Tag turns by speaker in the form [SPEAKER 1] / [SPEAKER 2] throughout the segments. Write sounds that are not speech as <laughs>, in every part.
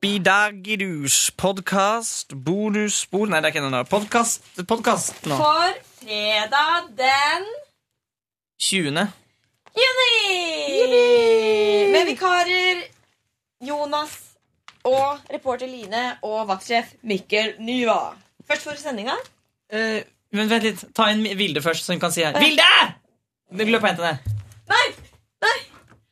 [SPEAKER 1] Wappidagidus podkast bonusspor Nei, det er ikke den der. Podkast, podkast nå.
[SPEAKER 2] For fredag den
[SPEAKER 1] 20.
[SPEAKER 2] juni! Med vikarer Jonas og reporter Line og vaktsjef Mikkel Nyva. Først for sendinga.
[SPEAKER 1] Eh, men vent litt. Ta inn Vilde først, så hun kan si her. Vilde! Du løp og hente henne.
[SPEAKER 2] Nei! Nei!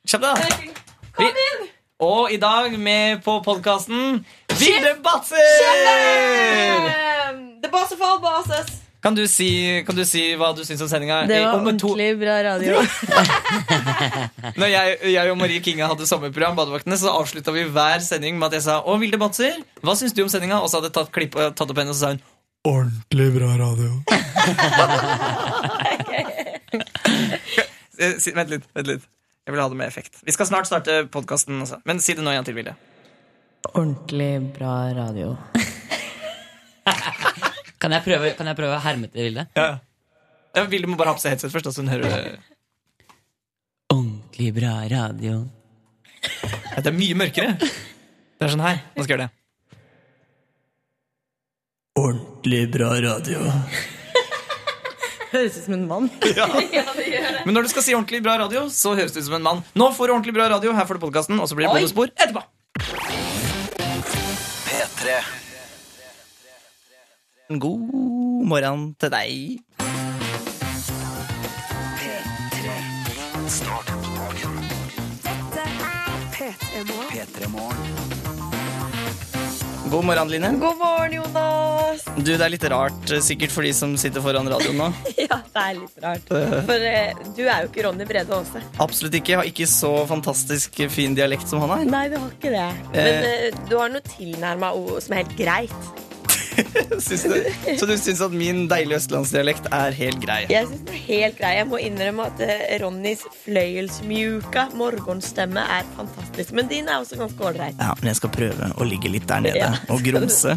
[SPEAKER 1] Kjapp deg, da.
[SPEAKER 2] Kom inn!
[SPEAKER 1] Og i dag med på podkasten Vilde Batzer!
[SPEAKER 2] Ehm, The boss of all bosses.
[SPEAKER 1] Kan du si, kan du si hva du syns om sendinga?
[SPEAKER 3] Det var
[SPEAKER 1] Om to-
[SPEAKER 3] ordentlig bra
[SPEAKER 2] <laughs>
[SPEAKER 3] radio.
[SPEAKER 1] Når jeg, jeg og Marie Kinga hadde sommerprogram, Badevaktene, så avslutta vi hver sending med at jeg sa Å, Vilde Batzer, hva syns du om sendinga? Og så hadde jeg tatt, klipp, eh, tatt opp henne, og så sa hun
[SPEAKER 4] Ordentlig bra radio.
[SPEAKER 1] eh, si, Vent litt. vent litt Jeg vil ha det med effekt. Vi skal snart starte podkasten, men si det nå igjen til Vilde.
[SPEAKER 3] Ordentlig bra radio.
[SPEAKER 5] <laughs> Kan jeg prøve, kan jeg prøve å herme til Vilde?
[SPEAKER 1] Ja, Vilde må bare ha på seg headset først. da, Så hun hører det.
[SPEAKER 5] Ordentlig bra radio.
[SPEAKER 1] <laughs> Ja, Det er mye mørkere. Det er sånn her. Nå skal jeg gjøre det.
[SPEAKER 4] Ordentlig bra radio.
[SPEAKER 3] Høres ut som en mann.
[SPEAKER 1] Men når du skal si ordentlig bra radio, så høres du ut som en mann. Nå får du ordentlig bra radio. Her får du podkasten, og så blir det
[SPEAKER 2] Oi.
[SPEAKER 1] bonusspor etterpå. P3 God morgen til deg. God morgen, Line.
[SPEAKER 2] God morgen, Jonas.
[SPEAKER 1] Du, Det er litt rart eh, sikkert for de som sitter foran radioen
[SPEAKER 2] <laughs>
[SPEAKER 1] nå.
[SPEAKER 2] Ja, det er litt
[SPEAKER 3] <laughs>
[SPEAKER 2] rart. For eh, du er jo ikke Ronny Brede Aase.
[SPEAKER 1] Absolutt ikke. Jeg har ikke så fantastisk fin dialekt som han har.
[SPEAKER 2] Nei, du har ikke det. Men eh, du har noe tilnærma ord som er helt greit.
[SPEAKER 1] Syns du, så du syns at min deilige østlandsdialekt er helt grei?
[SPEAKER 2] Jeg synes det er helt grei. Jeg må innrømme at eh, Ronnys fløyelsmjuka morgenstemme er fantastisk. Men din er også ganske ålreit.
[SPEAKER 1] Ja, men jeg skal prøve å ligge litt der nede
[SPEAKER 2] Ja.
[SPEAKER 1] og grumse.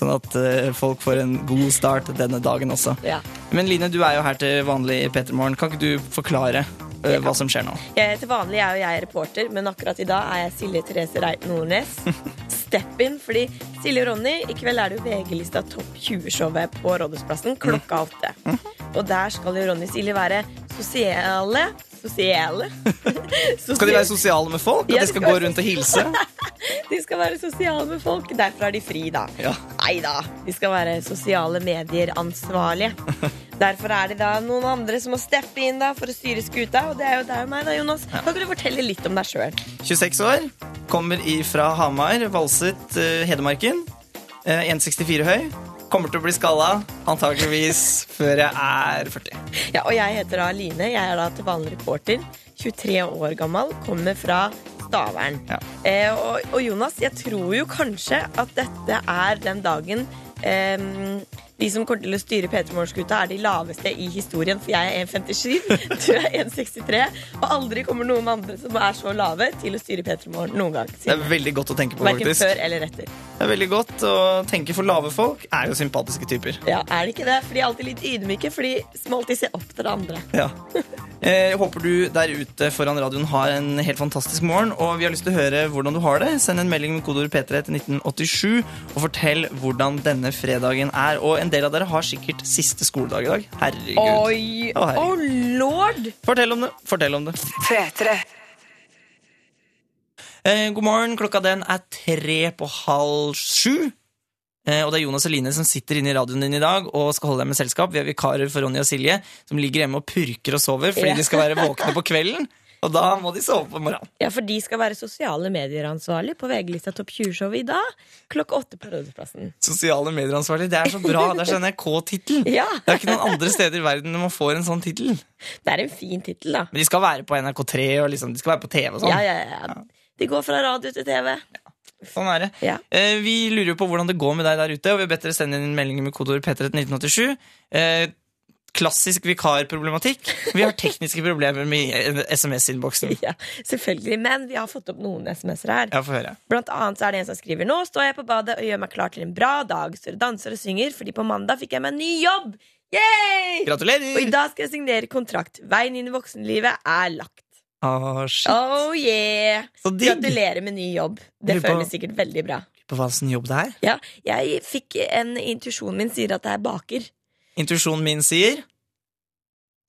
[SPEAKER 1] Sånn at eh, folk får en god start denne dagen også.
[SPEAKER 2] Ja.
[SPEAKER 1] Men Line, du er jo her til vanlig i Petermorgen. Kan ikke du forklare eh, hva som skjer nå?
[SPEAKER 2] Jeg- Til vanlig er jo jeg reporter, men akkurat i dag er jeg Silje Therese
[SPEAKER 1] <laughs>
[SPEAKER 2] Reiten Nordnes. Step in, fordi Silje og Ronny, i kveld er det jo VG-lista Topp 20-showet på Rådhusplassen klokka
[SPEAKER 1] Mm.
[SPEAKER 2] åtte. Og der skal jo Ronny og Silje være sosiale. Sosiale.
[SPEAKER 1] <laughs> Skal de være sosiale med folk?
[SPEAKER 2] Ja,
[SPEAKER 1] At de
[SPEAKER 2] de
[SPEAKER 1] skal
[SPEAKER 2] skal
[SPEAKER 1] gå
[SPEAKER 2] være
[SPEAKER 1] rundt og hilse?
[SPEAKER 2] De skal være sosiale med folk. Derfor er de fri, da.
[SPEAKER 1] Ja.
[SPEAKER 2] Nei da. De skal være sosiale medier-ansvarlige. Derfor er det da noen andre som må steppe inn da for å styre skuta. Og det er jo deg og meg, da, Jonas. Kan ikke du fortelle litt om deg sjøl?
[SPEAKER 1] 26 år. Kommer ifra Hamar. Valset eh, Hedmarken. Eh, 1,64 høy. Kommer til å bli skalla, antakeligvis før jeg er 40.
[SPEAKER 2] Ja, og jeg heter da Line. Jeg er da til vanlig reporter. 23 år gammel. Kommer fra Stavern.
[SPEAKER 1] Ja.
[SPEAKER 2] Eh, og, og Jonas, jeg tror jo kanskje at dette er den dagen eh, de som kommer til å styre P3 Morgenskuta, er de laveste i historien, for jeg er 1,57, <laughs> du er 1,63, og aldri kommer noen andre som er så lave, til å styre P3 Morgen noen gang.
[SPEAKER 1] Det er veldig godt å tenke på,
[SPEAKER 2] Verken
[SPEAKER 1] faktisk.
[SPEAKER 2] før eller etter.
[SPEAKER 1] Det er veldig godt å tenke for lave folk er jo sympatiske typer.
[SPEAKER 2] Ja, Er det ikke det? For de er alltid litt ydmyke, for de må alltid se opp til det andre.
[SPEAKER 1] Ja. <laughs> Eh, Jeg håper du der ute foran radioen har en helt fantastisk morgen. Og vi har lyst til å høre hvordan du har det. Send en melding med kodeord P3 til 1987 og fortell hvordan denne fredagen er. Og en del av dere har sikkert siste skoledag i dag. Herregud.
[SPEAKER 2] Oi!
[SPEAKER 1] Å, herregud.
[SPEAKER 2] Å, lord!
[SPEAKER 1] Fortell om det. Fortell om det. Eh, god morgen. Klokka den er tre på halv sju. Eh, og det er Jonas og Line som sitter inne i radioen din i dag og skal holde deg med selskap. Vi er vikarer for Ronny og Silje, som ligger hjemme og purker og sover fordi
[SPEAKER 2] Ja.
[SPEAKER 1] de skal være våkne på kvelden. Og da må de sove på morgenen.
[SPEAKER 2] Ja, for de skal være sosiale medier-ansvarlig på VG-lista Topp 20-showet i dag. Klokka åtte på Rådhusplassen.
[SPEAKER 1] Sosiale medieransvarlig. Det er så bra. Det er sånn NRK-tittel.
[SPEAKER 2] Ja.
[SPEAKER 1] Det er ikke noen andre steder i verden man får en sånn tittel.
[SPEAKER 2] Det er en fin tittel, da.
[SPEAKER 1] Men de skal være på NRK3 og liksom, de skal være på TV og sånn.
[SPEAKER 2] Ja, ja, ja. De går fra radio til TV.
[SPEAKER 1] Sånn er det.
[SPEAKER 2] Ja.
[SPEAKER 1] Eh, vi lurer jo på hvordan det går med deg der ute, og vi har bedt dere sende inn meldinger med kodeord P3 til 1987. Eh, klassisk vikarproblematikk. Vi har tekniske problemer med eh, SMS-innboksen.
[SPEAKER 2] <laughs> Ja, selvfølgelig. Men vi har fått opp noen SMS-er her.
[SPEAKER 1] Ja, få høre.
[SPEAKER 2] Blant annet så er det en som skriver Nå står jeg på badet og gjør meg klar til en bra dag. Står og danser og synger, fordi på mandag fikk jeg meg en ny jobb! Yay! Og i
[SPEAKER 1] Gratulerer!
[SPEAKER 2] dag skal jeg signere kontrakt. Veien inn i voksenlivet er lagt.
[SPEAKER 1] Ah, shit.
[SPEAKER 2] Oh yeah!
[SPEAKER 1] Så digg!
[SPEAKER 2] Gratulerer med ny jobb. Det
[SPEAKER 1] Lurer på-
[SPEAKER 2] føles sikkert veldig bra.
[SPEAKER 1] På hva slags jobb det er.
[SPEAKER 2] Ja, jeg fikk en intuisjon min sier at jeg er baker.
[SPEAKER 1] Intuisjonen min sier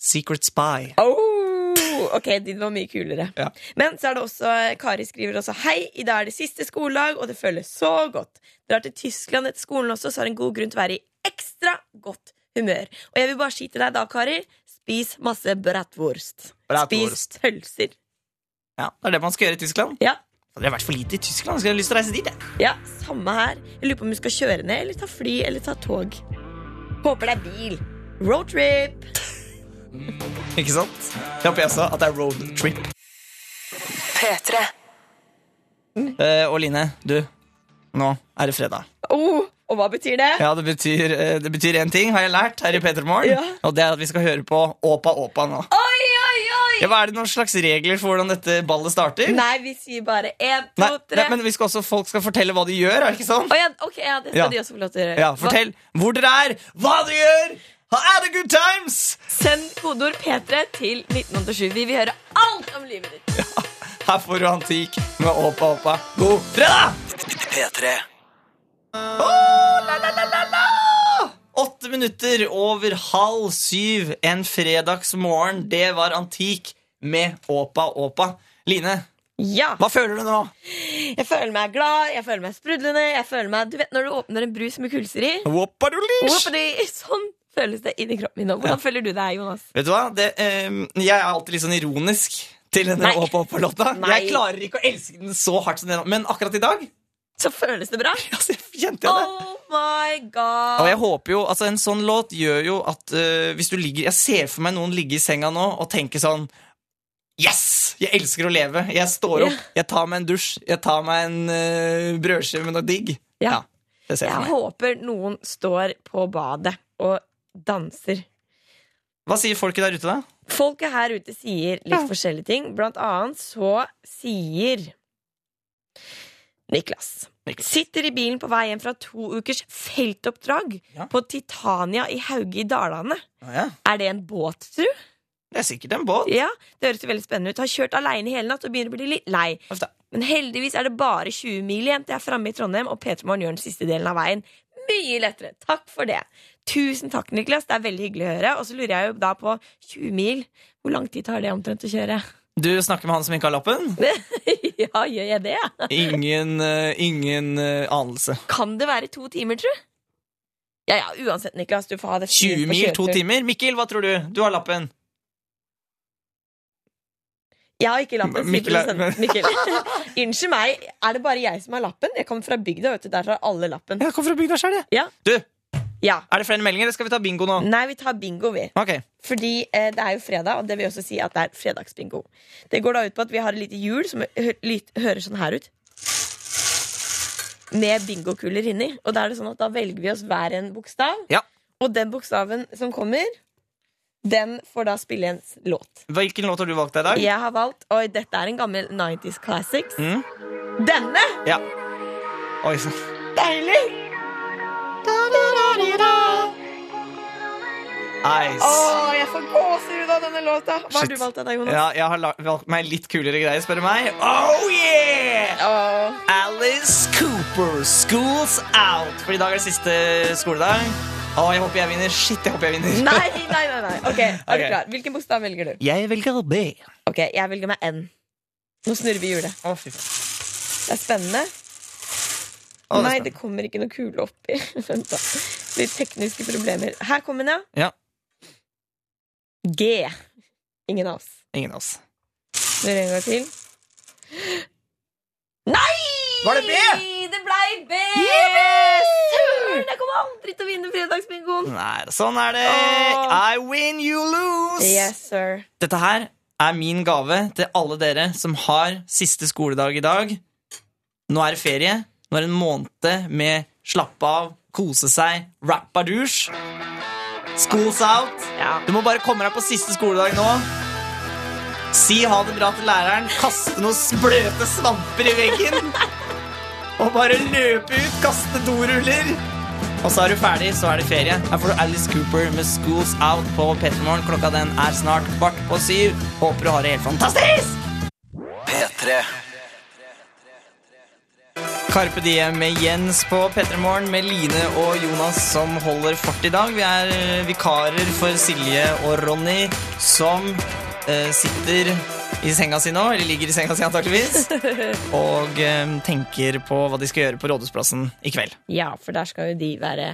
[SPEAKER 1] Secret spy.
[SPEAKER 2] Oh, ok, din var mye kulere.
[SPEAKER 1] Ja.
[SPEAKER 2] Men så er det også Kari skriver også Hei, i dag er det siste skoledag, og det føles så godt. Drar til Tyskland etter skolen også, så har en god grunn til å være i ekstra godt humør. Og jeg vil bare si til deg da, Kari, spis masse bratwurst. Spis
[SPEAKER 1] Bratwurst.
[SPEAKER 2] pølser.
[SPEAKER 1] Ja, Det er det man skal gjøre i Tyskland.
[SPEAKER 2] Ja.
[SPEAKER 1] Det har vært for lite i Tyskland. Jeg skulle ha lyst til å reise dit. Jeg.
[SPEAKER 2] ja, samme her. Jeg lurer på om du skal kjøre ned, eller ta fly, eller ta tog. Håper det er bil. Roadtrip.
[SPEAKER 1] Ikke sant? Jeg håper jeg også at det er road trip. Eh, og Line, du. Nå er det fredag.
[SPEAKER 2] Oh, og hva betyr det?
[SPEAKER 1] Ja, Det betyr eh, det betyr én ting, har jeg lært her i Petermorgen.
[SPEAKER 2] Ja.
[SPEAKER 1] Og det er at vi skal høre på Åpa Åpa nå.
[SPEAKER 2] Oi, oi, oi!
[SPEAKER 1] Ja, hva Er det noen slags regler for hvordan dette ballet starter?
[SPEAKER 2] Nei, vi sier bare én, to,
[SPEAKER 1] Nei,
[SPEAKER 2] tre.
[SPEAKER 1] nei, men vi skal også, folk skal fortelle hva de gjør, er det ikke sånn?
[SPEAKER 2] Å ja, ok, ja, det skal
[SPEAKER 1] Ja.
[SPEAKER 2] de også få lov til å gjøre.
[SPEAKER 1] Ja, Fortell hvor dere er, hva dere gjør! Ha had a good times!
[SPEAKER 2] Hva- Send kodeord P3 til 1987. Vi vil høre alt om livet ditt.
[SPEAKER 1] Her får du antikk med Åpa Åpa. God fredag! P3. la, la, la, la, la! Åtte minutter over halv syv en fredagsmorgen. Det var antikk med Åpa Åpa. Line,
[SPEAKER 2] Ja.
[SPEAKER 1] hva føler du nå?
[SPEAKER 2] Jeg føler meg glad, jeg føler meg sprudlende. Jeg føler meg, Du vet når du åpner en brus med kulser i?
[SPEAKER 1] Whoppa du lish!
[SPEAKER 2] Whoopity, Sånn føles det inni kroppen min nå. Hvordan føler du deg, Jonas?
[SPEAKER 1] Vet du hva? Det, ehm, jeg er alltid litt sånn ironisk til denne
[SPEAKER 2] Nei.
[SPEAKER 1] Åpa Åpa-låta.
[SPEAKER 2] Nei.
[SPEAKER 1] Jeg klarer ikke å elske den så hardt som den, men akkurat i dag <laughs>
[SPEAKER 2] Så føles det bra?
[SPEAKER 1] altså, kjente jeg det.
[SPEAKER 2] Oh my
[SPEAKER 1] Og
[SPEAKER 2] god.
[SPEAKER 1] jeg håper jo, altså En sånn låt gjør jo at øh, hvis du ligger Jeg ser for meg noen ligge i senga nå og tenke sånn Yes! Jeg elsker å leve. Jeg står opp, jeg tar meg en dusj, jeg tar meg en øh, brødskive med noe digg.
[SPEAKER 2] Ja.
[SPEAKER 1] det ser jeg for
[SPEAKER 2] Jeg
[SPEAKER 1] meg.
[SPEAKER 2] håper noen står på badet og danser.
[SPEAKER 1] Hva sier folket der ute, da?
[SPEAKER 2] Folket her ute sier litt forskjellige ting. Blant annet så sier Niklas.
[SPEAKER 1] Niklas.
[SPEAKER 2] Sitter i bilen på vei hjem fra to ukers feltoppdrag
[SPEAKER 1] Ja.
[SPEAKER 2] på Titania i Hauge i Dalane. Er det en båt, tru?
[SPEAKER 1] Det er sikkert en båt.
[SPEAKER 2] Ja, Det høres jo veldig spennende ut. Har kjørt aleine hele natt og begynner å bli litt lei.
[SPEAKER 1] Uff da.
[SPEAKER 2] Men heldigvis er det bare 20 mil igjen til jeg er framme i Trondheim, og Peter Morgen gjør den siste delen av veien mye lettere. Takk for det. Tusen takk, Niklas. Det er veldig hyggelig å høre. Og så lurer jeg jo da på 20 mil. Hvor lang tid tar det omtrent å kjøre? <laughs>
[SPEAKER 1] Du snakker med han som ikke har lappen?
[SPEAKER 2] ja, gjør jeg det? ja?
[SPEAKER 1] Ingen, øh, ingen øh, anelse.
[SPEAKER 2] Kan det være to timer, tru? Ja ja, uansett, Niklas. Du får ha det
[SPEAKER 1] 20
[SPEAKER 2] på
[SPEAKER 1] mil, to
[SPEAKER 2] kjøretur.
[SPEAKER 1] timer. Mikkel, hva tror du? Du har lappen.
[SPEAKER 2] Jeg har ikke lappen, sier
[SPEAKER 1] Mikkel er-
[SPEAKER 2] produsenten Mikkel. <laughs> Unnskyld meg, er det bare jeg som har lappen? Jeg kommer fra bygda, vet du. Der tar alle lappen.
[SPEAKER 1] Jeg kom fra bygda sjøl, jeg.
[SPEAKER 2] Ja.
[SPEAKER 1] Du,
[SPEAKER 2] Ja.
[SPEAKER 1] er det flere meldinger, eller skal vi ta bingo <laughs> nå?
[SPEAKER 2] Nei, vi tar bingo, vi.
[SPEAKER 1] Ok,
[SPEAKER 2] Fordi eh, det er jo fredag, og det vil også si at det er fredagsbingo. Det går da ut på at vi har et lite hjul som hø lyt- hører sånn her ut. Med bingokuler inni. Og da er det sånn at da velger vi oss hver en bokstav.
[SPEAKER 1] Ja.
[SPEAKER 2] Og den bokstaven som kommer, den får da spille en s- låt.
[SPEAKER 1] Hvilken låt har du valgt deg i dag?
[SPEAKER 2] Jeg har valgt Oi, dette er en gammel 90s classics.
[SPEAKER 1] Mm.
[SPEAKER 2] Denne!
[SPEAKER 1] Ja. Oi sann.
[SPEAKER 2] Deilig! Å,
[SPEAKER 1] Nice.
[SPEAKER 2] jeg får gåsehud av denne låta! Hva har
[SPEAKER 1] Shit.
[SPEAKER 2] du valgt deg, Jonas?
[SPEAKER 1] Ja, jeg har la- valgt meg litt kulere greier, spør du meg. Oh yeah!
[SPEAKER 2] Åh.
[SPEAKER 1] Alice Cooper, School's Out. For i dag er det siste skoledag. Å, jeg håper jeg vinner. Shit, jeg håper jeg vinner.
[SPEAKER 2] <laughs> Nei, nei, nei, nei. Ok, er du
[SPEAKER 1] Ok.
[SPEAKER 2] klar? Hvilken bokstav velger du?
[SPEAKER 1] Jeg velger B.
[SPEAKER 2] Ok, Jeg velger meg N. Nå snurrer vi hjulet.
[SPEAKER 1] Å, fy faen.
[SPEAKER 2] Det er spennende.
[SPEAKER 1] Å, det er
[SPEAKER 2] nei,
[SPEAKER 1] spennende.
[SPEAKER 2] det kommer ikke noe kule oppi. <laughs> Vent, da. Litt tekniske problemer. Her kommer den,
[SPEAKER 1] Ja.
[SPEAKER 2] G. Ingen av oss.
[SPEAKER 1] Ingen av oss.
[SPEAKER 2] Snurr en gang til. Nei!
[SPEAKER 1] Var det B?
[SPEAKER 2] Det ble B! Søren, jeg kommer aldri til å vinne fredagsbingoen.
[SPEAKER 1] Nei, sånn er det.
[SPEAKER 2] Åh.
[SPEAKER 1] I win, you lose.
[SPEAKER 2] Yes, sir.
[SPEAKER 1] Dette her er min gave til alle dere som har siste skoledag i dag. Nå er det ferie. Nå er det en måned med slappe av, kose seg, rappa douche. School's out.
[SPEAKER 2] Ja.
[SPEAKER 1] Du må bare komme deg på siste skoledag nå. Si ha det bra til læreren, kaste noen bløte svamper i veggen. Og bare løpe ut, kaste doruller. Og så er du ferdig, så er det ferie. Her får du Alice Cooper med Schools Out på P3 Morgen. Klokka den er snart kvart på syv. Håper du har det helt fantastisk!
[SPEAKER 6] P3
[SPEAKER 1] Carpe Diem med Jens på P3 Morgen, med Line og Jonas som holder fort i dag. Vi er eh, vikarer for Silje og Ronny, som eh, sitter i senga si nå, eller ligger i senga si antakeligvis, og eh, tenker på hva de skal gjøre på Rådhusplassen i kveld.
[SPEAKER 2] Ja, for der skal jo de være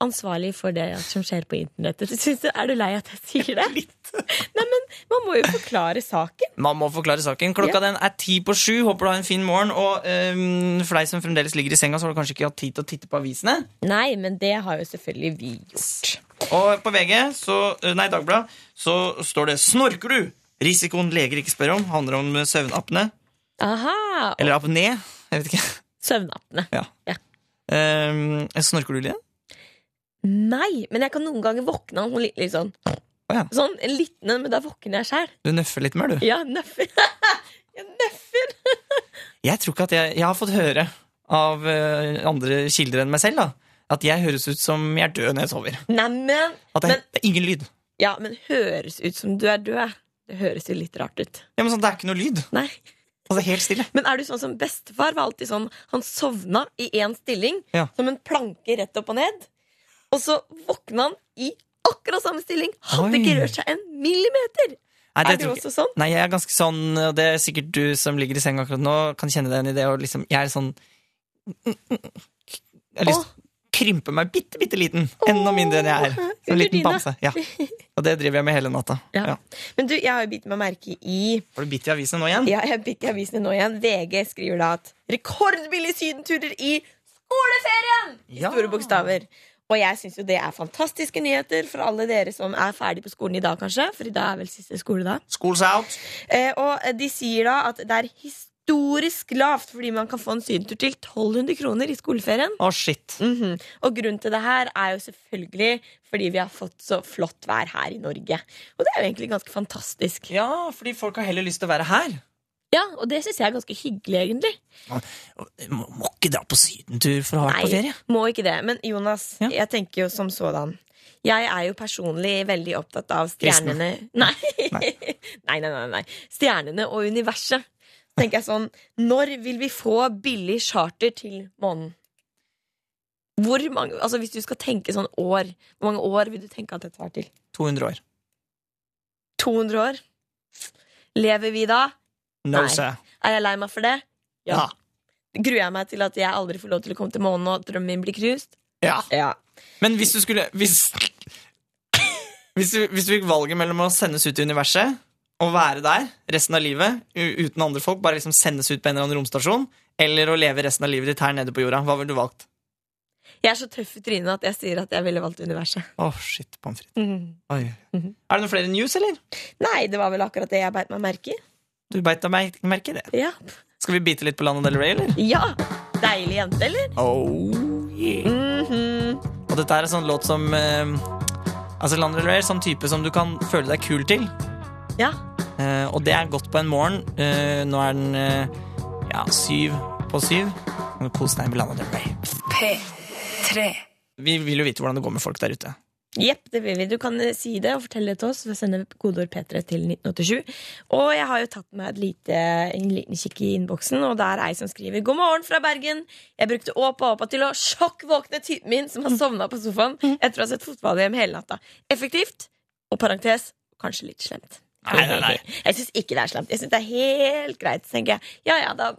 [SPEAKER 2] ansvarlig for det som skjer på internettet. <laughs> Synes du, er du lei at jeg sier det? Litt. <laughs> Nei, men man må jo forklare saken.
[SPEAKER 1] Man må forklare saken. Klokka den er ti på sju. Håper du har en fin morgen. Og ehm, for deg som fremdeles ligger i senga, så har du kanskje ikke hatt tid til å titte på avisene.
[SPEAKER 2] Nei, men det har jo selvfølgelig vi gjort.
[SPEAKER 1] Og på VG, så, eh, nei, Dagbladet, så står det 'Snorker du?' Risikoen leger ikke spør om. Handler om søvnapne.
[SPEAKER 2] Aha!
[SPEAKER 1] Eller apné. Jeg vet ikke. <laughs>
[SPEAKER 2] Søvnappene.
[SPEAKER 1] Ja.
[SPEAKER 2] Ja.
[SPEAKER 1] Ehm, snorker du, Lien?
[SPEAKER 2] Nei, men jeg kan noen ganger våkne av noe litt, litt sånn.
[SPEAKER 1] Å ja.
[SPEAKER 2] Sånn litt, men da våkner jeg sjæl.
[SPEAKER 1] Du nøffer litt mer, du.
[SPEAKER 2] Ja, nøffer. <laughs> Jeg nøffer.
[SPEAKER 1] Jeg tror ikke at jeg, jeg har fått høre av eh, andre kilder enn meg selv da, at jeg høres ut som jeg er død når jeg sover.
[SPEAKER 2] Neimen.
[SPEAKER 1] At det,
[SPEAKER 2] Men,
[SPEAKER 1] det er ingen lyd.
[SPEAKER 2] ja, men høres ut som du er død. Det høres jo litt rart ut.
[SPEAKER 1] Ja, men sånn, Det er ikke noe lyd.
[SPEAKER 2] Nei.
[SPEAKER 1] Altså, Helt stille.
[SPEAKER 2] Men er du sånn som bestefar var alltid sånn Han sovna i én stilling
[SPEAKER 1] Ja.
[SPEAKER 2] Som en planke rett opp og ned Og så våkna han i akkurat samme stilling Hadde
[SPEAKER 1] Oi.
[SPEAKER 2] ikke rørt seg en millimeter
[SPEAKER 1] Nei,
[SPEAKER 2] Er
[SPEAKER 1] det
[SPEAKER 2] du
[SPEAKER 1] tror jeg ikke.
[SPEAKER 2] også sånn?
[SPEAKER 1] Nei, jeg er ganske sånn, og det er sikkert du som ligger i senga akkurat nå, kan kjenne deg igjen i det. Og liksom, jeg er sånn Jeg har lyst til å krympe meg bitte, bitte liten. Enda mindre enn jeg er. Som en liten
[SPEAKER 2] Gardina.
[SPEAKER 1] bamse. Ja.
[SPEAKER 2] <laughs>
[SPEAKER 1] Og det driver jeg med hele natta.
[SPEAKER 2] Ja.
[SPEAKER 1] Ja.
[SPEAKER 2] Men du, jeg har jo bitt meg merke i
[SPEAKER 1] Har du bitt i avisen nå igjen?
[SPEAKER 2] ja, Jeg har bitt i avisene nå igjen VG skriver da at Rekordbillige sydenturer i skoleferien I
[SPEAKER 1] Ja.
[SPEAKER 2] store bokstaver og jeg synes jo det er fantastiske nyheter for alle dere som er ferdige på skolen i dag kanskje, for i dag er vel siste skoledag.
[SPEAKER 1] School's out.
[SPEAKER 2] Eh, og de sier da at det er historisk lavt fordi man kan få en sydentur til 1200 kroner i skoleferien.
[SPEAKER 1] Å, shit.
[SPEAKER 2] Mhm. Og grunnen til det her er jo selvfølgelig fordi vi har fått så flott vær her i Norge. Og det er jo egentlig ganske fantastisk.
[SPEAKER 1] Ja, fordi folk har heller lyst til å være her.
[SPEAKER 2] Ja, og det syns jeg er ganske hyggelig, egentlig.
[SPEAKER 1] Må, må ikke dra på sydentur for å ha vært på ferie.
[SPEAKER 2] må ikke det. Men Jonas,
[SPEAKER 1] Ja.
[SPEAKER 2] jeg tenker jo som sådan. Jeg er jo personlig veldig opptatt av
[SPEAKER 1] Kristne.
[SPEAKER 2] stjernene <laughs> Nei. nei, nei, nei, nei. Stjernene og universet. Så tenker jeg sånn Når vil vi få billig charter til månen? Hvor mange, altså Hvis du skal tenke sånn år, hvor mange år vil du tenke at dette var til?
[SPEAKER 1] 200 år.
[SPEAKER 2] 200 år? Lever vi da?
[SPEAKER 1] No,
[SPEAKER 2] Nei.
[SPEAKER 1] sir.
[SPEAKER 2] Er jeg lei meg for det?
[SPEAKER 1] Ja.
[SPEAKER 2] Gruer jeg meg til at jeg aldri får lov til å komme til månen, og at drømmen min blir knust?
[SPEAKER 1] ja.
[SPEAKER 2] Ja.
[SPEAKER 1] Men hvis du skulle Hvis, hvis, du, hvis du fikk valget mellom å sendes ut i universet og være der resten av livet u- uten andre folk, bare liksom sendes ut på en eller annen romstasjon, eller å leve resten av livet ditt her nede på jorda, hva ville du valgt?
[SPEAKER 2] Jeg er så tøff i trynet at jeg sier at jeg ville valgt universet.
[SPEAKER 1] Å, shit, pommes frites. Oi. Er det noen flere news, eller?
[SPEAKER 2] Nei, det var vel akkurat det jeg beit meg merke i.
[SPEAKER 1] Du beit deg mer- merke i det.
[SPEAKER 2] Ja.
[SPEAKER 1] Skal vi bite litt på Lana Del Rey, eller?
[SPEAKER 2] ja! Deilig jente, eller?
[SPEAKER 1] Oh, yeah. Og dette er en sånn låt som eh, Altså, Lana Del Rey er sånn type som du kan føle deg kul til.
[SPEAKER 2] Ja.
[SPEAKER 1] Eh, og det er godt på en morgen. Eh, nå er den eh, ja, syv på syv. Nå Kos deg med Lana Del Rey.
[SPEAKER 7] P3.
[SPEAKER 1] Vi vil jo vite hvordan det går med folk der ute.
[SPEAKER 2] Jepp, det vil vi. Du kan eh, si det og fortelle det til oss ved å sende kodeord P3 til 1987. Og jeg har jo tatt meg et lite, en liten kikk i innboksen, og det er ei som skriver God morgen fra Bergen. Jeg brukte Åpa Åpa til å sjokkvåkne typen min som har sovna på sofaen etter å ha sett fotball-VM hele natta. Effektivt. Og parentes kanskje litt slemt.
[SPEAKER 1] Nei, nei, nei.
[SPEAKER 2] Jeg syns ikke det er slemt. Jeg synes det er helt greit, tenker jeg. Ja, ja, da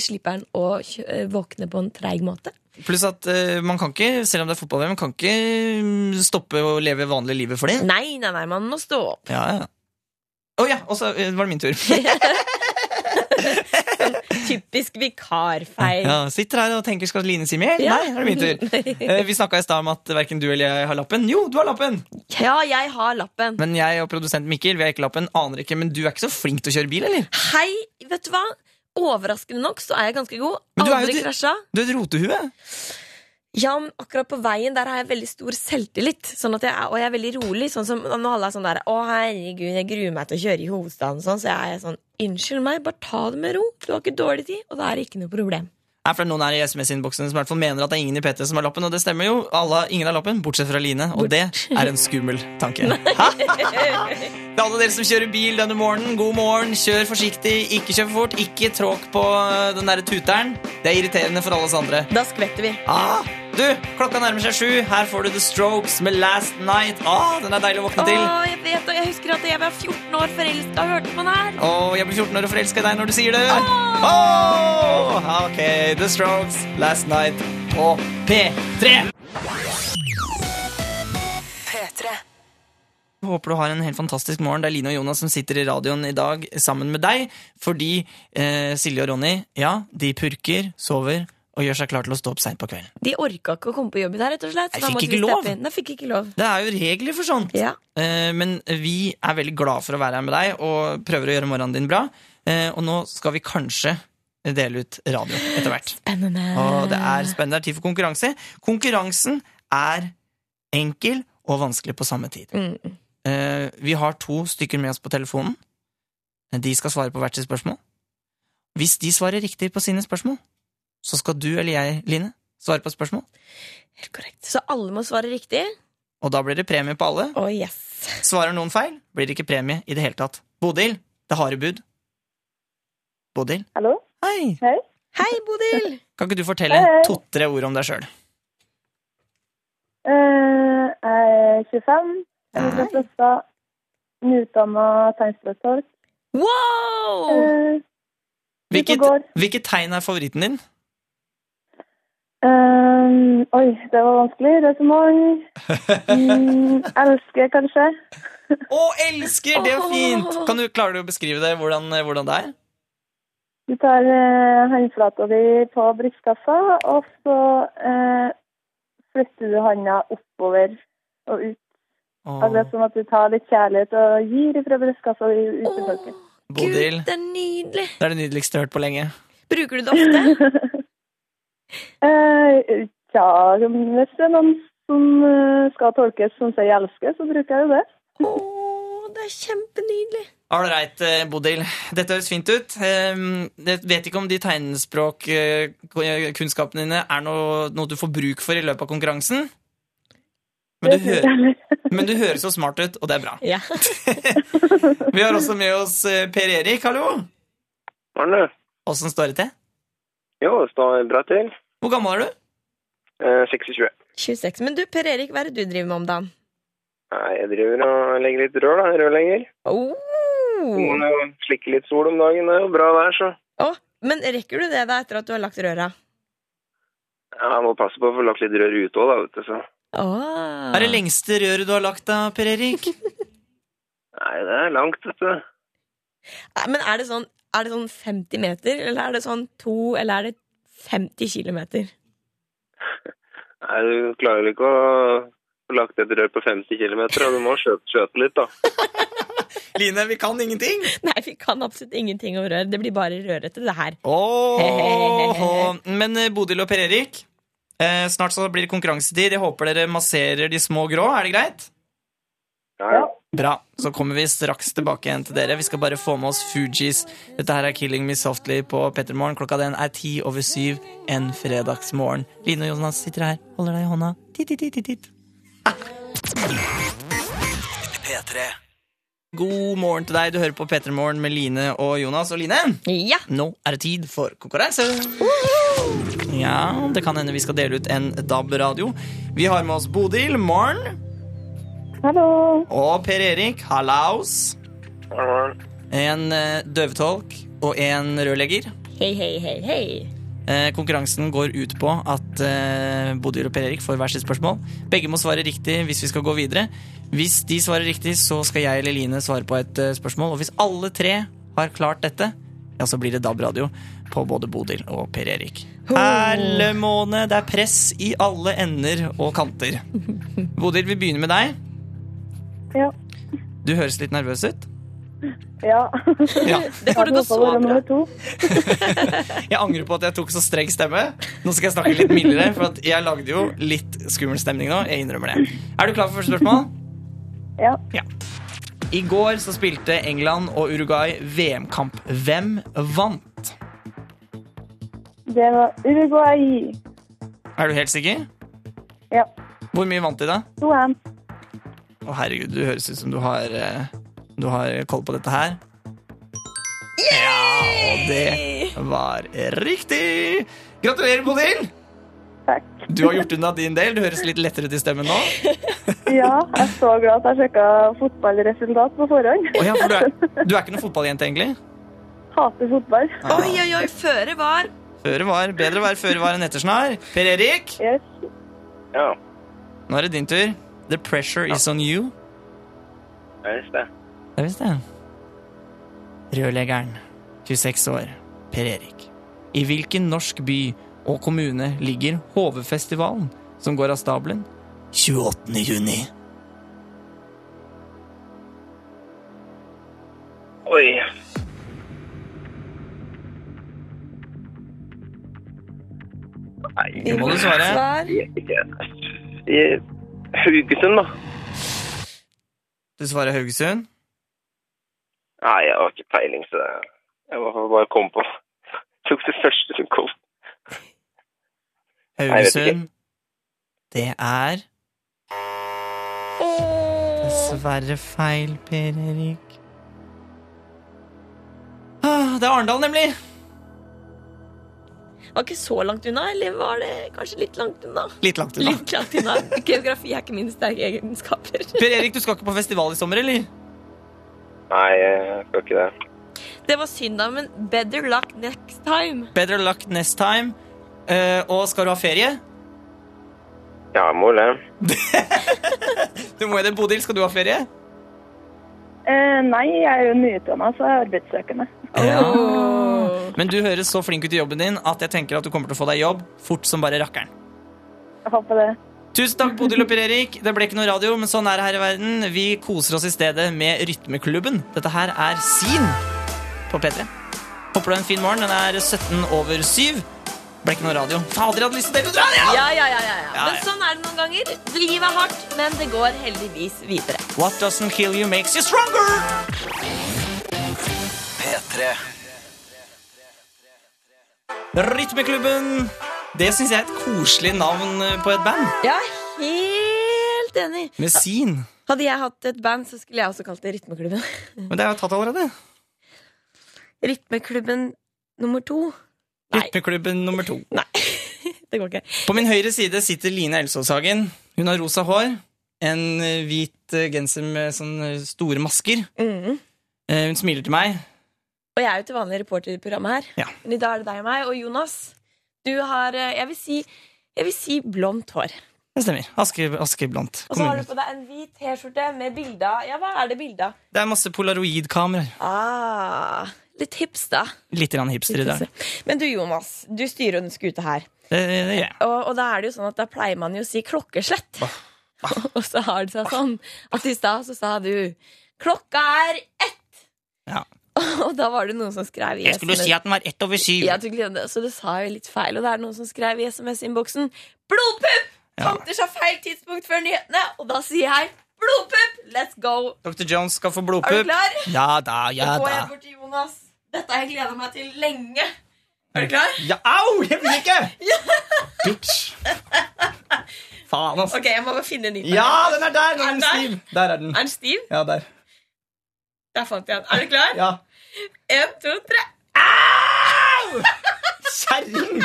[SPEAKER 2] slipper han å kjø- våkne på en treig måte.
[SPEAKER 1] Pluss at eh, man kan ikke, selv om det er fotball-VM, kan ikke mm, stoppe å leve vanlig livet for det.
[SPEAKER 2] Nei, nei, nei, man må stå opp.
[SPEAKER 1] Ja, ja. Å ja, og så eh, var det min tur.
[SPEAKER 2] Typisk vikarfeil.
[SPEAKER 1] Ja, sitter her og tenker skal Line si mer?
[SPEAKER 2] Ja.
[SPEAKER 1] Nei, nå er det min
[SPEAKER 2] <laughs>
[SPEAKER 1] tur. Eh, vi snakka i stad om at verken du eller jeg har lappen. Jo, du har lappen!
[SPEAKER 2] Ja, jeg har lappen.
[SPEAKER 1] Men jeg og produsent Mikkel vi har ikke lappen. Aner ikke, men du er ikke så flink til å kjøre bil, eller?
[SPEAKER 2] Hei, vet du hva? Overraskende nok så er jeg ganske god.
[SPEAKER 1] Men du er jo
[SPEAKER 2] Aldri
[SPEAKER 1] det-
[SPEAKER 2] krasja.
[SPEAKER 1] Du er et rotehue.
[SPEAKER 2] Ja, men akkurat på veien der har jeg veldig stor selvtillit. Sånn at jeg er, og jeg er veldig rolig. Sånn som når alle er sånn der Å, herregud, jeg gruer meg til å kjøre i hovedstaden, sånn, så jeg er sånn Unnskyld meg, bare ta det med ro. Du har ikke dårlig tid, og da er det ikke noe problem.
[SPEAKER 1] er fordi noen er i SMS-innboksen som i hvert fall mener at det er ingen i P3 som har lappen, og det stemmer jo. Alle, har- ingen har lappen, bortsett fra Line, og det er en skummel tanke. Hæ? Til alle dere som kjører bil denne morgenen, god morgen. Kjør forsiktig, ikke kjør for fort, ikke tråkk på øh, den derre tuteren. Det er irriterende for alle oss andre.
[SPEAKER 2] Da skvetter vi.
[SPEAKER 1] Ah, du, klokka nærmer seg sju. Her får du The Strokes med Last Night. Ah, den er deilig å våkne til.
[SPEAKER 2] jeg vet, og jeg husker at jeg var 14 år forelska og hørte på den her.
[SPEAKER 1] Og jeg blir 14 år og forelsker i deg når du sier det.
[SPEAKER 2] Ah.
[SPEAKER 1] Åh! ok, The Strokes, Last Night på P3.
[SPEAKER 7] P3.
[SPEAKER 1] Jeg Håper du har en helt fantastisk morgen. Det er Line og Jonas som sitter i radioen i dag sammen med deg. Fordi eh, Silje og Ronny, ja, de purker, sover og gjør seg klar til å stå opp seint på kvelden.
[SPEAKER 2] De orka ikke å komme på jobb i dag, rett og slett. så
[SPEAKER 1] Jeg
[SPEAKER 2] da
[SPEAKER 1] fikk
[SPEAKER 2] måtte
[SPEAKER 1] ikke
[SPEAKER 2] vi
[SPEAKER 1] lov.
[SPEAKER 2] steppe inn. Nei, fikk ikke lov.
[SPEAKER 1] Det er jo regler for sånt.
[SPEAKER 2] Ja.
[SPEAKER 1] Eh, men vi er veldig glad for å være her med deg og prøver å gjøre morgenen din bra. Eh, og nå skal vi kanskje dele ut radio etter hvert.
[SPEAKER 2] Spennende.
[SPEAKER 1] Og det er spennende. Det er tid for konkurranse. Konkurransen er enkel og vanskelig på samme tid.
[SPEAKER 2] Mm.
[SPEAKER 1] Eh, vi har to stykker med oss på telefonen. De skal svare på hvert sitt spørsmål. Hvis de svarer riktig på sine spørsmål, så skal du eller jeg, Line, svare på et spørsmål.
[SPEAKER 2] Helt korrekt. Så alle må svare riktig.
[SPEAKER 1] Og da blir det premie på alle.
[SPEAKER 2] Å, yes.
[SPEAKER 1] Svarer noen feil, blir det ikke premie i det hele tatt. Bodil, det harde bud. Bodil?
[SPEAKER 6] Hallo?
[SPEAKER 1] Hei!
[SPEAKER 2] Hei,
[SPEAKER 1] <laughs>
[SPEAKER 2] Bodil!
[SPEAKER 1] Kan ikke du fortelle
[SPEAKER 6] Hei, hei.
[SPEAKER 1] to-tre ord om deg sjøl?
[SPEAKER 6] Eh, jeg er 25. Jeg er fra Frosta. Nyutdanna tegnspråktolk.
[SPEAKER 2] Wow!
[SPEAKER 6] Eh, Ute og
[SPEAKER 1] Hvilket,
[SPEAKER 6] går.
[SPEAKER 1] hvilket tegn er favoritten din?
[SPEAKER 6] eh, oi, det var vanskelig. Det er så mange. Mm, elsker, kanskje.
[SPEAKER 1] Å, elsker! Det er jo fint! Kan du, klarer du å beskrive det, hvordan, eh, hvordan det er?
[SPEAKER 6] Du tar eh, håndflata di på brystkassa, og så eh, flytter du handa oppover og ut.
[SPEAKER 1] Åh,
[SPEAKER 6] Altså, det er sånn at du tar litt kjærlighet og gir fra brystkassa di ut til
[SPEAKER 2] Åh,
[SPEAKER 6] folket.
[SPEAKER 2] Gud,
[SPEAKER 1] Bodil,
[SPEAKER 2] det er nydelig.
[SPEAKER 1] det er det nydeligste jeg har hørt på lenge.
[SPEAKER 2] Bruker du det
[SPEAKER 6] <laughs>
[SPEAKER 2] ofte?
[SPEAKER 6] Eh, ja, hvis det er noen som eh, skal tolkes som sier 'elsker', så bruker jeg jo det.
[SPEAKER 2] Å, det er kjempenydelig.
[SPEAKER 1] Ålreit, eh, Bodil. Dette høres fint ut. Ehm, Jeg vet ikke om de tegnspråkkunnskapene dine er noe, noe du får bruk for i løpet av konkurransen. Men
[SPEAKER 6] Det
[SPEAKER 1] du,
[SPEAKER 6] synes
[SPEAKER 1] hø-
[SPEAKER 6] jeg.
[SPEAKER 1] men du høres jo smart ut, og det er bra.
[SPEAKER 2] Ja. <laughs>
[SPEAKER 1] Vi har også med oss eh, Per Erik. Hallo!
[SPEAKER 8] Morgen, du.
[SPEAKER 1] Åssen står det til?
[SPEAKER 8] Jo, det står bra til.
[SPEAKER 1] Hvor gammel er du?
[SPEAKER 8] Eh, 26.
[SPEAKER 2] 26. Men du, Per Erik, hva er det du driver med om dagen?
[SPEAKER 8] Nei, jeg driver og legger litt rør, da. Rørlegger.
[SPEAKER 2] Oh.
[SPEAKER 8] Må jo Slikke litt sol om dagen. Det er jo bra vær, så
[SPEAKER 2] Å, men rekker du det da etter at du har lagt røra?
[SPEAKER 8] ja, jeg må passe på å få lagt litt rør ute òg, da, vet du. Så.
[SPEAKER 2] Oh.
[SPEAKER 1] Hva er det lengste røret du har lagt, da, Per Erik?
[SPEAKER 8] Nei, det er langt, vet du.
[SPEAKER 2] Men er det, sånn, er det sånn 50 meter, eller er det sånn 2, eller er det 50 kilometer? <laughs>
[SPEAKER 8] Nei, du klarer ikke å få lagt et rør på 50 km, og du må skjøte, skjøte litt, da.
[SPEAKER 1] Line, vi kan ingenting!
[SPEAKER 2] Nei, vi kan absolutt ingenting om rør. Det blir bare rørete, det her.
[SPEAKER 1] Åh, Men eh, Bodil og Per Erik, eh, snart så blir det konkurransetid. Jeg håper dere masserer de små grå. Er det greit?
[SPEAKER 8] Ja, ja.
[SPEAKER 1] Bra. Så kommer vi straks tilbake igjen til dere. Vi skal bare få med oss Fugees. Dette her er Killing Me Softly på Pettermorgen. Klokka den er ti over syv en fredagsmorgen. Line og Jonas sitter her, holder deg i hånda. Titt, titt, titt, titt, titt. God morgen til deg. Du hører på Pettermorgen med Line og Jonas. Og Line,
[SPEAKER 2] Ja!
[SPEAKER 1] nå er det tid for konkurranse. Ja, det kan hende vi skal dele ut en DAB-radio. Vi har med oss Bodil, morgen,
[SPEAKER 6] Hallo.
[SPEAKER 1] og Per Erik, hallaus.
[SPEAKER 8] Morgen, morgen.
[SPEAKER 1] En eh, døvetolk og en rørlegger.
[SPEAKER 2] Hei, hei, hei, hei.
[SPEAKER 1] Eh, Konkurransen går ut på at eh, Bodil og Per Erik får hver sitt spørsmål. Begge må svare riktig hvis vi skal gå videre. Hvis de svarer riktig, så skal jeg eller Line svare på et eh, spørsmål. Og hvis alle tre har klart dette, ja, så blir det DAB-radio på både Bodil og Per Erik. Herle måne, det er press i alle ender og kanter. Bodil, vi begynner med deg.
[SPEAKER 6] Ja.
[SPEAKER 1] Du høres litt nervøs ut.
[SPEAKER 6] Ja.
[SPEAKER 1] Ja.
[SPEAKER 2] Det kommer til å gå
[SPEAKER 6] Jeg håper
[SPEAKER 2] så
[SPEAKER 6] å være
[SPEAKER 2] bra.
[SPEAKER 6] nummer to.
[SPEAKER 1] Jeg angrer på at jeg tok så streng stemme. Nå skal jeg snakke litt mildere, for at jeg lagde jo litt skummel stemning nå. Jeg innrømmer det. Er du klar for første spørsmål?
[SPEAKER 6] Ja.
[SPEAKER 1] I går så spilte England og Uruguay VM-kamp. Hvem vant?
[SPEAKER 6] Det var Uruguay.
[SPEAKER 1] Er du helt sikker?
[SPEAKER 6] Ja.
[SPEAKER 1] Hvor mye vant de, da?
[SPEAKER 6] 2-1.
[SPEAKER 1] Å, herregud, du høres ut som du har eh, Du har koll på dette her. Ja, og det var riktig! Gratulerer, Bodil!
[SPEAKER 6] Takk.
[SPEAKER 1] Du har gjort unna din del. Du høres litt lettere ut i stemmen nå.
[SPEAKER 6] Ja, jeg er så glad at jeg sjekka fotballresultat på forhånd.
[SPEAKER 1] Å ja, for du, er, du er ikke noen fotballjente, egentlig?
[SPEAKER 6] Hater fotball.
[SPEAKER 2] Oi, oi, oi, føre var.
[SPEAKER 1] Føre var. Bedre å være føre var enn ettersnar. Per Erik,
[SPEAKER 6] Yes.
[SPEAKER 8] Ja,
[SPEAKER 1] nå er det din tur. The pressure is on you.
[SPEAKER 8] det er visst det.
[SPEAKER 1] Det er visst det. Rørleggeren, 26 år, Per Erik. I hvilken norsk by og kommune ligger Hovefestivalen, som går av stabelen 28. juni?
[SPEAKER 8] Oi. Nei,
[SPEAKER 1] Nå må du svare.
[SPEAKER 2] Svar.
[SPEAKER 8] jeg vet ikke. I Haugesund, da.
[SPEAKER 1] Du svarer Haugesund.
[SPEAKER 8] Nei, jeg har ikke peiling, så det- jeg bare, bare kom på. <laughs> Tok det første som kom.
[SPEAKER 1] Haugesund. Det er Dessverre feil, Per Erik. Ah, Det er Arendal, nemlig.
[SPEAKER 2] Var ikke så langt unna, eller var det kanskje litt langt unna?
[SPEAKER 1] Litt langt unna.
[SPEAKER 2] Litt langt unna. <laughs> Geografi er ikke mine sterke egenskaper.
[SPEAKER 1] Per Erik, du skal ikke på festival i sommer, eller?
[SPEAKER 8] Nei, jeg skal ikke det.
[SPEAKER 2] Det var synd, da, men better luck next time.
[SPEAKER 1] Better luck next time. Eh, og skal du ha ferie?
[SPEAKER 8] Ja, jeg må jo det.
[SPEAKER 1] Du må jo det, Bodil. Skal du ha ferie?
[SPEAKER 6] Eh, nei, jeg er jo nyutdanna, så jeg er arbeidssøkende.
[SPEAKER 1] Oh. Men du høres så flink ut i jobben din at jeg tenker at du kommer til å få deg jobb fort som bare rakkeren.
[SPEAKER 6] Jeg håper det.
[SPEAKER 1] Tusen takk, Bodil og Per Erik. Det ble ikke noe radio, men sånn er det her i verden. Vi koser oss i stedet med Rytmeklubben. Dette her er Sin på P3. Håper du har en fin morgen. Den er 17 over 7. Ble ikke noe radio. Fader, jeg hadde lyst til å dele ut radio!
[SPEAKER 2] Ja, ja, ja, ja, ja.
[SPEAKER 1] Ja,
[SPEAKER 2] Men
[SPEAKER 1] ja.
[SPEAKER 2] sånn er det noen ganger. Livet er hardt, men det går heldigvis videre.
[SPEAKER 1] What doesn't kill you makes you stronger! P3 Rytmeklubben. Det syns jeg er et koselig navn eh, på et band.
[SPEAKER 2] Ja, helt enig.
[SPEAKER 1] Med sin.
[SPEAKER 2] Hadde jeg hatt et band, så skulle jeg også kalt det Rytmeklubben.
[SPEAKER 1] Men det er jo tatt allerede.
[SPEAKER 2] Rytmeklubben nummer to. Nei.
[SPEAKER 1] Rytmeklubben nummer to.
[SPEAKER 2] <laughs> Det går ikke.
[SPEAKER 1] På min høyre side sitter Line Elsås Hagen. Hun har rosa hår. En eh, hvit eh, genser med sånne store masker.
[SPEAKER 2] Mhm.
[SPEAKER 1] Eh, Hun smiler til meg.
[SPEAKER 2] Og jeg er jo til vanlig reporter i programmet her.
[SPEAKER 1] Ja.
[SPEAKER 2] Men i dag er det deg og meg. Og Jonas, du har eh, Jeg vil si, jeg vil si blondt hår.
[SPEAKER 1] Det stemmer. Aske, Askeblant.
[SPEAKER 2] Og så har
[SPEAKER 1] kommune.
[SPEAKER 2] du på deg en hvit T-skjorte med bilde av Ja, hva er det bilde av?
[SPEAKER 1] Det er masse polaroidkameraer.
[SPEAKER 2] Ah, litt hips, da.
[SPEAKER 1] Litt grann hipster i dag.
[SPEAKER 2] Men du, Jonas, du styrer jo den skuta her.
[SPEAKER 1] Det, det gjør jeg.
[SPEAKER 2] Og, og da er det jo sånn at da pleier man jo å si klokkeslett. <laughs> Og så har det seg sånn at i stad så sa du 'klokka er ett'.
[SPEAKER 1] Ja.
[SPEAKER 2] <laughs> Og da var det noen som skrev i
[SPEAKER 1] Jeg skulle
[SPEAKER 2] SMS
[SPEAKER 1] si at den var ett over syv.
[SPEAKER 2] ja, du glemte det, Så det sa jo litt feil. Og det er noen som skrev i SMS-innboksen 'blodpupp'! Fanter seg feil tidspunkt før nyhetene, og da sier jeg 'blodpupp, let's go'.
[SPEAKER 1] Dr. Jones skal få
[SPEAKER 2] Er du
[SPEAKER 1] blodpupp.
[SPEAKER 2] klar?
[SPEAKER 1] Ja da, ja
[SPEAKER 2] Da går jeg
[SPEAKER 1] da.
[SPEAKER 2] bort til Jonas. Dette har jeg gleda meg til lenge. Er du klar?
[SPEAKER 1] Ja, au! Jeg vil
[SPEAKER 2] <laughs>
[SPEAKER 1] ikke! Bitch. Faen, altså.
[SPEAKER 2] Ok, jeg må bare finne en ny.
[SPEAKER 1] Ja, den er der! Den
[SPEAKER 2] Er den
[SPEAKER 1] er stiv. Der er den.
[SPEAKER 2] Er den stiv?
[SPEAKER 1] Ja, der.
[SPEAKER 2] Der fant jeg den. Er du klar?
[SPEAKER 1] Ja.
[SPEAKER 2] En, to, tre. <laughs>
[SPEAKER 1] Kjerring!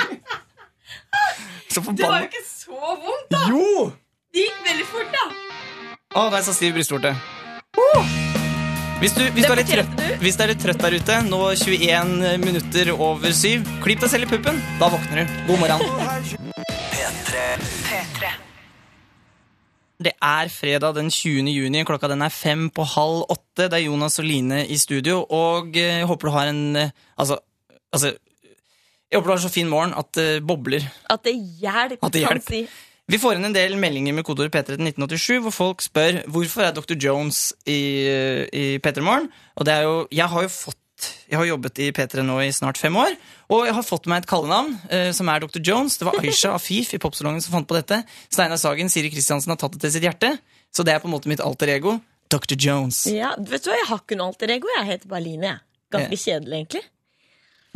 [SPEAKER 1] Så
[SPEAKER 2] Det var jo
[SPEAKER 1] forbanna
[SPEAKER 2] ikke så vondt, da.
[SPEAKER 1] Jo!
[SPEAKER 2] Det gikk veldig fort, da.
[SPEAKER 1] Å, det er så stiv brystvorte. Uh! Hvis du, hvis, du er litt trøtt, hvis du er litt trøtt der ute, nå 21 minutter over syv, klipp deg selv i puppen. Da våkner du. God morgen.
[SPEAKER 7] P3.
[SPEAKER 1] Det er fredag den 20. juni. Klokka den er fem på halv åtte. Det er Jonas og Line i studio, og eh, jeg håper du har en eh, Altså, altså jeg håper du har en så fin morgen at det bobler
[SPEAKER 2] At det hjelper,
[SPEAKER 1] At det
[SPEAKER 2] kan
[SPEAKER 1] hjelper.
[SPEAKER 2] si.
[SPEAKER 1] Vi får inn en del meldinger med kodeord P3 til 1987, hvor folk spør hvorfor er Dr. Jones i, i P3 Morgen. Og det er jo, jeg har jo fått jeg har jobbet i P3 nå i snart fem år, og jeg har fått meg et kallenavn, eh, som er Dr. Jones. Det var Aisha Afif i popsalongen som fant på dette. Steinar Sagen, Siri Kristiansen har tatt det til sitt hjerte. Så det er på en måte mitt alter ego. Dr. Jones.
[SPEAKER 2] Ja, vet du hva, Jeg har ikke noe alter ego. Jeg heter bare Line. jeg. Ganske kjedelig, egentlig.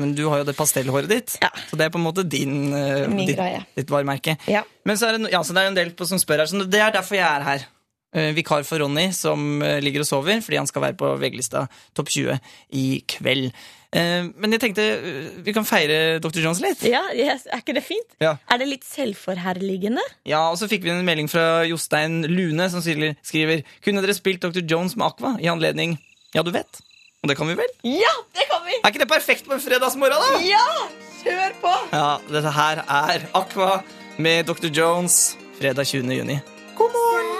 [SPEAKER 1] Men du har jo det pastellhåret ditt,
[SPEAKER 2] Ja.
[SPEAKER 1] så det er på en måte din, eh,
[SPEAKER 2] Min
[SPEAKER 1] ditt,
[SPEAKER 2] greie.
[SPEAKER 1] ditt varemerke.
[SPEAKER 2] Ja.
[SPEAKER 1] Men så er det, no- ja, så det er en del på som spør her, så det er derfor jeg er her. Eh, Vikar for Ronny, som eh, ligger og sover fordi han skal være på VG-lista Topp 20 i kveld. Eh, Men jeg tenkte eh, vi kan feire Dr. Jones litt.
[SPEAKER 2] Ja, yes. Er ikke det fint?
[SPEAKER 1] Ja.
[SPEAKER 2] Er det litt selvforherligende?
[SPEAKER 1] Ja, og så fikk vi en melding fra Jostein Lune, som skriver skriver, Kunne dere spilt Dr. Jones med Aqua i anledning Ja, du vet? Og det kan vi vel?
[SPEAKER 2] Ja, det kan vi!
[SPEAKER 1] Er ikke det perfekt på en fredagsmorgen, da?
[SPEAKER 2] Ja! Kjør på!
[SPEAKER 1] Ja, dette her er Aqua med Dr. Jones fredag 20. juni. God morgen!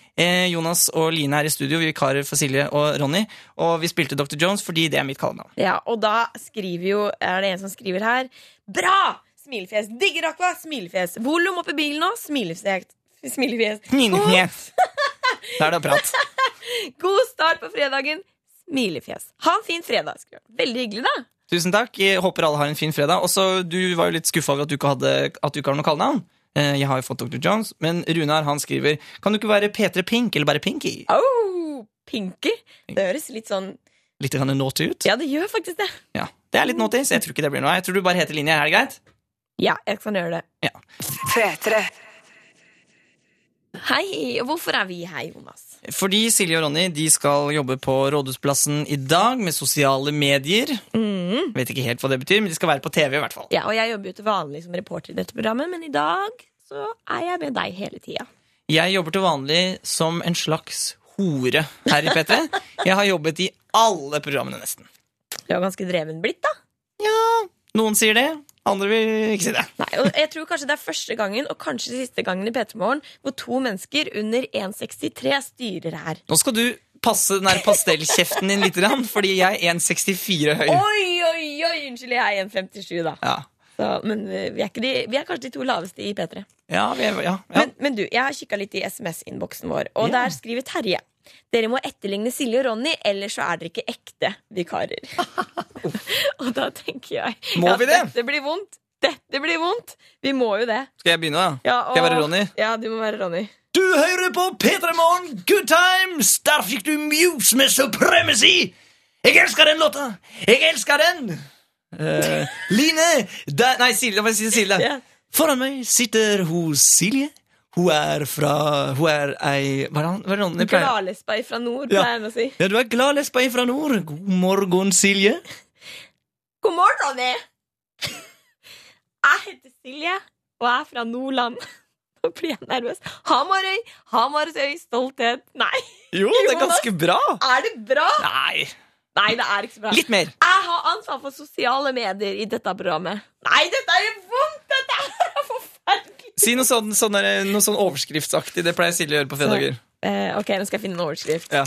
[SPEAKER 1] Eh, Jonas og Line er i studio, vi vikarer for Silje og Ronny. Og vi spilte Dr. Jones fordi det er mitt kallenavn.
[SPEAKER 2] Ja, og da skriver jo, er det en som skriver her Bra! Smilefjes. Digger Aqua. Smilefjes. Volum opp i bilen nå. Smilefjes. Smilefjes. God,
[SPEAKER 1] Minefjes. Da er det prat.
[SPEAKER 2] god start på fredagen. Smilefjes. Ha en fin fredag. skriver han. Veldig hyggelig, da.
[SPEAKER 1] Tusen takk. Jeg håper alle har en fin fredag. Også, du var jo litt skuffa over at du ikke, hadde, at du ikke har noe kallenavn. Eh, Jeg har jo fått Dr. Jones, men Runar han skriver Kan du ikke være P3 Pink eller bare Pinky?
[SPEAKER 2] Au! Pinky. Det høres litt sånn
[SPEAKER 1] Litt grann naughty ut.
[SPEAKER 2] Ja, det gjør faktisk det.
[SPEAKER 1] Ja, Det er litt naughty, så jeg tror ikke det blir noe. Jeg tror du bare heter Linje. Er det greit?
[SPEAKER 2] Ja, jeg kan gjøre det.
[SPEAKER 1] Ja.
[SPEAKER 7] P3.
[SPEAKER 2] Hei. og Hvorfor er vi her, Jonas?
[SPEAKER 1] Fordi Silje og Ronny de skal jobbe på Rådhusplassen i dag med sosiale medier.
[SPEAKER 2] Mm.
[SPEAKER 1] Vet ikke helt hva det betyr, men de skal være på TV i hvert fall.
[SPEAKER 2] Ja, og jeg jobber jo til vanlig som reporter i dette programmet, men i dag så er jeg med deg hele tida.
[SPEAKER 1] Jeg jobber til vanlig som en slags hore her i P3. Jeg har jobbet i alle programmene nesten.
[SPEAKER 2] Du er ganske dreven blitt, da.
[SPEAKER 1] Noen sier det, andre vil ikke si det.
[SPEAKER 2] Nei, og jeg tror kanskje det er første gangen og kanskje siste gangen i P3 Morgen hvor to mennesker under 1,63 styrer her.
[SPEAKER 1] Nå skal du passe den der pastellkjeften din litt, grann, fordi jeg er 1,64 høy.
[SPEAKER 2] Oi, oi, oi! Unnskyld, jeg er 1,57, da.
[SPEAKER 1] Ja,
[SPEAKER 2] Så, men eh, vi er, ikke de, vi er kanskje de to laveste i P3.
[SPEAKER 1] ja, vi er- ja, ja.
[SPEAKER 2] Men, men du, jeg har kikka litt i SMS-innboksen vår, og
[SPEAKER 1] Ja.
[SPEAKER 2] der skriver Terje dere må etterligne Silje og Ronny, ellers så er dere ikke ekte vikarer.
[SPEAKER 1] <laughs>
[SPEAKER 2] <laughs> og da tenker jeg
[SPEAKER 1] Må vi det?
[SPEAKER 2] dette blir vondt. Dette blir vondt. Vi må jo det.
[SPEAKER 1] Skal jeg begynne, da?
[SPEAKER 2] Ja,
[SPEAKER 1] Skal jeg være
[SPEAKER 2] og-
[SPEAKER 1] Ronny?
[SPEAKER 2] Ja, du må være Ronny.
[SPEAKER 4] Du hører på P3 Morgen, good times! Der fikk du Muse med Supremacy! Jeg elsker den låta! Jeg elsker den!
[SPEAKER 1] Eh, Line! Der, nei, Silje. La meg si Silje.
[SPEAKER 2] Ja.
[SPEAKER 1] Foran meg sitter hun Silje. Hun er fra Hun er ei Hva er det han- hva er det han pleier?
[SPEAKER 2] Gladlespa fra nord,
[SPEAKER 1] Ja.
[SPEAKER 2] pleier han å si.
[SPEAKER 1] Ja, du er glad lesba fra nord. God morgen, Silje.
[SPEAKER 2] God morgen, Ronny! <laughs> Jeg heter Silje, og jeg er fra Nordland. <laughs> Nå blir jeg nervøs. Hamarøy, Hamarøy, stolthet. Nei,
[SPEAKER 1] Jo, det er
[SPEAKER 2] Jonas.
[SPEAKER 1] ganske bra.
[SPEAKER 2] er det bra?
[SPEAKER 1] Nei.
[SPEAKER 2] Nei, det er ikke så bra.
[SPEAKER 1] Litt mer.
[SPEAKER 2] Jeg har ansvar for sosiale medier i dette programmet. Nei, dette er jo vondt! Dette er <laughs> forferdelig!
[SPEAKER 1] Si noe sånn, sånn, der, noe sånn overskriftsaktig. Det pleier Silje å gjøre på fredager.
[SPEAKER 2] Eh, ok, nå skal jeg finne en overskrift.
[SPEAKER 1] Ja.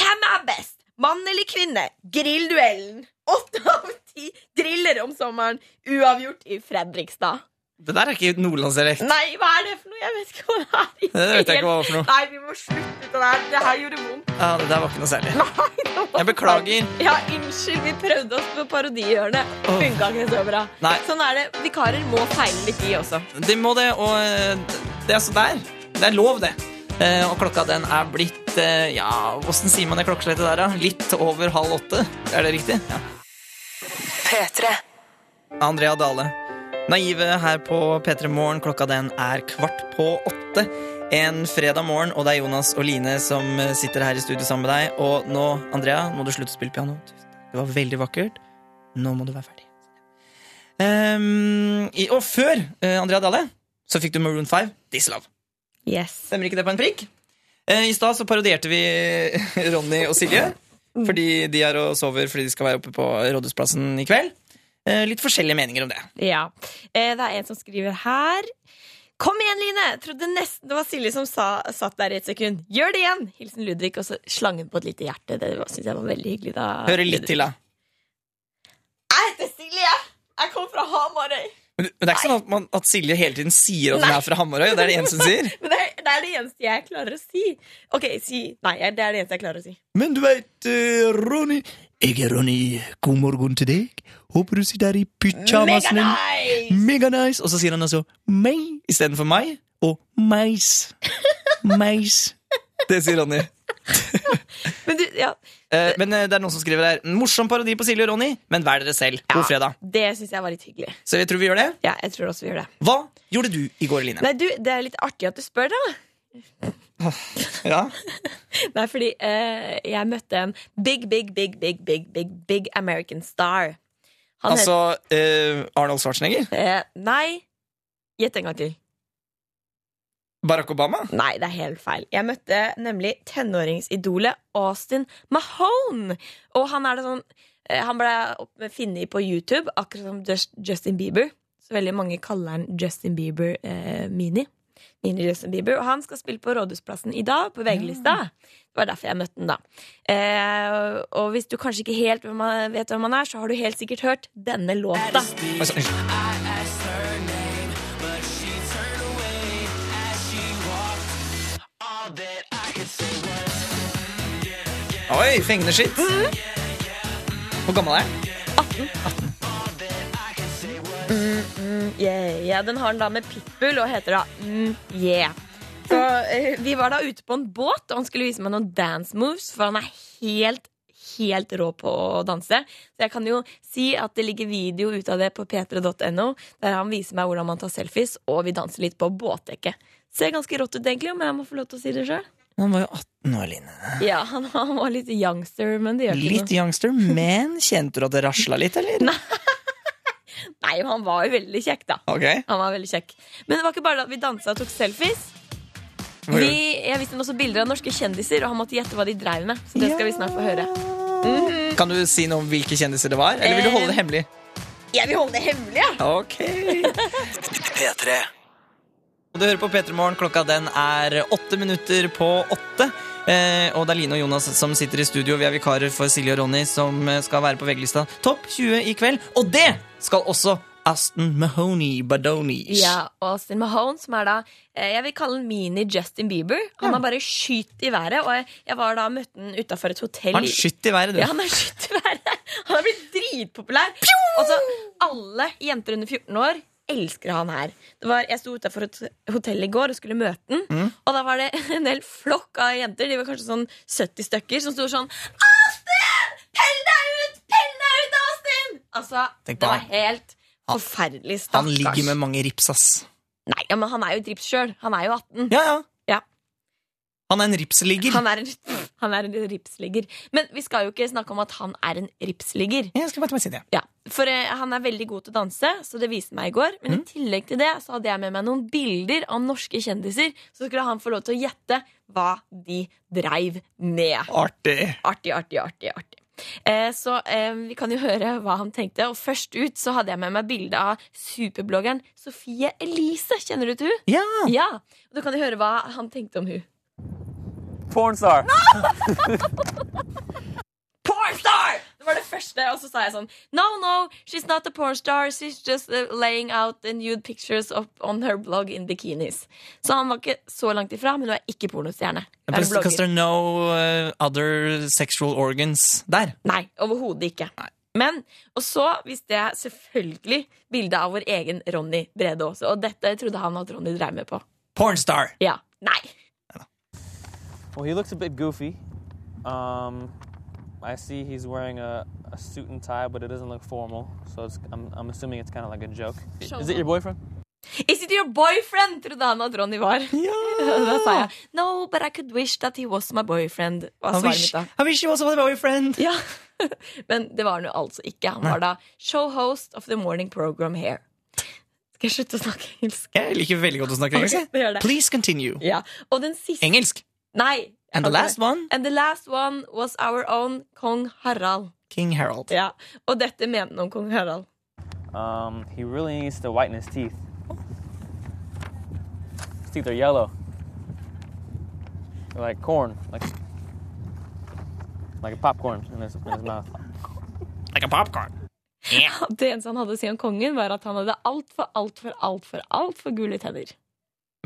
[SPEAKER 2] Hvem er best? Mann eller kvinne? Grillduellen. Åtte av ti griller om sommeren. Uavgjort i Fredrikstad.
[SPEAKER 1] Det der er ikke nordlandsdialekt.
[SPEAKER 2] Nei, hva er det for noe? Jeg vet ikke hva det er.
[SPEAKER 1] Det vet jeg ikke hva var for noe.
[SPEAKER 2] Nei, vi må slutte det der. Det her gjorde vondt. <laughs>
[SPEAKER 1] Ja, det der var ikke noe særlig.
[SPEAKER 2] Nei, det var
[SPEAKER 1] Jeg beklager.
[SPEAKER 2] Ja, unnskyld. Vi prøvde oss på parodihjørnet. Funka ikke så bra.
[SPEAKER 1] Nei.
[SPEAKER 2] Sånn er det. Vikarer må feile litt, de også.
[SPEAKER 1] Det må det, og eh, det er så der. Det er lov, det. Eh, Og klokka den er blitt eh, Ja, åssen sier man det klokkeslettet der, da? Litt over halv åtte? Er det riktig? Ja.
[SPEAKER 7] P3.
[SPEAKER 1] Andrea Dale. Naive her på P3 Morgen. Klokka den er kvart på åtte. En fredag morgen, og det er Jonas og Line som eh, sitter her i studio sammen med deg. Og nå, Andrea, må du slutte å spille piano. Tusen takk. Det var veldig vakkert. Nå må du være ferdig. Ehm, i, og før eh, Andrea Dale så fikk du Maroon 5, This Love.
[SPEAKER 2] Yes.
[SPEAKER 1] Stemmer ikke det på en prikk? Eh, I stad så parodierte vi <laughs> Ronny og Silje.
[SPEAKER 4] Mm.
[SPEAKER 1] Fordi de er og sover fordi de skal være oppe på Rådhusplassen i kveld. Eh, Litt forskjellige meninger om det.
[SPEAKER 2] Ja. Eh, Det er en som skriver her. Kom igjen, Line! Trodde nesten det var Silje som sa, satt der i et sekund. Gjør det igjen! Hilsen Ludvig, og så slangen på et lite hjerte. Det syns jeg var veldig hyggelig. da
[SPEAKER 1] Hører litt til, da.
[SPEAKER 2] Jeg heter Silje! Jeg kommer fra Hamarøy.
[SPEAKER 1] Men det er ikke sånn at, man, at Silje hele tiden sier at hun er fra Hamarøy? Det er det eneste hun sier.
[SPEAKER 2] <laughs> Men det er, det er det eneste jeg klarer å si. Ok, si Nei, det er det eneste jeg klarer å si.
[SPEAKER 4] <laughs> Men du veit, Ronny Jeg er Ronny. God morgen til deg. Håper du sitter her i pyjamasene.
[SPEAKER 2] Megadice!
[SPEAKER 4] Mega nice. Og så sier han altså meg
[SPEAKER 1] Istedenfor meg.
[SPEAKER 4] og mais. Mais.
[SPEAKER 1] Det sier Ronny.
[SPEAKER 2] Men du, ja,
[SPEAKER 1] Eh, men eh, det er noen som skriver her morsom parodi på Silje og Ronny, men vær dere selv. God fredag.
[SPEAKER 2] det syns jeg var litt hyggelig.
[SPEAKER 1] Så jeg tror vi gjør det.
[SPEAKER 2] Ja, jeg tror også vi gjør det.
[SPEAKER 1] Hva gjorde du i går, Line?
[SPEAKER 2] Nei, du, det er litt artig at du spør, da.
[SPEAKER 1] Ja.
[SPEAKER 2] Nei, fordi eh, jeg møtte en big, big, big, big, big, big, big American star. Han
[SPEAKER 1] Altså eh, Arnold Schwarzenegger?
[SPEAKER 2] het eh, Nei, gjett en gang til.
[SPEAKER 1] Barack Obama?
[SPEAKER 2] <laughs> Nei, det er helt feil. Jeg møtte nemlig tenåringsidolet Austin Mahone. Og han er det sånn eh, Han ble opp- funnet på YouTube, akkurat som Just, Justin Bieber. Så veldig mange kaller han Justin Bieber eh, Mini. Mini Justin Bieber. Og han skal spille på Rådhusplassen i dag, på VG-lista. Det var derfor jeg møtte han, da. Eh, og hvis du kanskje ikke helt hvem han- vet hvem han er, så har du helt sikkert hørt denne låta.
[SPEAKER 1] Altså, unnskyld. Oi, fengende skitt. Hvor gammel er han?
[SPEAKER 2] Yeah, yeah. Den har han da med pitbull og heter da mm, Yeah. Så eh, Vi var da ute på en båt, og han skulle vise meg noen dance moves, for han er helt Helt rå på å danse. Så jeg kan jo si at det ligger video ut av det på p3.no, der han viser meg hvordan man tar selfies, og vi danser litt på båtdekket. Ser ganske rått ut, egentlig, om jeg må få lov til å si det sjøl.
[SPEAKER 1] Han var jo 18 år, Line.
[SPEAKER 2] Ja, han, han var litt youngster, men det gjør ikke
[SPEAKER 1] Litt
[SPEAKER 2] noe.
[SPEAKER 1] youngster, men <laughs> kjente du at det rasla litt, eller?
[SPEAKER 2] Nei, men han var jo veldig kjekk, da.
[SPEAKER 1] Ok,
[SPEAKER 2] Han var veldig kjekk. Men det var ikke bare det at vi dansa og tok selfies.
[SPEAKER 1] Hva
[SPEAKER 2] Vi, jeg viste ham også bilder av norske kjendiser, og han måtte gjette hva de dreiv med. Så det skal vi snart få høre.
[SPEAKER 1] Kan du si noe om hvilke kjendiser det var? Eller vil du
[SPEAKER 2] Eh.
[SPEAKER 1] holde det hemmelig?
[SPEAKER 2] Jeg vil holde det hemmelig, ja!
[SPEAKER 1] Ok Du hører på P3 Morgen. Klokka den er åtte minutter på åtte. Eh, og det er Line og Jonas som sitter i studio. Vi er vikarer for Silje og Ronny, som eh, skal være på VG-lista Topp 20 i kveld. Og det skal også Aston Mahoney Badonies.
[SPEAKER 2] Ja, og Austin Mahone, som er da eh, Jeg vil kalle han mini-Justin Bieber. Han har bare skyt i været, og jeg, jeg var da og møtte han utafor et hotell.
[SPEAKER 1] Han
[SPEAKER 2] i-
[SPEAKER 1] skyter i været, du.
[SPEAKER 2] Ja, han er skyt i været. Han er blitt dritpopulær. Og så alle jenter under 14 år elsker han her. Det var, jeg sto utafor et hotell i går og skulle møte han.
[SPEAKER 1] Mm.
[SPEAKER 2] Og da var det <laughs> en hel flokk av jenter, de var kanskje sånn 70 stykker, som sto sånn Austin! Pell deg ut! Pell deg ut, Austin! Altså,
[SPEAKER 1] Tenk på
[SPEAKER 2] det var
[SPEAKER 1] han.
[SPEAKER 2] helt forferdelig.
[SPEAKER 1] Han
[SPEAKER 2] Stakkars.
[SPEAKER 1] ligger med mange rips, ass.
[SPEAKER 2] Nei, ja, men han er jo drips sjøl. Han er jo 18.
[SPEAKER 1] Ja, ja.
[SPEAKER 2] Ja.
[SPEAKER 1] Han er en ripsligger.
[SPEAKER 2] Han er, en, <laughs> han er en ripsligger. Men vi skal jo ikke snakke om at han er en ripsligger.
[SPEAKER 1] Jeg skal bare ta meg si det.
[SPEAKER 2] Ja, for eh, han er veldig god til å danse, så det viste meg i går. Men i tillegg til det så hadde jeg med meg noen bilder av norske kjendiser. Så skulle han få lov til å gjette hva de dreiv med.
[SPEAKER 1] Artig.
[SPEAKER 2] Artig, artig, artig. artig. Eh, så eh, vi kan jo høre hva han tenkte. Og først ut så hadde jeg med meg bilde av superbloggeren Sofie Elise. Kjenner du til hun?
[SPEAKER 1] Ja.
[SPEAKER 2] Ja. Og du kan jo høre hva han tenkte om hun.
[SPEAKER 9] Pornstar.
[SPEAKER 2] pornstar! Det var det første, og så sa jeg sånn No, no, she's not a pornstar. She's just uh, laying out the nude pictures up on her blog in bikinis. Så han var ikke så langt ifra, men hun er ikke pornostjerne. Hun er en
[SPEAKER 1] Because
[SPEAKER 2] blogger.
[SPEAKER 1] there are no uh, other sexual organs der.
[SPEAKER 2] Nei, overhodet ikke. Men, Og så viste jeg selvfølgelig bildet av vår egen Ronny Brede også. Og dette trodde han at Ronny drev med på.
[SPEAKER 1] Pornstar.
[SPEAKER 2] Ja. Nei.
[SPEAKER 9] Well, he looks a bit goofy. Um, I see he's wearing a, a suit and tie, but it doesn't look formal, so it's, I'm, I'm assuming it's kind of like a joke. Is it your boyfriend?
[SPEAKER 2] Is it your boyfriend? trodde han at Ronny var. <laughs> da sa jeg No, but I could wish that he was my boyfriend. Var
[SPEAKER 1] I
[SPEAKER 2] svaret
[SPEAKER 1] wish,
[SPEAKER 2] mitt da.
[SPEAKER 1] I wish he was my boyfriend.
[SPEAKER 2] <laughs> Ja, Men det var han jo altså ikke. Han var da showhost of the morning program here. Skal jeg slutte å snakke engelsk?
[SPEAKER 1] Jeg liker veldig godt å snakke engelsk.
[SPEAKER 2] Ok, gjør
[SPEAKER 1] jeg.
[SPEAKER 2] det.
[SPEAKER 1] Please continue.
[SPEAKER 2] Ja, Og den siste
[SPEAKER 1] Engelsk.
[SPEAKER 2] Nei.
[SPEAKER 1] And the last one,
[SPEAKER 2] And the last one was our own kong Harald.
[SPEAKER 1] King Harold.
[SPEAKER 2] Ja, Og dette mente han om kong Harald.
[SPEAKER 9] Um, he really needs to whiten his teeth. His teeth are yellow. They're like corn, like like a popcorn in his, in his mouth.
[SPEAKER 1] Like a popcorn.
[SPEAKER 2] Det eneste han hadde å si om kongen, var at han hadde altfor, altfor, altfor, altfor gule tenner.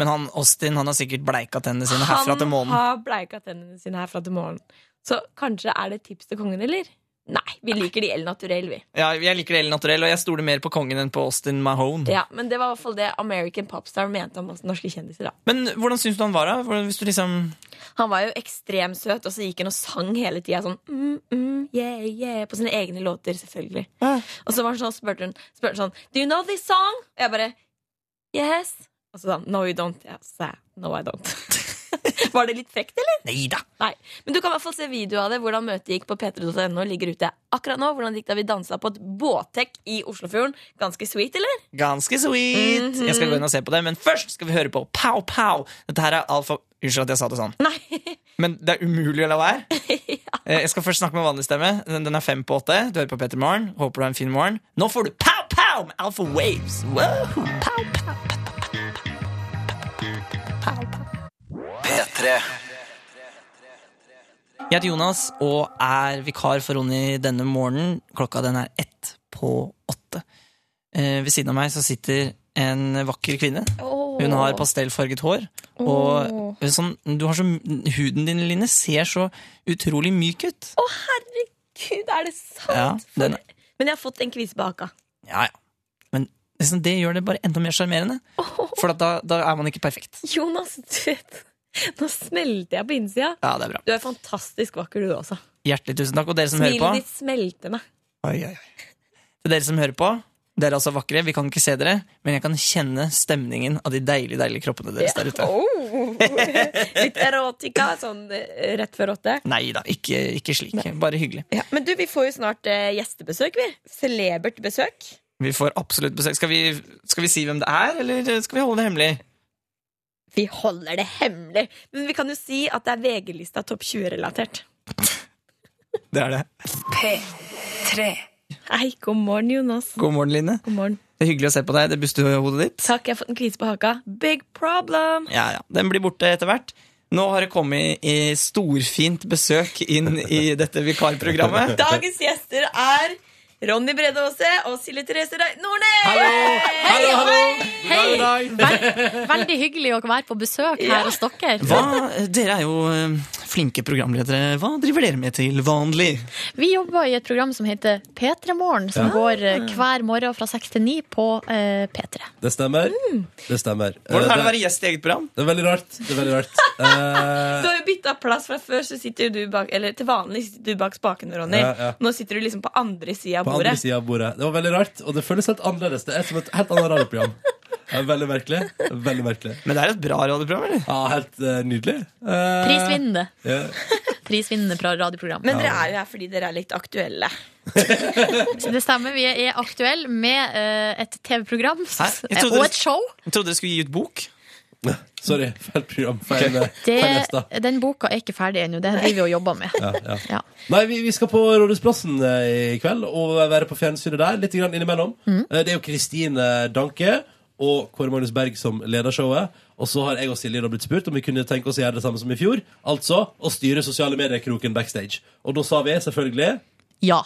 [SPEAKER 1] Men han Austin han har sikkert bleika tennene sine herfra til
[SPEAKER 2] Han
[SPEAKER 1] månen.
[SPEAKER 2] har bleika tennene sine herfra til morgenen. Så kanskje er det et tips til kongen, eller? Nei, vi liker de El Naturell, vi.
[SPEAKER 1] Ja, jeg liker El Naturell, og jeg stoler mer på kongen enn på Austin Mahone.
[SPEAKER 2] <laughs> Ja, men det var i hvert fall det American Popstar mente om oss norske kjendiser. da
[SPEAKER 1] Men hvordan syns du han var, da? Hvordan- Hvis du liksom
[SPEAKER 2] Han var jo ekstremt søt, og så gikk han og sang hele tida sånn mm, mm, yeah, yeah, på sine egne låter, selvfølgelig. Og så var han sånn, spurte hun spurte han sånn Do you know this song? Og jeg bare Yes. Og så sa han No, you don't. Jeg sa No, I don't. <laughs> var det litt frekt, eller?
[SPEAKER 1] Nei da.
[SPEAKER 2] Nei. Men du kan i hvert fall se video av det, hvordan møtet gikk på p3.no. Ligger ute akkurat nå. Hvordan det gikk da vi dansa på et båttek i Oslofjorden. Ganske sweet, eller? <laughs>
[SPEAKER 1] Ganske sweet. Jeg skal gå inn og se på det, men først skal vi høre på Pow Pow. Dette her er alfa... Unnskyld at jeg sa det sånn. Men det er umulig å la være. Eh, Jeg skal først snakke med vanlig stemme. Den den er fem på åtte. Du hører på Petter Morgen. Håper du har en fin morgen. Nå får du Pow Pow med Alpha Waves. Wow. Pow, pow.
[SPEAKER 10] P3.
[SPEAKER 1] Jeg heter Jonas og er vikar for Ronny denne morgenen. Klokka den er ett på åtte. Eh, ved siden av meg så sitter en vakker kvinne. Hun har pastellfarget hår. Og eh, sånn, du har så, huden din, Line, ser så utrolig myk ut.
[SPEAKER 2] Å, herregud, er det sant?
[SPEAKER 1] Ja, den,
[SPEAKER 2] Men jeg har fått en kvise på haka.
[SPEAKER 1] ja, ja. Men liksom, det gjør det bare enda mer sjarmerende. For at da, da er man ikke perfekt.
[SPEAKER 2] Jonas, du vet Nå smelter jeg på innsida.
[SPEAKER 1] Ja, det er bra.
[SPEAKER 2] Du er fantastisk vakker, du også.
[SPEAKER 1] Hjertelig tusen takk. Og dere som
[SPEAKER 2] Smilet
[SPEAKER 1] hører
[SPEAKER 2] ditt
[SPEAKER 1] på,
[SPEAKER 2] smelter meg.
[SPEAKER 1] oi, oi, oi. Til dere som hører på, dere er altså vakre. Vi kan ikke se dere, men jeg kan kjenne stemningen av de deilige deilige kroppene deres der ute.
[SPEAKER 2] Oh. <laughs> Litt erotika sånn eh, rett før åtte.
[SPEAKER 1] Nei da, ikke, ikke slik. Bare hyggelig.
[SPEAKER 2] Ja, men du, vi får jo snart eh, gjestebesøk, vi. Celebert besøk.
[SPEAKER 1] Vi får absolutt besøk. Skal vi, skal vi si hvem det er, eller skal vi holde det hemmelig?
[SPEAKER 2] Vi holder det hemmelig. Men vi kan jo si at det er VG-lista topp 20-relatert.
[SPEAKER 1] Det er det.
[SPEAKER 2] P3. Hei, god morgen, Jonas.
[SPEAKER 1] God morgen, Line.
[SPEAKER 2] God morgen.
[SPEAKER 1] Det er hyggelig å se på deg. Det bustehodet ditt.
[SPEAKER 2] Takk, jeg har fått en kvise på haka. Big problem!
[SPEAKER 1] Ja, ja. Den blir borte etter hvert. Nå har det kommet i storfint besøk inn i dette <laughs> vikarprogrammet.
[SPEAKER 2] Dagens gjester er Ronny Brede Aase og Silje Therese Rein Nordnes! Hallo!
[SPEAKER 11] Hallo, hallo!
[SPEAKER 12] Hei!
[SPEAKER 11] Vel- Veldig hyggelig å være på besøk her hos dere.
[SPEAKER 1] Hva, dere er jo eh, flinke programledere. Hva driver dere med til vanlig?
[SPEAKER 11] Vi jobber i et program som heter P3morgen, som
[SPEAKER 12] Ja.
[SPEAKER 11] går eh, hver morgen fra 6 til 9 på eh, P3.
[SPEAKER 12] Det stemmer. Det stemmer.
[SPEAKER 1] Mm. Hvordan er det å
[SPEAKER 12] Eh,
[SPEAKER 1] være gjest i eget program?
[SPEAKER 12] Det er veldig rart. Det er veldig rart.
[SPEAKER 2] Du
[SPEAKER 12] Eh,
[SPEAKER 2] har jo bytta plass fra før, så sitter jo du bak Eller til vanlig sitter du bak spakene, Ronny.
[SPEAKER 12] Ja, ja.
[SPEAKER 2] Nå sitter du liksom på andre sida av
[SPEAKER 12] på andre
[SPEAKER 2] bordet.
[SPEAKER 12] sida av bordet. Det var veldig rart, og det føles helt annerledes. Det er som et helt annet radioprogram. Det er Veldig merkelig. Veldig merkelig.
[SPEAKER 1] Men det er et bra radioprogram, eller?
[SPEAKER 12] Ja, helt eh, nydelig. Eh,
[SPEAKER 11] Prisvinnende.
[SPEAKER 12] ja.
[SPEAKER 11] Prisvinnende pra- radioprogram.
[SPEAKER 12] Men dere
[SPEAKER 2] er jo her fordi dere er litt aktuelle.
[SPEAKER 11] Så det stemmer. Vi er aktuelle med eh, et TV-program
[SPEAKER 1] Jeg trodde
[SPEAKER 11] og
[SPEAKER 1] dere-
[SPEAKER 11] et show.
[SPEAKER 1] Jeg trodde dere skulle gi ut bok.
[SPEAKER 12] Sorry, feil program. Feil, eh,
[SPEAKER 11] Det,
[SPEAKER 12] feil gjester.
[SPEAKER 11] den boka er ikke ferdig ennå. Det driver vi og jobber med.
[SPEAKER 12] Ja, ja.
[SPEAKER 11] Ja.
[SPEAKER 12] Nei, vi, vi skal på Rådhusplassen eh, i kveld og være på fjernsynet der litt grann innimellom.
[SPEAKER 11] Mhm.
[SPEAKER 12] Eh, Det er jo Kristine Danke og Kåre Magnus Berg som leder showet. Og så har jeg og Silje da blitt spurt om vi kunne tenke oss å gjøre det samme som i fjor. Altså å styre sosiale medier-kroken backstage. Og da sa vi selvfølgelig
[SPEAKER 11] Ja.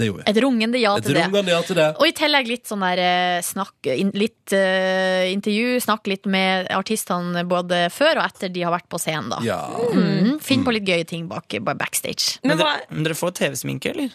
[SPEAKER 12] Det gjorde vi.
[SPEAKER 11] Et rungende ja
[SPEAKER 12] Et
[SPEAKER 11] til det.
[SPEAKER 12] rungende ja til det.
[SPEAKER 11] Og i tillegg litt sånn der eh, snakk, in, litt eh, intervju, snakk litt med artistene både før og etter de har vært på scenen, da.
[SPEAKER 12] Ja.
[SPEAKER 11] Mm, finn på litt gøye ting bak, bare backstage.
[SPEAKER 1] Men, dere, men dere får TV-sminke, eller?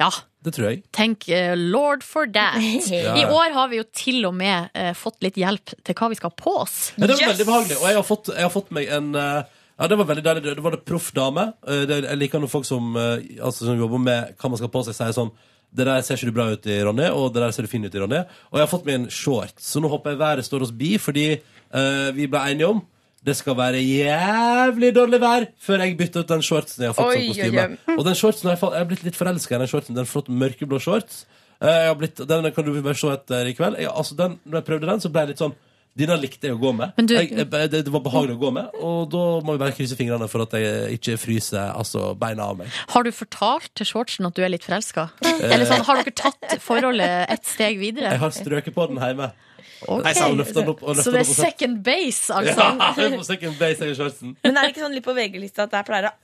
[SPEAKER 11] Ja.
[SPEAKER 12] Det tror jeg.
[SPEAKER 11] Tenk eh, Lord for <laughs> that.
[SPEAKER 12] Ja.
[SPEAKER 11] I år har vi jo til og med eh, fått litt hjelp til hva vi skal ha på oss.
[SPEAKER 12] Ja, det var veldig behagelig. Og jeg har fått, jeg har fått meg en eh, Ja, det var veldig deilig. Det var det proff dame. Eh, det- Jeg liker når folk som, eh, altså, som jobber med hva man skal på seg, sier sånn det der ser ikke du bra ut i, Ronny, og det der ser du fin ut i, Ronny. Og jeg har fått meg en shorts, så nå håper jeg været står oss bi, fordi eh, vi ble enige om det skal være jævlig dårlig vær før jeg bytter ut den shortsen jeg har fått
[SPEAKER 13] Oi,
[SPEAKER 12] som
[SPEAKER 13] oi,
[SPEAKER 12] kostyme.
[SPEAKER 13] oi.
[SPEAKER 12] Og den shortsen har jeg, fa- jeg har blitt litt forelska i den shortsen. Den flott mørkeblå shorts. Eh, Jeg har blitt, den kan du bare se etter i kveld. Jeg, altså den, når jeg prøvde den, så ble jeg litt sånn Denne likte jeg å gå med.
[SPEAKER 11] Men du-
[SPEAKER 12] jeg, jeg, det, det var behagelig å gå med, og da må vi bare krysse fingrene for at jeg ikke fryser altså, beina av meg.
[SPEAKER 11] Har du fortalt til shortsen at du er litt forelska?
[SPEAKER 12] Eh.
[SPEAKER 11] Eller sånn, har dere tatt forholdet et steg videre?
[SPEAKER 12] Jeg har strøket på den hjemme.
[SPEAKER 11] Ok.
[SPEAKER 12] Jeg sa løftet den opp og
[SPEAKER 11] Så
[SPEAKER 12] løftet
[SPEAKER 11] det
[SPEAKER 12] den
[SPEAKER 11] er
[SPEAKER 12] opp. og sett-
[SPEAKER 11] second base,
[SPEAKER 12] Ja, <laughs>
[SPEAKER 11] altså?
[SPEAKER 12] jeg er på second base, jeg er i shortsen.
[SPEAKER 2] Men er det ikke sånn litt på VG-lista at der pleier det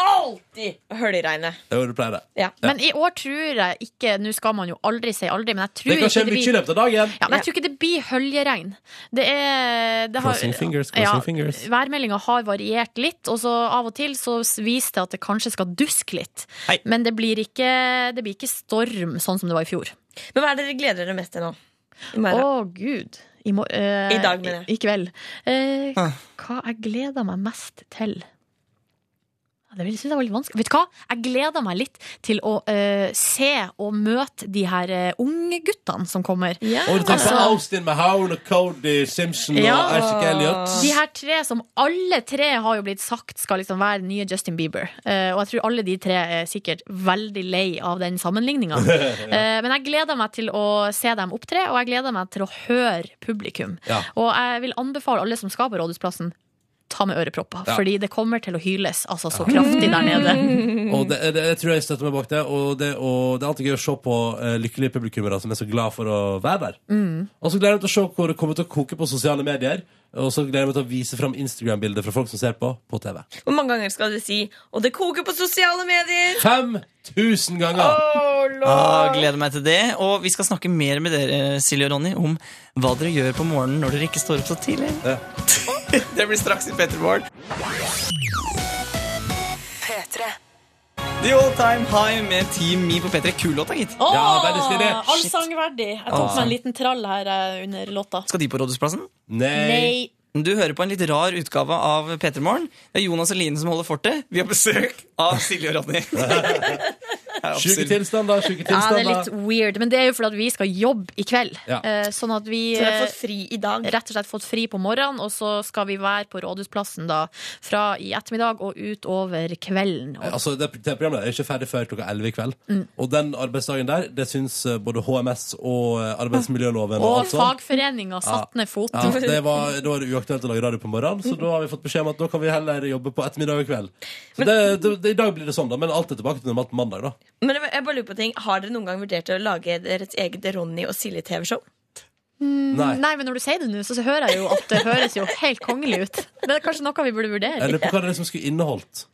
[SPEAKER 2] alltid høljregnet.
[SPEAKER 12] Jo, du pleier det.
[SPEAKER 2] Ja.
[SPEAKER 11] Men i år tror jeg ikke Nå skal man jo aldri si aldri, men jeg tror
[SPEAKER 12] Det kan skje
[SPEAKER 11] ikke
[SPEAKER 12] mye i løpet av dagen.
[SPEAKER 11] Ja, men jeg tror ikke det blir høljeregn. Det er det har-
[SPEAKER 12] Crossing fingers, crossing fingers.
[SPEAKER 11] Værmeldinga har variert litt, og så av og til så viser det at det kanskje skal duske litt. Men det blir, ikke, det blir ikke storm sånn som det var i fjor.
[SPEAKER 2] Men hva er det dere gleder dere mest til nå?
[SPEAKER 11] Å,
[SPEAKER 2] morgen.
[SPEAKER 11] gud. I, mor- eh,
[SPEAKER 2] I dag, mener jeg. Ah.
[SPEAKER 11] I, i kveld. Eh, hva jeg gleder meg mest til? Ja, Det synes jeg var litt vanskelig. Vet du hva? Jeg gleder meg litt til å eh, se og møte de her eh, unge guttene som kommer.
[SPEAKER 12] Og du tenker på
[SPEAKER 11] Altså-
[SPEAKER 12] Austin Mahone og Cody Simpson og Ashik Elliot.
[SPEAKER 11] de her tre som alle tre har jo blitt sagt skal liksom være nye Justin Bieber. Eh, og jeg tror alle de tre er sikkert veldig lei av den sammenligninga.
[SPEAKER 12] <laughs>
[SPEAKER 11] Eh, men jeg gleder meg til å se dem opptre, og jeg gleder meg til å høre publikum.
[SPEAKER 12] Ja.
[SPEAKER 11] Og jeg vil anbefale alle som skal på Rådhusplassen, ta med ørepropper.
[SPEAKER 12] Ja.
[SPEAKER 11] Fordi det kommer til å hyles altså så kraftig der nede.
[SPEAKER 12] Og det, det, jeg tror jeg støtter meg bak det. Og det, og det er alltid gøy å se på eh, lykkelige publikummere som er så glad for å være der.
[SPEAKER 11] Mm.
[SPEAKER 12] Og så gleder jeg meg til å se hvor det kommer til å koke på sosiale medier. Og så gleder jeg meg til å vise fram Instagram-bilder fra folk som ser på på TV.
[SPEAKER 2] Hvor mange ganger skal dere si 'og det koker på sosiale medier'?
[SPEAKER 12] 5000 ganger!
[SPEAKER 1] Ah, gleder meg til det. Og vi skal snakke mer med dere Silje og Ronny om hva dere gjør på morgenen når dere ikke står opp så tidlig.
[SPEAKER 12] Eh,
[SPEAKER 1] <laughs> det blir straks i Petter Morgen.
[SPEAKER 7] P3.
[SPEAKER 1] The All Time High med Team Me på P3. Kul låt, da, gitt.
[SPEAKER 11] Allsangverdig. Jeg tok meg en liten trall her eh, under låta.
[SPEAKER 1] Skal de på Rådhusplassen?
[SPEAKER 11] Nei.
[SPEAKER 1] Du hører på en litt rar utgave av P3 Morgen. Det er Jonas og Line som holder fortet. Vi har besøk av Silje og
[SPEAKER 12] <laughs>
[SPEAKER 1] Ronny.
[SPEAKER 12] Sjuke tilstander, sjuke
[SPEAKER 11] Ja, det er
[SPEAKER 12] tilstander.
[SPEAKER 11] litt weird, men det er jo fordi at vi skal jobbe i kveld.
[SPEAKER 12] Ja.
[SPEAKER 11] Eh, Sånn at vi
[SPEAKER 2] Så dere har fått
[SPEAKER 11] fri i dag? Rett og slett fått fri på morgenen, og så skal vi være på Rådhusplassen da fra i ettermiddag og utover kvelden. Og-
[SPEAKER 12] Altså, det, det programmet er ikke ferdig før klokka 11 i kveld.
[SPEAKER 11] Mm.
[SPEAKER 12] Og den arbeidsdagen der, det syns eh, både HMS og eh, arbeidsmiljøloven
[SPEAKER 11] Og
[SPEAKER 12] alt sånt.
[SPEAKER 11] fagforeninga satte ned foten.
[SPEAKER 12] Ja, det var, da var det uaktuelt å lage radio på morgenen, så da har vi fått beskjed om at da kan vi heller jobbe på ettermiddag og kveld. Så det, det, det, I dag blir det sånn, da, men alt er tilbake til normalt på mandag, da.
[SPEAKER 2] Men jeg- jeg bare lurer på ting Har dere noen gang vurdert å lage deres eget Ronny og Silje-TV-show?
[SPEAKER 11] Mm,
[SPEAKER 12] Nei.
[SPEAKER 11] Nei, men når du sier det nå, så så hører jeg jo at det høres jo helt kongelig ut. Det er kanskje noe vi burde
[SPEAKER 12] Jeg lurer på hva
[SPEAKER 11] vurdere.
[SPEAKER 12] det er som skulle inneholdt.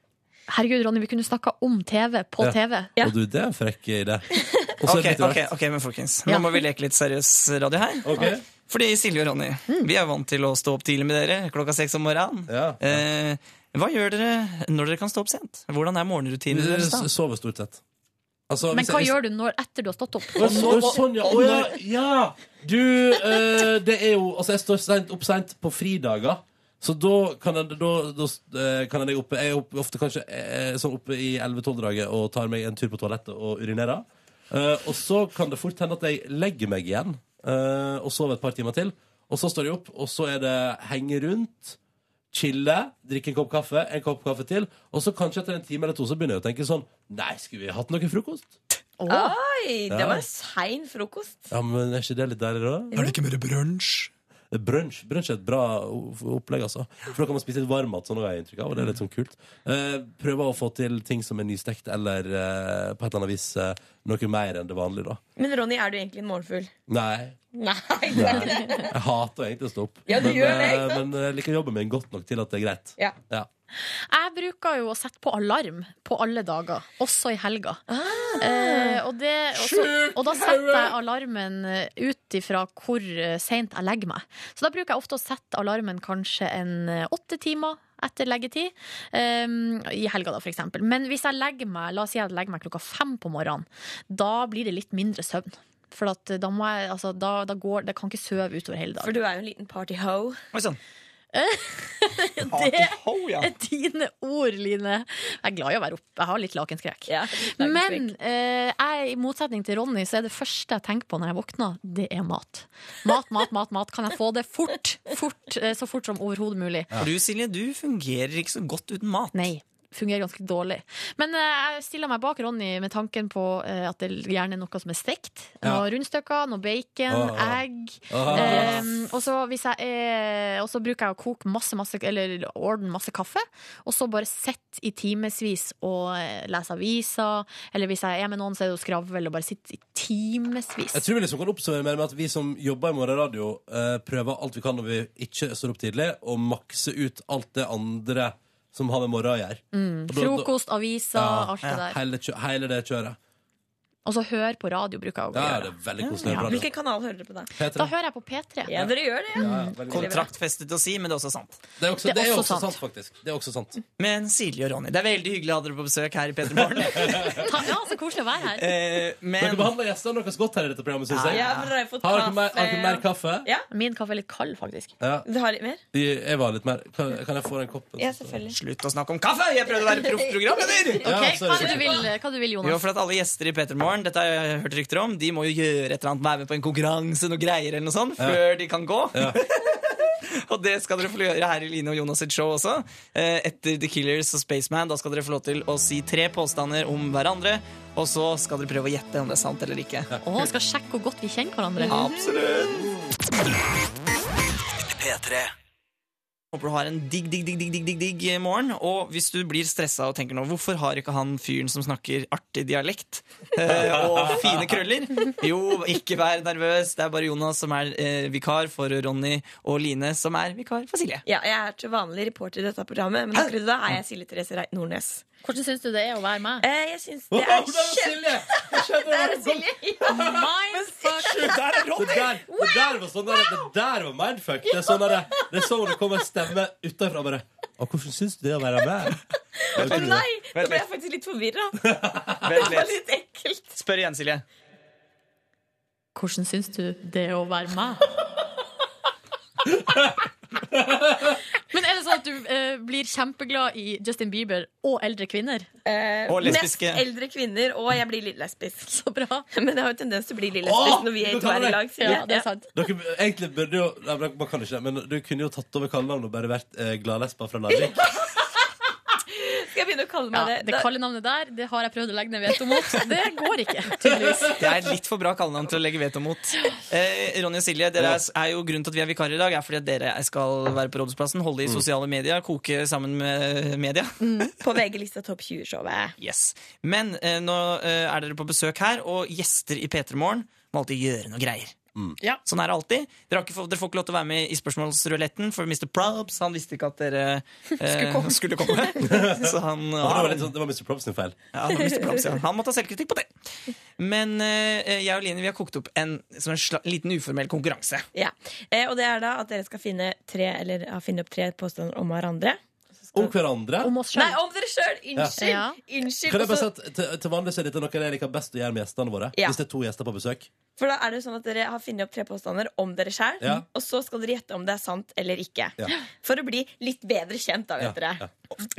[SPEAKER 11] Herregud, Ronny, vi kunne snakka om TV på
[SPEAKER 12] Ja.
[SPEAKER 11] TV.
[SPEAKER 12] Og du, det er en frekk
[SPEAKER 11] <laughs>
[SPEAKER 12] idé. Og så er
[SPEAKER 1] Ok,
[SPEAKER 12] det litt
[SPEAKER 1] ok,
[SPEAKER 12] rart.
[SPEAKER 1] ok, men folkens
[SPEAKER 12] Ja.
[SPEAKER 1] Nå må vi leke litt seriøs radio her
[SPEAKER 12] Ok.
[SPEAKER 1] Fordi Silje og Ronny Vi er vant til å stå opp tidlig med dere Klokka seks om morgenen Eh, Hva gjør dere når dere kan stå opp sent? Hvordan er morgenrutinen
[SPEAKER 12] Vi
[SPEAKER 1] deres da?
[SPEAKER 12] sover stort sett altså,
[SPEAKER 11] Men hva gjør du når, etter du har stått opp?
[SPEAKER 12] Å, så- å, sånn, ja. Å, ja, ja. Du, eh, det er jo Altså, jeg står sent, opp seint på fridager. Så da kan jeg, da, da, eh, kan jeg oppe Jeg er oppe, ofte kanskje eh, sånn oppe i 11-12-draget og tar meg en tur på toalettet og urinerer. Eh, og så kan det fort hende at jeg legger meg igjen eh, og sover et par timer til. Og så står jeg opp, og så er det henge rundt, chille, drikke en kopp kaffe, en kopp kaffe til. Og så kanskje etter en time eller to så begynner jeg å tenke sånn Nei, skulle vi hatt noe frokost?
[SPEAKER 2] Oi, det
[SPEAKER 12] Ja.
[SPEAKER 2] var en sein frokost.
[SPEAKER 12] Ja, men er ikke det litt deilig, da? Er det ikke mer brunsj? Brunsj brunsj er et bra o- opplegg, altså. For da kan man spise litt varm mat, sånn har jeg inntrykk av, og det er litt sånn kult. Eh, prøve å få til ting som er nystekt, eller eh, på et eller annet vis eh, noe mer enn det vanlige, da.
[SPEAKER 2] Men Ronny, er du egentlig en morgenfugl?
[SPEAKER 12] Nei.
[SPEAKER 2] Nei, du er ikke det.
[SPEAKER 12] <laughs> Jeg hater egentlig å stå opp.
[SPEAKER 11] Ja, du
[SPEAKER 12] men,
[SPEAKER 11] gjør det, ikke
[SPEAKER 12] eh,
[SPEAKER 11] sant?
[SPEAKER 12] men jeg liker jobben min godt nok til at det er greit.
[SPEAKER 11] Ja.
[SPEAKER 12] Ja.
[SPEAKER 11] Jeg bruker jo å sette på alarm på alle dager, også i helga. Eh, og, det, og, så,
[SPEAKER 14] Sjukt,
[SPEAKER 11] og da setter
[SPEAKER 14] Harry!
[SPEAKER 11] jeg alarmen eh, ut ifra hvor eh, sent jeg legger meg. Så da bruker jeg ofte å sette alarmen kanskje en eh, åtte timer etter leggetid. eh, I helga, da, for eksempel. Men hvis jeg legger meg La oss si jeg legger meg klokka fem på morgenen, da blir det litt mindre søvn. For at eh, da må jeg, altså, da, da går, det kan ikke sove utover hele dagen.
[SPEAKER 2] For du er jo en liten partyho.
[SPEAKER 11] Det er dine ord, Line. Jeg er glad i å være oppe. Jeg har litt lakenskrekk. Men eh, jeg, i motsetning til Ronny, så er det første jeg tenker på når jeg våkner, det er mat. Mat, mat, mat. mat Kan jeg få det fort? fort eh, så fort som overhodet mulig.
[SPEAKER 1] For du Silje, du fungerer ikke så godt uten mat
[SPEAKER 11] Nei Fungerer ganske dårlig. Men eh, jeg stiller meg bak Ronny med tanken på eh, at det gjerne er noe som er stekt.
[SPEAKER 14] Ja.
[SPEAKER 11] Noe rundstykker, noe bacon,
[SPEAKER 14] Åh, åh.
[SPEAKER 11] egg.
[SPEAKER 14] Åh.
[SPEAKER 11] Ehm, og så hvis jeg er- og så bruker jeg å koke masse, masse Eller ordne masse kaffe, og så bare sitte i timevis og eh, lese aviser. Eller hvis jeg er med noen, så er det å skravle og bare sitte i timevis.
[SPEAKER 12] Jeg tror vi liksom kan oppsummere med at vi som jobber i Morgen Radio, eh, prøver alt vi kan når vi ikke står opp tidlig, og makse ut alt det andre som har med morgenen å gjøre.
[SPEAKER 11] Mm.
[SPEAKER 12] Og da- da-
[SPEAKER 11] Frokost, aviser,
[SPEAKER 12] Ja,
[SPEAKER 11] alt det der.
[SPEAKER 12] Hele, kjø- hele det kjøret.
[SPEAKER 11] Og så høre på radio bruker jeg å
[SPEAKER 12] Ja,
[SPEAKER 11] gjøre.
[SPEAKER 12] det er veldig koselig.
[SPEAKER 1] Ja.
[SPEAKER 12] bra, det.
[SPEAKER 1] Hvilken
[SPEAKER 2] kanal hører dere på da?
[SPEAKER 12] P3.
[SPEAKER 11] Da hører jeg på P3.
[SPEAKER 2] Ja, dere gjør det, ja.
[SPEAKER 11] Mm.
[SPEAKER 1] Kontraktfestet å si, men det er også sant.
[SPEAKER 12] Det er også, det er også sant. faktisk. Det er også sant.
[SPEAKER 1] Men Silje og Ronny, det er veldig hyggelig å ha dere på besøk her i P3 Morgen. Eh,
[SPEAKER 11] Ta- Ja, så koselig å være
[SPEAKER 12] Eh,
[SPEAKER 11] her.
[SPEAKER 12] Dere behandler gjestene deres godt her i dette programmet, syns jeg.
[SPEAKER 11] Ja, men dere har jo fått
[SPEAKER 12] har dere mer, har dere mer kaffe?
[SPEAKER 11] Min kaffe er litt kald, faktisk.
[SPEAKER 12] Ja.
[SPEAKER 2] eh, Du har litt mer?
[SPEAKER 12] Jeg var litt mer Kan, kan jeg få den koppen?
[SPEAKER 11] Ja, selvfølgelig.
[SPEAKER 1] Slutt å snakke om kaffe! Jeg prøvde å være proffprogramleder!
[SPEAKER 11] Ok, hva, er det du vil, hva du vil,
[SPEAKER 1] Jo,
[SPEAKER 11] Jonas?
[SPEAKER 1] for at alle gjester i Petermorgen, dette har jeg hørt rykter om, de må jo gjøre et eller annet, være med på en konkurranse, noe greier eller noe sånt,
[SPEAKER 12] Ja.
[SPEAKER 1] før de kan gå. <laughs> og det skal dere få gjøre her i Line og Jonas sitt show også. Eh, Etter The Killers og Spaceman, da skal dere få lov til å si tre påstander om hverandre, og så skal dere prøve å gjette om det er sant eller ikke.
[SPEAKER 11] Å, skal sjekke hvor godt vi kjenner hverandre.
[SPEAKER 1] Absolutt. P3. Håper du har en digg, digg, digg, digg, digg, digg, digg eh, morgen. Og hvis du blir stressa og tenker nå, hvorfor har ikke han fyren som snakker artig dialekt eh, og fine krøller? Jo, ikke vær nervøs. Det er bare Jonas som er eh, vikar for Ronny og Line, som er vikar for Silje.
[SPEAKER 2] Ja, jeg er til vanlig reporter i dette programmet, men akkurat da er jeg Silje Therese Reit Nordnes.
[SPEAKER 11] Hvordan syns du det er å være med?
[SPEAKER 2] Eh, jeg syns det er
[SPEAKER 12] Silje!
[SPEAKER 2] Det er Silje! Ja.
[SPEAKER 12] Det der er Ronny! Det der, det der var sånn der, det der var mindfuck. Det er sånn der, det er sånn det kommer en stemme utenfra og bare «Å, Hvordan syns du det er å være med?
[SPEAKER 2] <laughs> Å nei! Da ble jeg faktisk litt forvirra.
[SPEAKER 1] Vent
[SPEAKER 2] Det var
[SPEAKER 1] litt.
[SPEAKER 2] litt ekkelt.
[SPEAKER 1] Spør igjen, Silje.
[SPEAKER 11] Hvordan syns du det er å være meg? Men er det sånn at du eh, blir kjempeglad i Justin Bieber og eldre kvinner?
[SPEAKER 1] Og lesbiske.
[SPEAKER 2] Eh, Mest eldre kvinner, og jeg blir litt lesbisk. <laughs>
[SPEAKER 11] Så bra.
[SPEAKER 2] Men jeg har jo tendens til å bli litt
[SPEAKER 12] Åh,
[SPEAKER 2] lesbisk når vi er
[SPEAKER 12] du
[SPEAKER 2] to her
[SPEAKER 12] kaller
[SPEAKER 2] i
[SPEAKER 12] det.
[SPEAKER 2] lag. Silje.
[SPEAKER 12] Ja, det er sant. Dere, egentlig burde jo nei, men Man kan ikke det, men du kunne jo tatt over kallenavnet og bare vært eh, Gladlespa fra Larvik.
[SPEAKER 2] Skal jeg begynne å kalle
[SPEAKER 11] Ja,
[SPEAKER 2] meg det?
[SPEAKER 11] det kallenavnet der det har jeg prøvd å legge ned veto mot. Det går ikke, tydeligvis.
[SPEAKER 1] Det er et litt for bra kallenavn til å legge veto mot. Eh, Ronny og Silje, dere er, er jo grunnen til at vi er vikarer i dag, er fordi at dere skal være på Rådhusplassen, holde i
[SPEAKER 12] Mm.
[SPEAKER 1] sosiale medier, koke sammen med media.
[SPEAKER 2] På VG-lista Topp 20-showet.
[SPEAKER 1] Yes. Men eh, nå eh, er dere på besøk her, og gjester i P3 Morgen må alltid gjøre noe greier.
[SPEAKER 12] Mm.
[SPEAKER 1] Sånn er det alltid. Dere, har ikke fått, dere får ikke lov til å være med i spørsmålsruletten, for Mr. Probs han visste ikke at dere eh, skulle <laughs> komme. Så han,
[SPEAKER 12] Og det, var litt sånn, det var Mr. Props sin feil.
[SPEAKER 1] Ja, han, Mr. Probst, ja. han må ta selvkritikk på det. Men eh, jeg og Line vi har kokt opp en, som en sla, liten uformell konkurranse.
[SPEAKER 2] Ja. Eh, og det er da at dere skal finne, tre, eller, ja, finne opp tre påstander om hverandre.
[SPEAKER 12] Om hverandre.
[SPEAKER 2] Nei, om dere sjøl! Unnskyld!
[SPEAKER 12] Ja.
[SPEAKER 2] Unnskyld.
[SPEAKER 12] Kan jeg bare si
[SPEAKER 2] Også-
[SPEAKER 12] at til, til vanlig så er dette noe jeg liker best å gjøre med gjestene våre.
[SPEAKER 2] Ja.
[SPEAKER 12] Hvis det er to gjester på besøk.
[SPEAKER 2] For da er det jo sånn at Dere har funnet opp tre påstander om dere sjøl,
[SPEAKER 12] Ja.
[SPEAKER 2] og så skal dere gjette om det er sant eller ikke.
[SPEAKER 12] Ja.
[SPEAKER 2] For å bli litt bedre kjent, da, vet dere.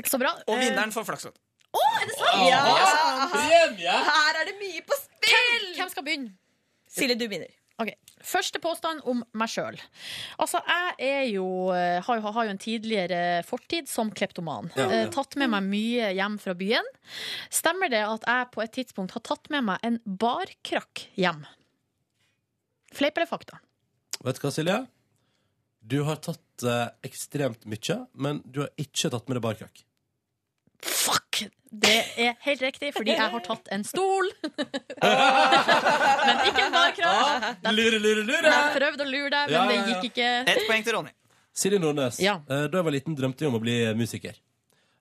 [SPEAKER 11] Så bra.
[SPEAKER 1] Og vinneren får flakslodd.
[SPEAKER 2] Er det sant?
[SPEAKER 1] Åh,
[SPEAKER 2] Ja!
[SPEAKER 12] Premie!
[SPEAKER 2] Her er det mye på spill!
[SPEAKER 11] Hvem skal begynne?
[SPEAKER 2] Silje, du begynner.
[SPEAKER 11] Ok, Første påstand om meg sjøl. Altså, jeg er jo, eh, har, jo, har jo en tidligere fortid som kleptoman.
[SPEAKER 14] Ja, ja.
[SPEAKER 11] Eh, Tatt med meg mye hjem fra byen. Stemmer det at jeg på et tidspunkt har tatt med meg en barkrakk hjem? Fleip eller fakta?
[SPEAKER 12] Vet du hva, Silje? Du har tatt eh, ekstremt mye, men du har ikke tatt med deg barkrakk.
[SPEAKER 11] Det er helt riktig, fordi jeg har tatt en
[SPEAKER 12] <laughs>
[SPEAKER 11] stol. Men ikke en barkrakk.
[SPEAKER 12] Lure, lure, lure!
[SPEAKER 11] Jeg prøvde å lure deg, men
[SPEAKER 12] Ja, ja,
[SPEAKER 11] det
[SPEAKER 12] ja.
[SPEAKER 11] gikk ikke.
[SPEAKER 1] Ett poeng til Ronny.
[SPEAKER 12] Silje Nordnes,
[SPEAKER 11] Ja.
[SPEAKER 12] eh, da jeg var liten drømte jeg om å bli musiker.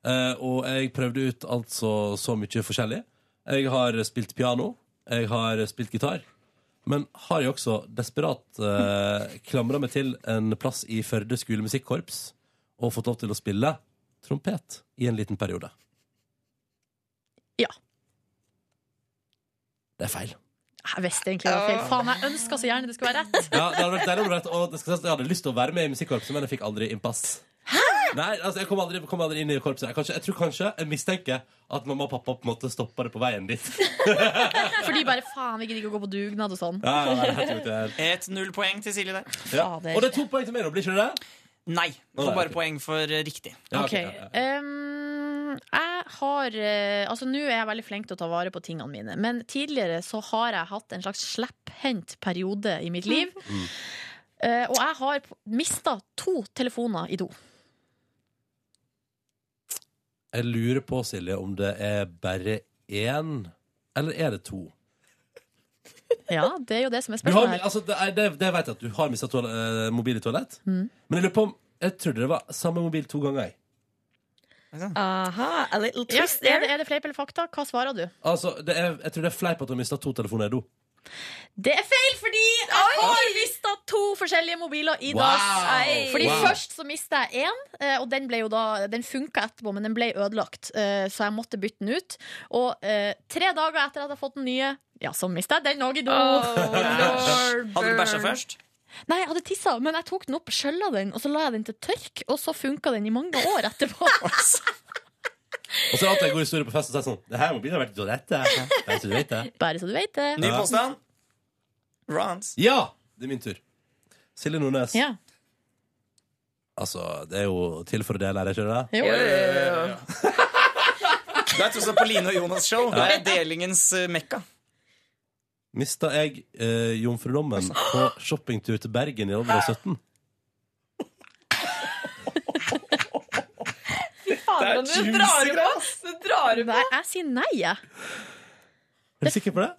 [SPEAKER 12] Eh, og jeg prøvde ut altså så mye forskjellig. Jeg har spilt piano, jeg har spilt gitar. Men har jeg også desperat uh, klamra meg til en plass i Førde skolemusikkorps og fått lov til å spille trompet i en liten periode.
[SPEAKER 11] Ja.
[SPEAKER 12] Det er feil.
[SPEAKER 11] Jeg visste egentlig det var feil. Faen, jeg ønska så gjerne det skulle være rett.
[SPEAKER 12] Ja, det hadde vært deilig om det var rett, og det skal sies, jeg hadde lyst til å være med i musikkorpset, men jeg fikk aldri innpass. Nei, altså jeg kom aldri, kom aldri inn i korpset. Jeg, kanskje, jeg tror kanskje, jeg mistenker at mamma og pappa på en måte stoppa det på veien dit.
[SPEAKER 11] Fordi bare faen, vi gidder ikke å gå på dugnad og sånn.
[SPEAKER 12] Ja, ja, ja, helt eventuelt.
[SPEAKER 1] Et nullpoeng til Silje der.
[SPEAKER 12] Ja. Og det er to poeng til meg nå, blir ikke det det?
[SPEAKER 1] Nei.
[SPEAKER 12] Å,
[SPEAKER 1] Får
[SPEAKER 12] nei,
[SPEAKER 1] bare
[SPEAKER 12] ok.
[SPEAKER 1] poeng for eh, riktig.
[SPEAKER 11] Ok, ehm, jeg har eh, Altså nå er jeg veldig flink til å ta vare på tingene mine Men tidligere så har jeg hatt en slags slepphendt periode i mitt liv
[SPEAKER 12] Mm.
[SPEAKER 11] Eh, Og jeg har p- mistet to telefoner i do
[SPEAKER 12] Jeg lurer på, Silje, om det er bare én, eller er det to?
[SPEAKER 11] Ja, <laughs> det er jo det som er
[SPEAKER 12] Du har,
[SPEAKER 11] spørsmålet her
[SPEAKER 12] altså, det, er, det, det vet jeg at du har mista toal eh, mobil i toalett.
[SPEAKER 11] Mm.
[SPEAKER 12] Men jeg lurer på om Jeg trodde det var samme mobil to ganger. jeg.
[SPEAKER 2] Aha, a little
[SPEAKER 11] Ja,
[SPEAKER 2] twist
[SPEAKER 11] er,
[SPEAKER 2] there.
[SPEAKER 11] det, er det fleip eller fakta? Hva svarer du?
[SPEAKER 12] Altså, det er, jeg tror det er fleip at hun mista to telefoner i do.
[SPEAKER 11] Det er feil, fordi jeg har mista to forskjellige mobiler i
[SPEAKER 12] Wow.
[SPEAKER 11] dass.
[SPEAKER 12] Ei.
[SPEAKER 11] Fordi
[SPEAKER 12] Wow.
[SPEAKER 11] Først så mista jeg én, eh, og den, ble jo da- den funka etterpå, men den ble ødelagt. eh, Så jeg måtte bytte den ut. Og eh, tre dager etter at jeg har fått den nye, ja, så mista jeg den òg i do.
[SPEAKER 2] Oh, <laughs>
[SPEAKER 1] Hadde du bæsja først?
[SPEAKER 11] <laughs> Nei, jeg hadde tissa, men jeg tok den opp, skjølla den, og så la jeg den til tørk, og så funka den i mange år
[SPEAKER 12] <laughs>
[SPEAKER 11] etterpå.
[SPEAKER 12] Og så er det alltid en god historie på fest og sier sånn Det her må begynne å være litt rett, det. Så du vet det.
[SPEAKER 11] Bare så du vet det.
[SPEAKER 12] Ny påstand. Ja! Det er min tur. Silje Nordnes.
[SPEAKER 11] Ja.
[SPEAKER 12] Altså, det er jo til for å dele her, er ikke det?
[SPEAKER 11] Jo, jo,
[SPEAKER 1] Det er tross alt på Line og Jonas' show. Det er delingens eh, mekka.
[SPEAKER 12] Mista jeg eh, jomfrudommen på shoppingtur til Bergen i alder av 17?
[SPEAKER 15] Fy fader,
[SPEAKER 11] Det er
[SPEAKER 15] du
[SPEAKER 11] juicy
[SPEAKER 15] drar
[SPEAKER 11] greier,
[SPEAKER 15] på! Du drar på.
[SPEAKER 11] Nei, jeg sier nei, jeg.
[SPEAKER 12] Er du sikker på det?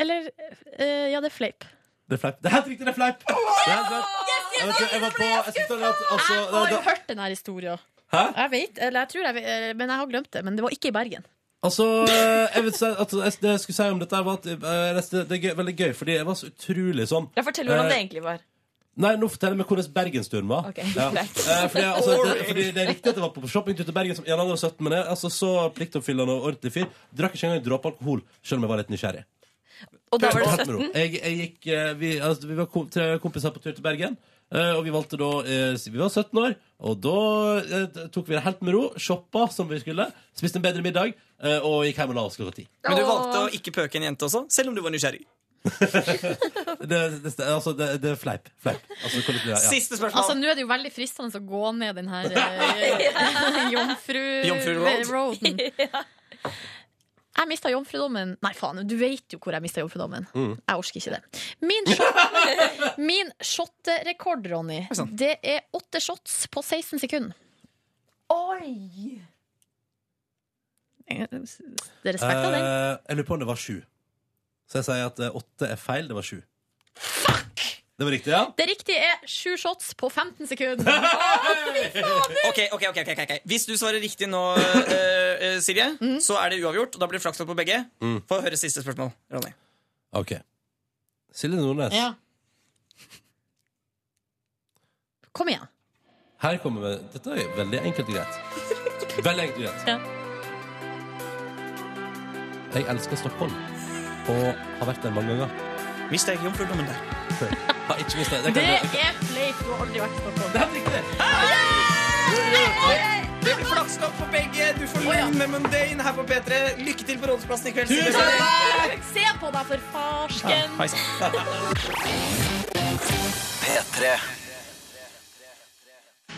[SPEAKER 11] Eller eh, Ja, det er fleip.
[SPEAKER 12] Det er fleip. Det er helt riktig, det er fleip! Det er helt fleip. Jeg vet ikke, jeg var på- jeg synes det er at- altså,
[SPEAKER 11] Jeg
[SPEAKER 12] det-
[SPEAKER 11] har jo
[SPEAKER 12] det-
[SPEAKER 11] hørt den her historien.
[SPEAKER 12] Hæ?
[SPEAKER 11] Jeg vet, eller jeg tror jeg, vet- men jeg har glemt det. Men det var ikke i Bergen.
[SPEAKER 12] Altså, eh, jeg vil si at jeg- Det jeg skulle si om dette, var at eh, det det er gøy, veldig gøy, fordi jeg var så utrolig sånn
[SPEAKER 15] Jeg forteller hvordan
[SPEAKER 12] eh,
[SPEAKER 15] det egentlig var.
[SPEAKER 12] Nei, nå forteller jeg meg hvordan bergensturen var.
[SPEAKER 15] Ok,
[SPEAKER 12] ja.
[SPEAKER 15] greit.
[SPEAKER 12] Eh, fordi, altså, det, fordi det er riktig at jeg var på shoppingtur til Bergen som 1.17, men jeg er altså, så pliktoppfyllende og ordentlig fyr. Drakk ikke engang en dråpe alkohol, selv om jeg var litt nysgjerrig.
[SPEAKER 15] Og da var det
[SPEAKER 12] Helt med ro.
[SPEAKER 15] 17?
[SPEAKER 12] Jeg, jeg gikk, eh, vi, altså, vi var kom, tre kompiser på tur til Bergen, eh, og vi valgte da eh, s- Vi var 17 år, og da eh, tok vi det helt med ro, shoppa som vi skulle, spiste en bedre middag, eh, og gikk hjem og la oss klokka ti.
[SPEAKER 1] Men du valgte å ikke pøke en jente også, selv om du var nysgjerrig.
[SPEAKER 12] Det, det, altså, det, det er fleip. fleip. Altså, hvordan blir det? ja.
[SPEAKER 11] Altså, Nå er det jo veldig fristende å gå ned den her eh,
[SPEAKER 12] Jomfru
[SPEAKER 11] <laughs>
[SPEAKER 12] road.
[SPEAKER 11] jomfru-roaden. Jeg mista jomfrudommen. Nei, faen, du vet jo hvor jeg mista jomfrudommen.
[SPEAKER 12] Mm.
[SPEAKER 11] Jeg orker ikke det. Min, shot, min shotrekord, Ronny, det er åtte shots på 16 sekunder.
[SPEAKER 15] Oi!
[SPEAKER 11] Det er respekt av den.
[SPEAKER 12] Eh, jeg lurer på om det var sju. Så jeg sier at eh, åtte er feil. Det var sju. Fuck! Det var riktig, ja?
[SPEAKER 11] Det riktige er sju shots på 15
[SPEAKER 12] <laughs>
[SPEAKER 11] sekunder.
[SPEAKER 1] Ok, ok, ok, ok, ok, ok. Hvis du svarer riktig nå, eh, eh, Silje, så er det uavgjort. og Da blir det flakslodd på begge. Få høre siste spørsmål, Ronny.
[SPEAKER 12] OK. Silje Nordnes,
[SPEAKER 11] Ja. Kom igjen.
[SPEAKER 12] her kommer vi. Dette er veldig enkelt og greit. Veldig enkelt og greit.
[SPEAKER 11] Ja.
[SPEAKER 12] Jeg elsker Stockholm og har vært der mange ganger.
[SPEAKER 1] Mista jeg jomfrudommen der?
[SPEAKER 12] har ikke mista
[SPEAKER 11] Det
[SPEAKER 12] den.
[SPEAKER 11] er fleip. Du har aldri vært på Stockholm. Det
[SPEAKER 12] er riktig.
[SPEAKER 1] Det blir flakslodd på begge. Du får lønn med Mundane her på P3. Lykke til på Rådhusplassen i kveld. Silje.
[SPEAKER 11] Se på deg, for farsken!
[SPEAKER 1] Hei sann.
[SPEAKER 14] P3.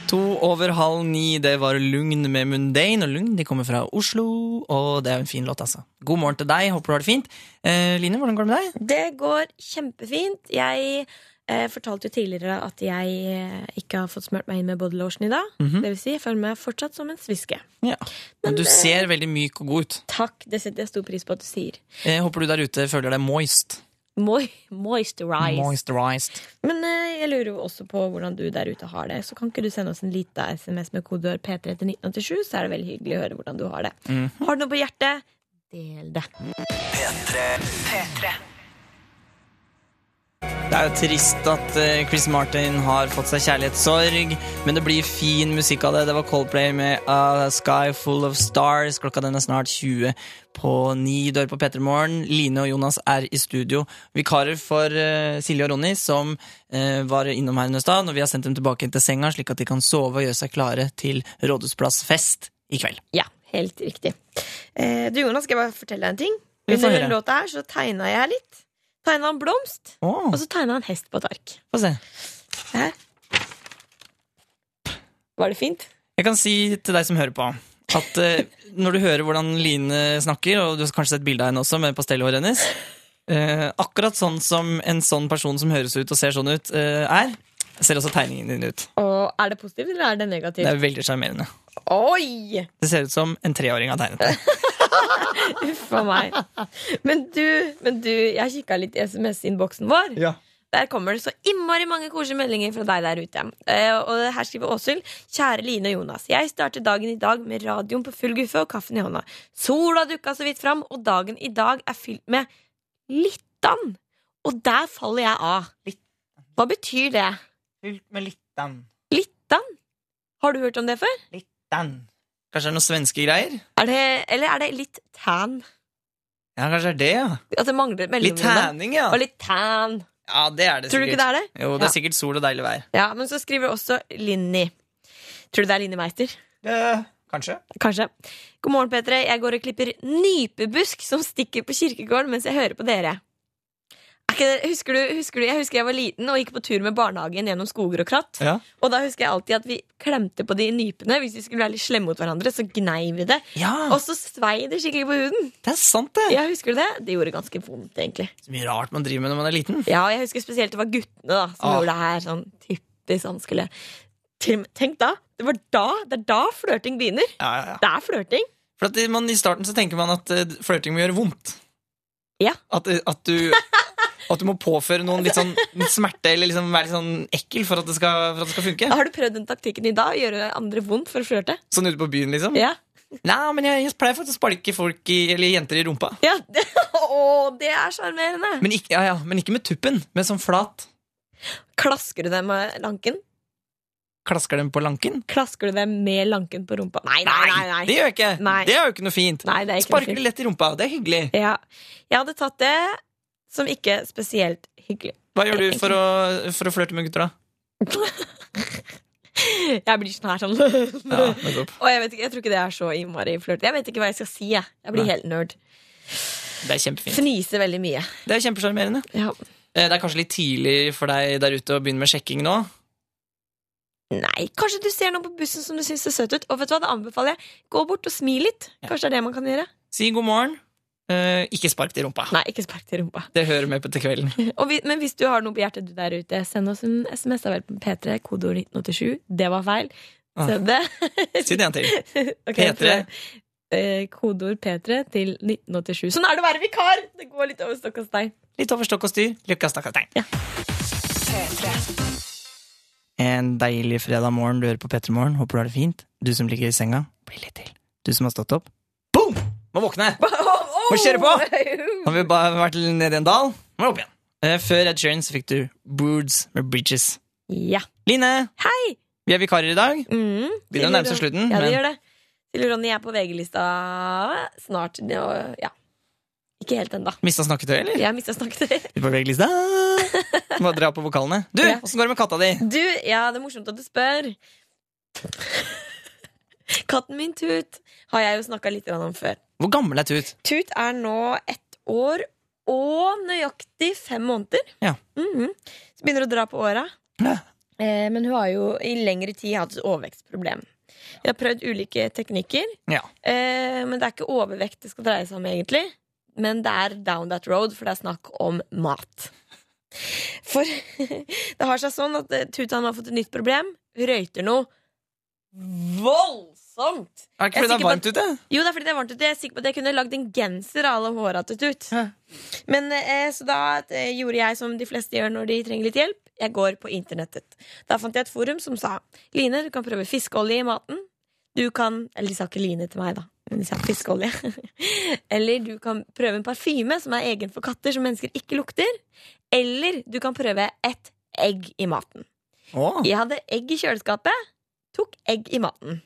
[SPEAKER 1] To over halv ni, det var Lugn med Mundane. Og Lugn de kommer fra Oslo, og det er jo en fin låt, altså. God morgen til deg, håper du har det fint. Eh, Line, hvordan går det med deg?
[SPEAKER 2] Det går kjempefint. Jeg eh, fortalte jo tidligere at jeg eh, ikke har fått smurt meg inn med body lotion i dag.
[SPEAKER 1] Mhm.
[SPEAKER 2] Det vil si, jeg føler meg fortsatt som en sviske.
[SPEAKER 1] Men du ser veldig myk og god ut.
[SPEAKER 2] Takk, det setter jeg stor pris på at du sier.
[SPEAKER 1] Eh, håper du der ute føler deg moist.
[SPEAKER 2] Moi moisturize.
[SPEAKER 1] Moisturized.
[SPEAKER 2] Men eh, jeg lurer jo også på hvordan du der ute har det. Så kan ikke du sende oss en lita SMS med kodeord P3 til 1987, så er det veldig hyggelig å høre hvordan du har det. Har du noe på hjertet? Del det.
[SPEAKER 7] P3.
[SPEAKER 1] Det er jo trist at eh, Chris Martin har fått seg kjærlighetssorg, men det blir fin musikk av det. Det var Coldplay med eh, A Sky Full of Stars. Klokka den er snart 20 på ni dør på P3 Morgen. Line og Jonas er i studio. Vikarer for eh, Silje og Ronny, som eh, var innom her i stad. Når vi har sendt dem tilbake til senga, slik at de kan sove og gjøre seg klare til Rådhusplassfest i kveld.
[SPEAKER 2] Ja, helt riktig. Eh, du Jonas, skal jeg bare fortelle deg en ting?
[SPEAKER 1] Ja, få
[SPEAKER 2] Under
[SPEAKER 1] høre.
[SPEAKER 2] den låta her så tegna jeg litt. Tegna en blomst,
[SPEAKER 1] Åh.
[SPEAKER 2] og så tegna en hest på et ark.
[SPEAKER 1] Få se.
[SPEAKER 2] Hæ? Var det fint?
[SPEAKER 1] Jeg kan si til deg som hører på at eh, når du hører hvordan Line snakker, og du har kanskje sett bilde av henne også med pastellhåret hennes eh, Akkurat sånn som en sånn person som høres ut og ser sånn ut, eh, er, ser også tegningen din ut.
[SPEAKER 2] Og er det positivt, eller er det negativt?
[SPEAKER 1] Det er veldig sjarmerende.
[SPEAKER 2] Oi!
[SPEAKER 1] Det ser ut som en treåring har tegnet det.
[SPEAKER 2] Uff a meg. Men du, men du jeg kikka litt i SMS-innboksen vår. Der kommer det så innmari mange koselige meldinger fra deg der ute. Eh, og her skriver Åshild. Kjære Line og Jonas. Jeg starter dagen i dag med radioen på full guffe og kaffen i hånda. Sola dukka så vidt fram, og dagen i dag er fylt med littan. Og der faller jeg av. Hva betyr det?
[SPEAKER 1] Fylt med littan.
[SPEAKER 2] Littan? Har du hørt om det før?
[SPEAKER 1] Dan. Kanskje det er noen svenske greier?
[SPEAKER 2] Er det, eller er det litt tan?
[SPEAKER 1] Ja, kanskje det er det, ja.
[SPEAKER 2] At det mangler et mellomrom
[SPEAKER 1] Litt
[SPEAKER 2] der.
[SPEAKER 1] tanning, ja.
[SPEAKER 2] Og litt tan.
[SPEAKER 1] Ja, det er det
[SPEAKER 2] Tror du
[SPEAKER 1] sikkert.
[SPEAKER 2] ikke det er det?
[SPEAKER 1] Jo, det er
[SPEAKER 2] Ja.
[SPEAKER 1] sikkert sol og deilig vær.
[SPEAKER 2] Ja, men så skriver også Linni. Tror du det er Linni Meister?
[SPEAKER 1] Eh, Kanskje.
[SPEAKER 2] Kanskje. God morgen, Petre. Jeg går og klipper nypebusk som stikker på kirkegården mens jeg hører på dere. Er ikke det, husker du, husker du, jeg husker jeg var liten og gikk på tur med barnehagen gjennom skoger og kratt.
[SPEAKER 1] Ja.
[SPEAKER 2] Og da husker jeg alltid at vi klemte på de nypene. Hvis vi skulle være litt slemme mot hverandre, så gnei vi det. Og så svei det skikkelig på huden.
[SPEAKER 1] Det er sant, det.
[SPEAKER 2] Ja, husker du det? Det gjorde ganske vondt, egentlig.
[SPEAKER 1] Så mye rart man driver med når man er liten.
[SPEAKER 2] Ja, og jeg husker spesielt det var guttene da som
[SPEAKER 1] Ah.
[SPEAKER 2] gjorde det her. Sånn typisk sånn skulle Til- Tenk da! Det var da, det er da flørting begynner.
[SPEAKER 1] Ja, ja, ja.
[SPEAKER 2] Det er flørting.
[SPEAKER 1] For at man, I starten så tenker man at eh, flørting må gjøre vondt.
[SPEAKER 2] Ja.
[SPEAKER 1] At, eh, at,
[SPEAKER 2] <laughs>
[SPEAKER 1] du, at du må påføre noen litt sånn litt smerte eller liksom være litt sånn ekkel for at det skal, for at det skal funke.
[SPEAKER 2] <laughs> Har du prøvd den taktikken i dag? Å gjøre andre vondt for å flørte?
[SPEAKER 1] Sånn ute på byen, liksom.
[SPEAKER 2] Ja.
[SPEAKER 1] Nei, men jeg, jeg pleier faktisk å sparke folk i, eller jenter i rumpa.
[SPEAKER 2] Ja, det, <laughs> å, det er sjarmerende!
[SPEAKER 1] Men, ikke- ja, ja, men ikke med tuppen, men sånn flat.
[SPEAKER 2] Klasker du dem med lanken?
[SPEAKER 1] Klasker dem på lanken.
[SPEAKER 2] Klasker du dem med lanken på rumpa? Nei, nei, nei! nei.
[SPEAKER 1] Det gjør jeg ikke.
[SPEAKER 2] Nei.
[SPEAKER 1] Det er jo ikke noe fint.
[SPEAKER 2] Nei, det er ikke noe
[SPEAKER 1] Sparker
[SPEAKER 2] fint.
[SPEAKER 1] lett i rumpa. Det er hyggelig.
[SPEAKER 2] Ja. Jeg hadde tatt det som ikke spesielt hyggelig. <laughs>
[SPEAKER 1] Hva gjør du for å, for å flørte med gutter, da?
[SPEAKER 2] Jeg blir sånn her sånn. <laughs> og jeg, vet ikke, jeg tror ikke det er så innmari flørt. Jeg vet ikke hva jeg skal si. Jeg, jeg blir
[SPEAKER 1] Nei.
[SPEAKER 2] helt nerd.
[SPEAKER 1] Det er kjempefint.
[SPEAKER 2] Fniser veldig mye.
[SPEAKER 1] Det er kjempesjarmerende.
[SPEAKER 2] Ja.
[SPEAKER 1] Eh, Det er kanskje litt tidlig for deg der ute å begynne med sjekking nå?
[SPEAKER 2] Nei, kanskje du ser noen på bussen som du syns ser søt ut. Og vet du hva, det anbefaler jeg. Gå bort og smil litt. Kanskje det er det man kan gjøre.
[SPEAKER 1] Si god morgen. Eh, ikke spark til rumpa.
[SPEAKER 2] Nei, ikke spark til rumpa.
[SPEAKER 1] Det hører med på til kvelden.
[SPEAKER 2] Og vi, men hvis du har noe på hjertet du der ute, send oss en SMS. Da vel på P3, kodeord 1987. Det var feil. Send det.
[SPEAKER 1] Ah. Si det en til.
[SPEAKER 2] <laughs> Ok,
[SPEAKER 1] P3.
[SPEAKER 2] så, eh, Kodeord P3 til 1987. Sånn er det å være vikar! Det går litt over stokk og stein. <laughs>
[SPEAKER 1] Litt over stokk og styr. Lykke, stakkars deg. En deilig fredag morgen. Du hører på P3 Morgen. Håper du har det fint. Du som ligger i senga, bli litt til. Du som har stått opp. Boom! Må våkne! Må kjøre på! Har vi bare vært nede i en dal, må vi opp igjen. Eh, Før Ed Sheeran så fikk du Broods med Bridges.
[SPEAKER 2] Ja.
[SPEAKER 1] Line,
[SPEAKER 2] Hei!
[SPEAKER 1] vi er vikarer i dag.
[SPEAKER 2] Mm,
[SPEAKER 1] Begynner å nærme seg slutten.
[SPEAKER 2] Ja, det
[SPEAKER 1] men-
[SPEAKER 2] gjør det. Silje Ronny er på VG-lista snart. Det var- Ja. Ikke helt ennå.
[SPEAKER 1] Mista snakketøyet, eller?
[SPEAKER 2] Jeg mista snakketøyet.
[SPEAKER 1] Ut på
[SPEAKER 2] <laughs>
[SPEAKER 1] VG-lista. Bare dra på vokalene. Du,
[SPEAKER 2] Ja.
[SPEAKER 1] åssen går det med katta di?
[SPEAKER 2] Du, ja, det er morsomt at du spør. Katten min Tut har jeg jo snakka litt grann om før.
[SPEAKER 1] Hvor gammel er Tut?
[SPEAKER 2] Tut er nå ett år og nøyaktig fem måneder.
[SPEAKER 1] Ja.
[SPEAKER 2] Mhm. Så begynner hun å dra på åra. Eh, men hun har jo i lengre tid hatt et overvektsproblem. Vi har prøvd ulike teknikker.
[SPEAKER 1] Ja.
[SPEAKER 2] Eh, men det er ikke overvekt det skal dreie seg om, egentlig. Men det er down that road, for det er snakk om mat. For <laughs> det har seg sånn at eh, Tutan har fått et nytt problem. Hun røyter noe voldsomt.
[SPEAKER 1] Er det ikke fordi det
[SPEAKER 2] Jeg
[SPEAKER 1] er varmt
[SPEAKER 2] sikker på
[SPEAKER 1] ute?
[SPEAKER 2] at- Jo, det er fordi det er varmt ute. Jeg er sikker på at jeg kunne lagd en genser av alle håra til Tut. Men eh, så da eh, gjorde jeg som de fleste gjør når de trenger litt hjelp. Jeg går på internettet. Da fant jeg et forum som sa Line, du kan prøve fiskeolje i maten. Du kan Eller de sa ikke Line til meg, da. Men de sa fiskeolje. <laughs> Eller du kan prøve en parfyme som er egen for katter, som mennesker ikke lukter. Eller du kan prøve et egg i maten.
[SPEAKER 1] Å.
[SPEAKER 2] Jeg hadde egg i kjøleskapet. Tok egg i maten.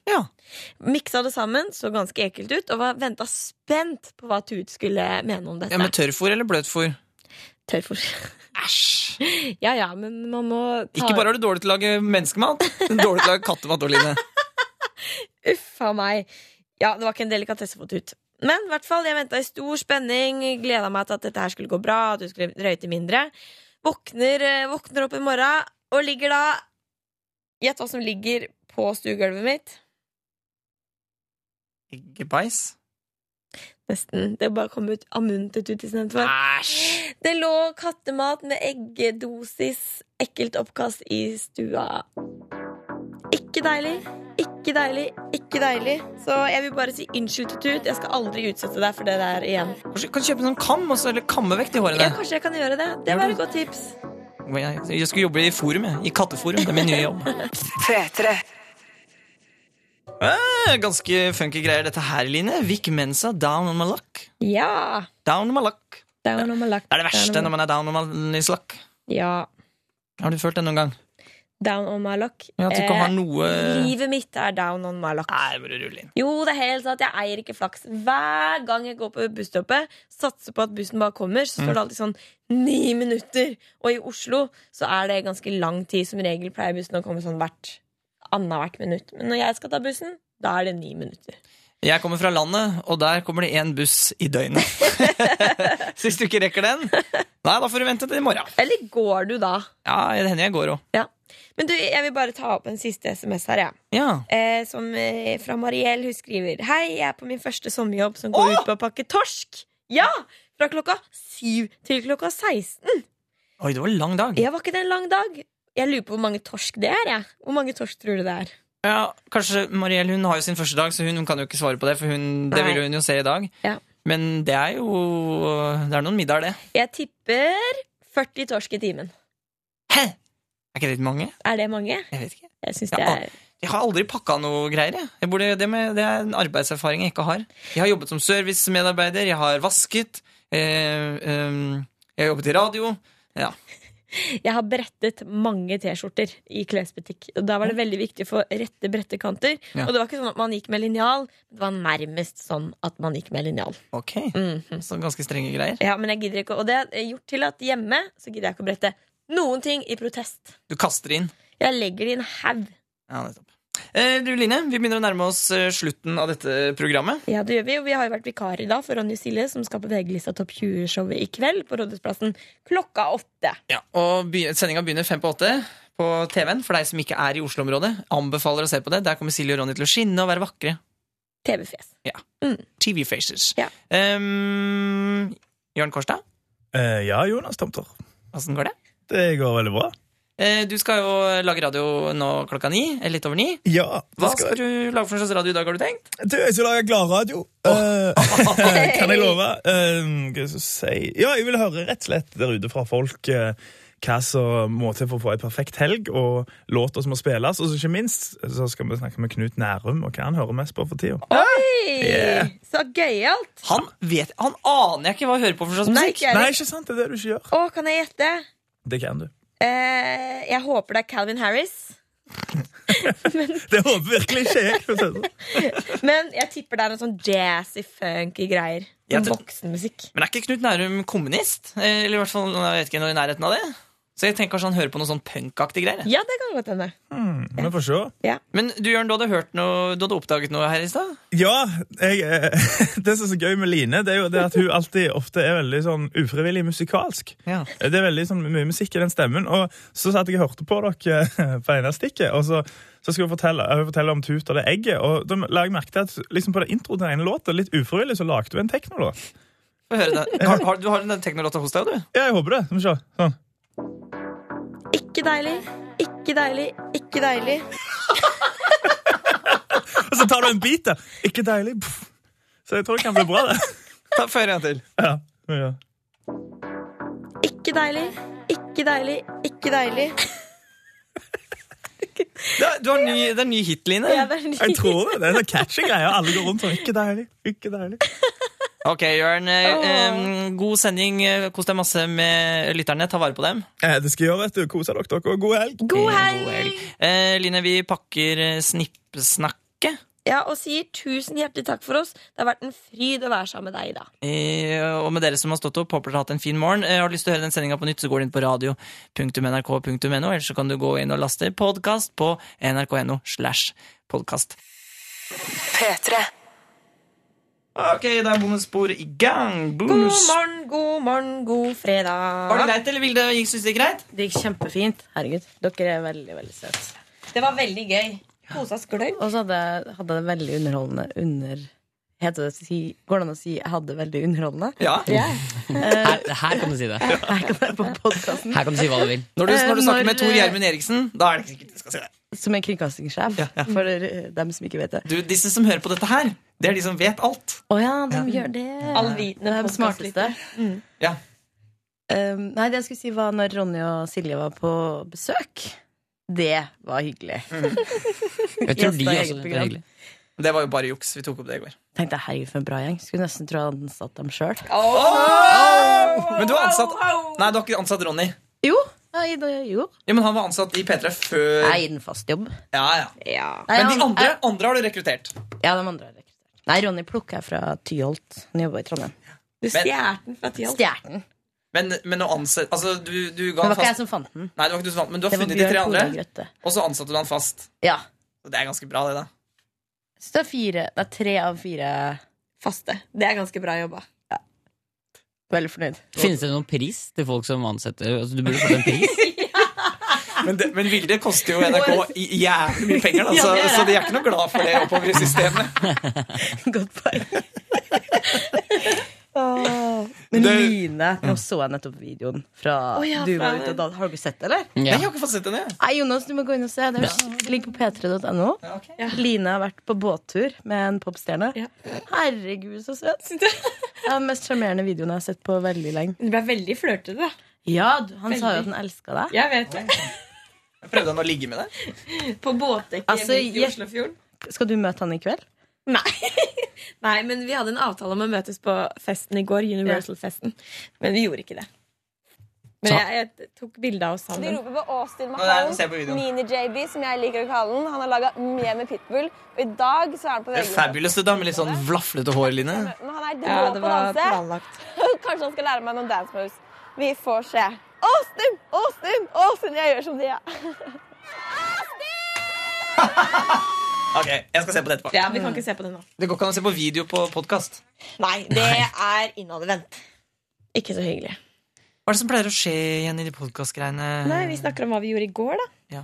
[SPEAKER 2] Miksa det sammen, så ganske ekkelt ut, og var venta spent på hva Tut skulle mene om dette.
[SPEAKER 1] Ja, Med tørrfôr eller bløtfôr?
[SPEAKER 2] Tørrfôr. Æsj! <laughs> Ja ja, men man må ta
[SPEAKER 1] Ikke bare er du dårlig til å lage menneskemat, men dårlig til å lage kattemat òg, Line.
[SPEAKER 2] Uff a meg. Ja, det var ikke en delikatesse for Tut. Men i hvert fall, jeg venta i stor spenning, gleda meg til at dette her skulle gå bra, at du skulle røyte mindre. Våkner, eh, våkner opp i morgen og ligger da Gjett hva som ligger på stuegulvet mitt.
[SPEAKER 1] Eggebeis?
[SPEAKER 2] Nesten. Det bare kom ut av munnen til Tut istedenfor. Det lå kattemat med eggedosis, ekkelt oppkast i stua. Ikke deilig. Ikke deilig, ikke deilig. Så jeg vil bare si unnskyld til Tut. Jeg skal aldri utsette deg for det der igjen.
[SPEAKER 1] Kanskje du kan kjøpe en sånn kam, og så- eller kamme vekk de
[SPEAKER 2] Ja,
[SPEAKER 1] hårene.
[SPEAKER 2] kanskje jeg kan gjøre det. Det var et godt tips.
[SPEAKER 1] Hvor Jeg, jeg skulle jobbe i Forum, jeg. I Katteforum. Det er min nye jobb.
[SPEAKER 7] P3.
[SPEAKER 1] Eh, ganske funky greier, dette her, Line. Vic Mensa, Down on my luck.
[SPEAKER 2] Ja.
[SPEAKER 1] Down on my luck.
[SPEAKER 2] Down on my luck.
[SPEAKER 1] Det er det verste
[SPEAKER 2] Down
[SPEAKER 1] når
[SPEAKER 2] on my-
[SPEAKER 1] man er down on his luck.
[SPEAKER 2] Ja.
[SPEAKER 1] Har du følt det noen gang?
[SPEAKER 2] Down on my luck. Eh,
[SPEAKER 1] Ja, at du ikke har noe- eh,
[SPEAKER 2] Livet mitt er down on my luck.
[SPEAKER 1] Nei, bare rull inn.
[SPEAKER 2] Jo, det er helt sant. Jeg eier ikke flaks. Hver gang jeg går på busstoppet, satser på at bussen bare kommer, så står det
[SPEAKER 15] Mm.
[SPEAKER 2] alltid sånn ni minutter. Og i Oslo så er det ganske lang tid. Som regel pleier bussen å komme sånn hvert annethvert minutt. Men når jeg skal ta bussen, da er det ni minutter.
[SPEAKER 1] Jeg kommer fra landet, og der kommer det én buss i
[SPEAKER 2] <laughs>
[SPEAKER 1] døgnet. Så hvis du ikke rekker den, nei, da får du vente til i morgen.
[SPEAKER 2] Eller går du da?
[SPEAKER 1] Ja, det hender jeg går òg.
[SPEAKER 2] Ja. Men du, jeg vil bare ta opp en siste SMS her, jeg.
[SPEAKER 1] Ja.
[SPEAKER 2] Eh, som eh, fra Mariell. Hun skriver Hei, jeg er på min første sommerjobb som går ut på å pakke torsk. Ja! Fra klokka syv til klokka 16.
[SPEAKER 1] Oi, det var en lang dag.
[SPEAKER 2] Ja, var ikke det en lang dag? Jeg lurer på hvor mange torsk det er, jeg. Hvor mange torsk tror du det er?
[SPEAKER 1] Ja, kanskje Mariell hun har jo sin første dag, så hun, hun kan jo ikke svare på det. For hun, det
[SPEAKER 2] Nei.
[SPEAKER 1] vil hun jo se i dag.
[SPEAKER 2] Ja.
[SPEAKER 1] Men det er jo Det er noen middager, det.
[SPEAKER 2] Jeg tipper 40 torsk i timen.
[SPEAKER 1] Er ikke det litt mange?
[SPEAKER 2] Er det mange?
[SPEAKER 1] Jeg vet ikke.
[SPEAKER 2] Jeg syns
[SPEAKER 1] Jeg
[SPEAKER 2] det
[SPEAKER 1] har
[SPEAKER 2] er
[SPEAKER 1] Jeg har aldri pakka noe greier. Jeg. Jeg burde, det, med, det er en arbeidserfaring jeg ikke har. Jeg har jobbet som servicemedarbeider, jeg har vasket, eh, ehm, jeg har jobbet i radio. Ja.
[SPEAKER 2] Jeg har brettet mange T-skjorter i klesbutikk. Og Da var det veldig viktig å få rette brettekanter.
[SPEAKER 1] Ja.
[SPEAKER 2] Og det var ikke sånn at man gikk med linjal, det var nærmest sånn at man gikk med linjal. Mhm.
[SPEAKER 1] Ok, Så ganske strenge greier.
[SPEAKER 2] Ja, men jeg gidder ikke å- Og det har gjort til at hjemme så gidder jeg ikke å brette noen ting i protest.
[SPEAKER 1] Du kaster inn.
[SPEAKER 2] Jeg legger det i en haug.
[SPEAKER 1] Ja, nettopp. Eh, du Line, vi begynner å nærme oss eh, slutten av dette programmet.
[SPEAKER 2] Ja, det gjør vi, og vi har jo vært vikarer i dag for Ronny Silje, som skal på VG-lista Topp 20-showet i kveld på Rådhusplassen klokka åtte.
[SPEAKER 1] Ja, og be Sendinga begynner fem på åtte på TV-en for deg som ikke er i Oslo-området. Anbefaler å se på det. Der kommer Silje og Ronny til å skinne og være vakre.
[SPEAKER 2] TV-fjes.
[SPEAKER 1] Ja. TV faces.
[SPEAKER 2] Ja.
[SPEAKER 1] Ehm, Jørn Kårstad,
[SPEAKER 14] Eh, ja, Jonas Tomter.
[SPEAKER 1] åssen går det?
[SPEAKER 14] Det går veldig bra.
[SPEAKER 1] Eh, Du skal jo lage radio nå klokka ni, eller litt over ni.
[SPEAKER 14] Ja,
[SPEAKER 1] Hva skal du lage for en slags radio i dag, har du tenkt?
[SPEAKER 14] Du, jeg skal lage gladradio. Eh, kan jeg love? Eh, hva skal jeg si? Ja, jeg vil høre rett og slett der ute fra folk eh, hva som må til for å få ei perfekt helg, og låter som må spilles. Og så ikke minst så skal vi snakke med Knut Nærum og hva han hører mest på for tida.
[SPEAKER 2] Oi!
[SPEAKER 14] Yeah.
[SPEAKER 2] Så gøyalt!
[SPEAKER 1] Han vet, han aner jeg ikke hva jeg hører på for slags
[SPEAKER 2] Nei,
[SPEAKER 1] musikk.
[SPEAKER 2] ikke jeg heller.
[SPEAKER 14] sant? Det er det du ikke gjør.
[SPEAKER 2] Å, kan jeg gjette?
[SPEAKER 14] Det kan du.
[SPEAKER 2] Eh, jeg håper det er Calvin Harris.
[SPEAKER 14] Det håper virkelig ikke jeg. for å si det sånn.
[SPEAKER 2] Men jeg tipper det er noe sånn jazzy, funky greier.
[SPEAKER 1] Jeg
[SPEAKER 2] Sånn
[SPEAKER 1] tror-
[SPEAKER 2] Voksenmusikk.
[SPEAKER 1] Men er ikke Knut Nærum kommunist? Eh, Eller i hvert fall, jeg vet ikke, noe i nærheten av det. Så jeg tenker kanskje han hører på noe sånn punkaktig greier.
[SPEAKER 2] Ja, det kan godt hende.
[SPEAKER 14] Vi får se.
[SPEAKER 1] Men du, Jørn, du hadde hørt noe, du hadde oppdaget noe her i stad?
[SPEAKER 14] Ja, jeg, eh, <laughs> det som er så gøy med Line, det er jo det at hun alltid ofte er veldig sånn ufrivillig musikalsk.
[SPEAKER 1] Ja.
[SPEAKER 14] Det er veldig sånn mye musikk i den stemmen. Og så satt jeg og hørte på dere på ene stikket, og så, så skulle hun fortelle, hun fortelle om Tut og det egget. Og da la jeg merke til at liksom på det intro til den ene låten, litt ufrivillig, så lagde hun en teknolåt.
[SPEAKER 1] Få høre det. Har, har, du har den teknolåta hos deg, du?
[SPEAKER 14] Ja, jeg håper det. Skal vi se. Sånn.
[SPEAKER 2] Ikke deilig, ikke deilig, ikke deilig.
[SPEAKER 14] Og så tar du en bit, da. Ikke deilig. Pff. Så jeg tror det kan bli bra, det.
[SPEAKER 1] Ta Få høre en til.
[SPEAKER 14] Ja. ja.
[SPEAKER 2] Ikke deilig, ikke deilig, ikke deilig.
[SPEAKER 1] Det er, du har ny, det er en ny hit, Line.
[SPEAKER 2] Ja, det er en ny-
[SPEAKER 14] Jeg
[SPEAKER 2] <laughs>
[SPEAKER 14] tror det. Det er en catchy greie. Alle går rundt og Ikke deilig, ikke deilig.
[SPEAKER 1] Ok, Jørn. eh, eh, god sending. Eh, Kos deg masse med lytterne. Ta vare på dem.
[SPEAKER 14] Eh, Det skal jeg gjøre, vet du. Kose dere, dere, og god helg.
[SPEAKER 1] Eh, Line, vi pakker eh, snippsnakket.
[SPEAKER 2] Ja, og sier tusen hjertelig takk for oss. Det har vært en fryd å være sammen med deg i dag.
[SPEAKER 1] Eh, og med dere som har stått opp, håper dere har hatt en fin morgen. Eh, har du lyst til å høre den sendinga på nytt, så går du inn på radio.nrk.no, eller så kan du gå inn og laste podkast på nrk.no slash podkast.
[SPEAKER 7] P3.
[SPEAKER 1] Ok, da er bonusspor i gang.
[SPEAKER 2] God
[SPEAKER 1] Bonus.
[SPEAKER 2] morgen, god morgen, god fredag.
[SPEAKER 1] Var det greit, eller Vilde? Gikk- Synes du det gikk greit?
[SPEAKER 3] Det gikk kjempefint. Herregud, dere er veldig, veldig søte.
[SPEAKER 2] Det var veldig gøy. Kosa oss gløgg.
[SPEAKER 3] Og så hadde jeg hadde jeg det veldig underholdende under Heter det å si, Går det an å si 'jeg hadde det veldig underholdende'?
[SPEAKER 1] <laughs> Ja.
[SPEAKER 3] Eh,
[SPEAKER 5] Her, her kan du si det. Her
[SPEAKER 3] Her
[SPEAKER 5] kan du si hva du vil.
[SPEAKER 1] Når du, når du
[SPEAKER 3] Eh,
[SPEAKER 1] snakker
[SPEAKER 3] når-
[SPEAKER 1] med Tor Gjermund Eriksen, da er det ikke sikkert du skal si det.
[SPEAKER 3] Som er kringkastingssjef, for eh, dem som ikke vet det.
[SPEAKER 1] Du, disse som hører på dette her, det er de som vet alt.
[SPEAKER 3] Å ja, de gjør det.
[SPEAKER 2] Allvitende
[SPEAKER 3] De smarteste.
[SPEAKER 2] Mm.
[SPEAKER 1] Ja.
[SPEAKER 3] Um, nei, det jeg skulle si var når Ronny og Silje var på besøk. Det var hyggelig.
[SPEAKER 1] Jeg tror de
[SPEAKER 3] Gjester i
[SPEAKER 1] også synes det
[SPEAKER 3] eget
[SPEAKER 1] er
[SPEAKER 3] program.
[SPEAKER 1] hyggelig. Det var jo bare juks. Vi tok opp det i går.
[SPEAKER 3] Tenkte jeg, herregud, for en bra gjeng. Skulle nesten tro jeg hadde ansatt dem sjøl.
[SPEAKER 1] Men du har ansatt Nei, du har ikke ansatt Ronny.
[SPEAKER 3] Jo. Nei, det- jo.
[SPEAKER 1] Ja, men han var ansatt i P3 før
[SPEAKER 3] Nei, i den fast jobb.
[SPEAKER 1] Ja, ja.
[SPEAKER 3] Nei,
[SPEAKER 1] Men de
[SPEAKER 3] han-
[SPEAKER 1] andre, andre har du rekruttert.
[SPEAKER 3] Ja, de andre har rekruttert. Nei, Ronny plukka jeg fra Tyholt. Han jobba i Trondheim.
[SPEAKER 1] Du stjal
[SPEAKER 2] den fra Tyholt?
[SPEAKER 3] Stjal den.
[SPEAKER 1] Men, men å ansette altså, du, du
[SPEAKER 3] Det
[SPEAKER 1] ga
[SPEAKER 3] var
[SPEAKER 1] han
[SPEAKER 3] ikke jeg
[SPEAKER 1] fast
[SPEAKER 3] som fant den.
[SPEAKER 1] Nei, det var ikke du som vant, men du har
[SPEAKER 3] Det var
[SPEAKER 1] funnet de tre
[SPEAKER 3] Bjørn Tore
[SPEAKER 1] andre.
[SPEAKER 3] Grøtte.
[SPEAKER 1] Og så ansatte du han fast.
[SPEAKER 3] Ja.
[SPEAKER 1] Så Det er ganske bra, det, da.
[SPEAKER 3] Så det er fire Det er tre av fire
[SPEAKER 2] faste. Det er ganske bra jobba.
[SPEAKER 3] Veldig fornøyd. <laughs>
[SPEAKER 5] Finnes det noen pris til folk som ansetter altså, Du burde fått en pris.
[SPEAKER 1] Men, det, men Vilde koster jo NRK i- jævlig mye penger, da, så,
[SPEAKER 5] Ja, det gjør det.
[SPEAKER 1] så de er ikke noe glad for det oppover i systemet.
[SPEAKER 3] <laughs> Men Line, nå så jeg nettopp videoen fra
[SPEAKER 1] Å, ja,
[SPEAKER 3] du var
[SPEAKER 1] fra-
[SPEAKER 3] ute og danset. Har du ikke sett det, eller?
[SPEAKER 1] Nei, jeg har ikke fått sett henne. jeg.
[SPEAKER 3] Nei, Jonas, du må gå inn og se. Det ligger på p3.no. Line har vært på båttur med en popstjerne. Herregud, så søt! Det er den mest sjarmerende videoen jeg har sett på veldig lenge.
[SPEAKER 2] Du ble veldig flørtete, da.
[SPEAKER 3] Ja, du- han sa jo
[SPEAKER 2] Veldig.
[SPEAKER 3] at han elska deg.
[SPEAKER 2] Jeg vet det.
[SPEAKER 1] Prøvde han å ligge med deg?
[SPEAKER 2] På båtdekket
[SPEAKER 3] Altså,
[SPEAKER 2] i
[SPEAKER 3] jeg-
[SPEAKER 2] Oslofjorden.
[SPEAKER 3] Skal du møte han i kveld?
[SPEAKER 2] Nei, men vi hadde en avtale om å møtes på festen i går. Universal-festen. Men vi gjorde ikke det. Men jeg, jeg tok bilde av oss
[SPEAKER 16] De
[SPEAKER 2] sammen.
[SPEAKER 16] roper på Austin
[SPEAKER 2] Nå, nei, nå ser jeg på
[SPEAKER 16] Mahone,
[SPEAKER 2] videoen.
[SPEAKER 16] Mini-JB, som jeg liker å kalle den. Han har laga mye med Pitbull, og i dag så er han på
[SPEAKER 1] Det er
[SPEAKER 16] VG.
[SPEAKER 1] fabulous, det da, med litt sånn vlaflete hår, Line.
[SPEAKER 16] Men han er
[SPEAKER 2] Ja,
[SPEAKER 16] drå
[SPEAKER 2] det
[SPEAKER 16] på å
[SPEAKER 2] var
[SPEAKER 16] danse.
[SPEAKER 2] planlagt.
[SPEAKER 16] Kanskje han skal lære meg noen dance moves. Vi får se. Austin! Austin! Austin! Jeg gjør som de, ja.
[SPEAKER 1] Ok, jeg skal se på det etterpå.
[SPEAKER 2] Ja, vi kan ikke se på det nå.
[SPEAKER 1] Det går ikke an å se på video på podkast.
[SPEAKER 2] Nei, det er innadvendt. Ikke så hyggelig.
[SPEAKER 1] Hva er det som pleier å skje igjen i de podkastgreiene?
[SPEAKER 2] Nei, vi snakker om hva vi gjorde i går, da.
[SPEAKER 1] Ja.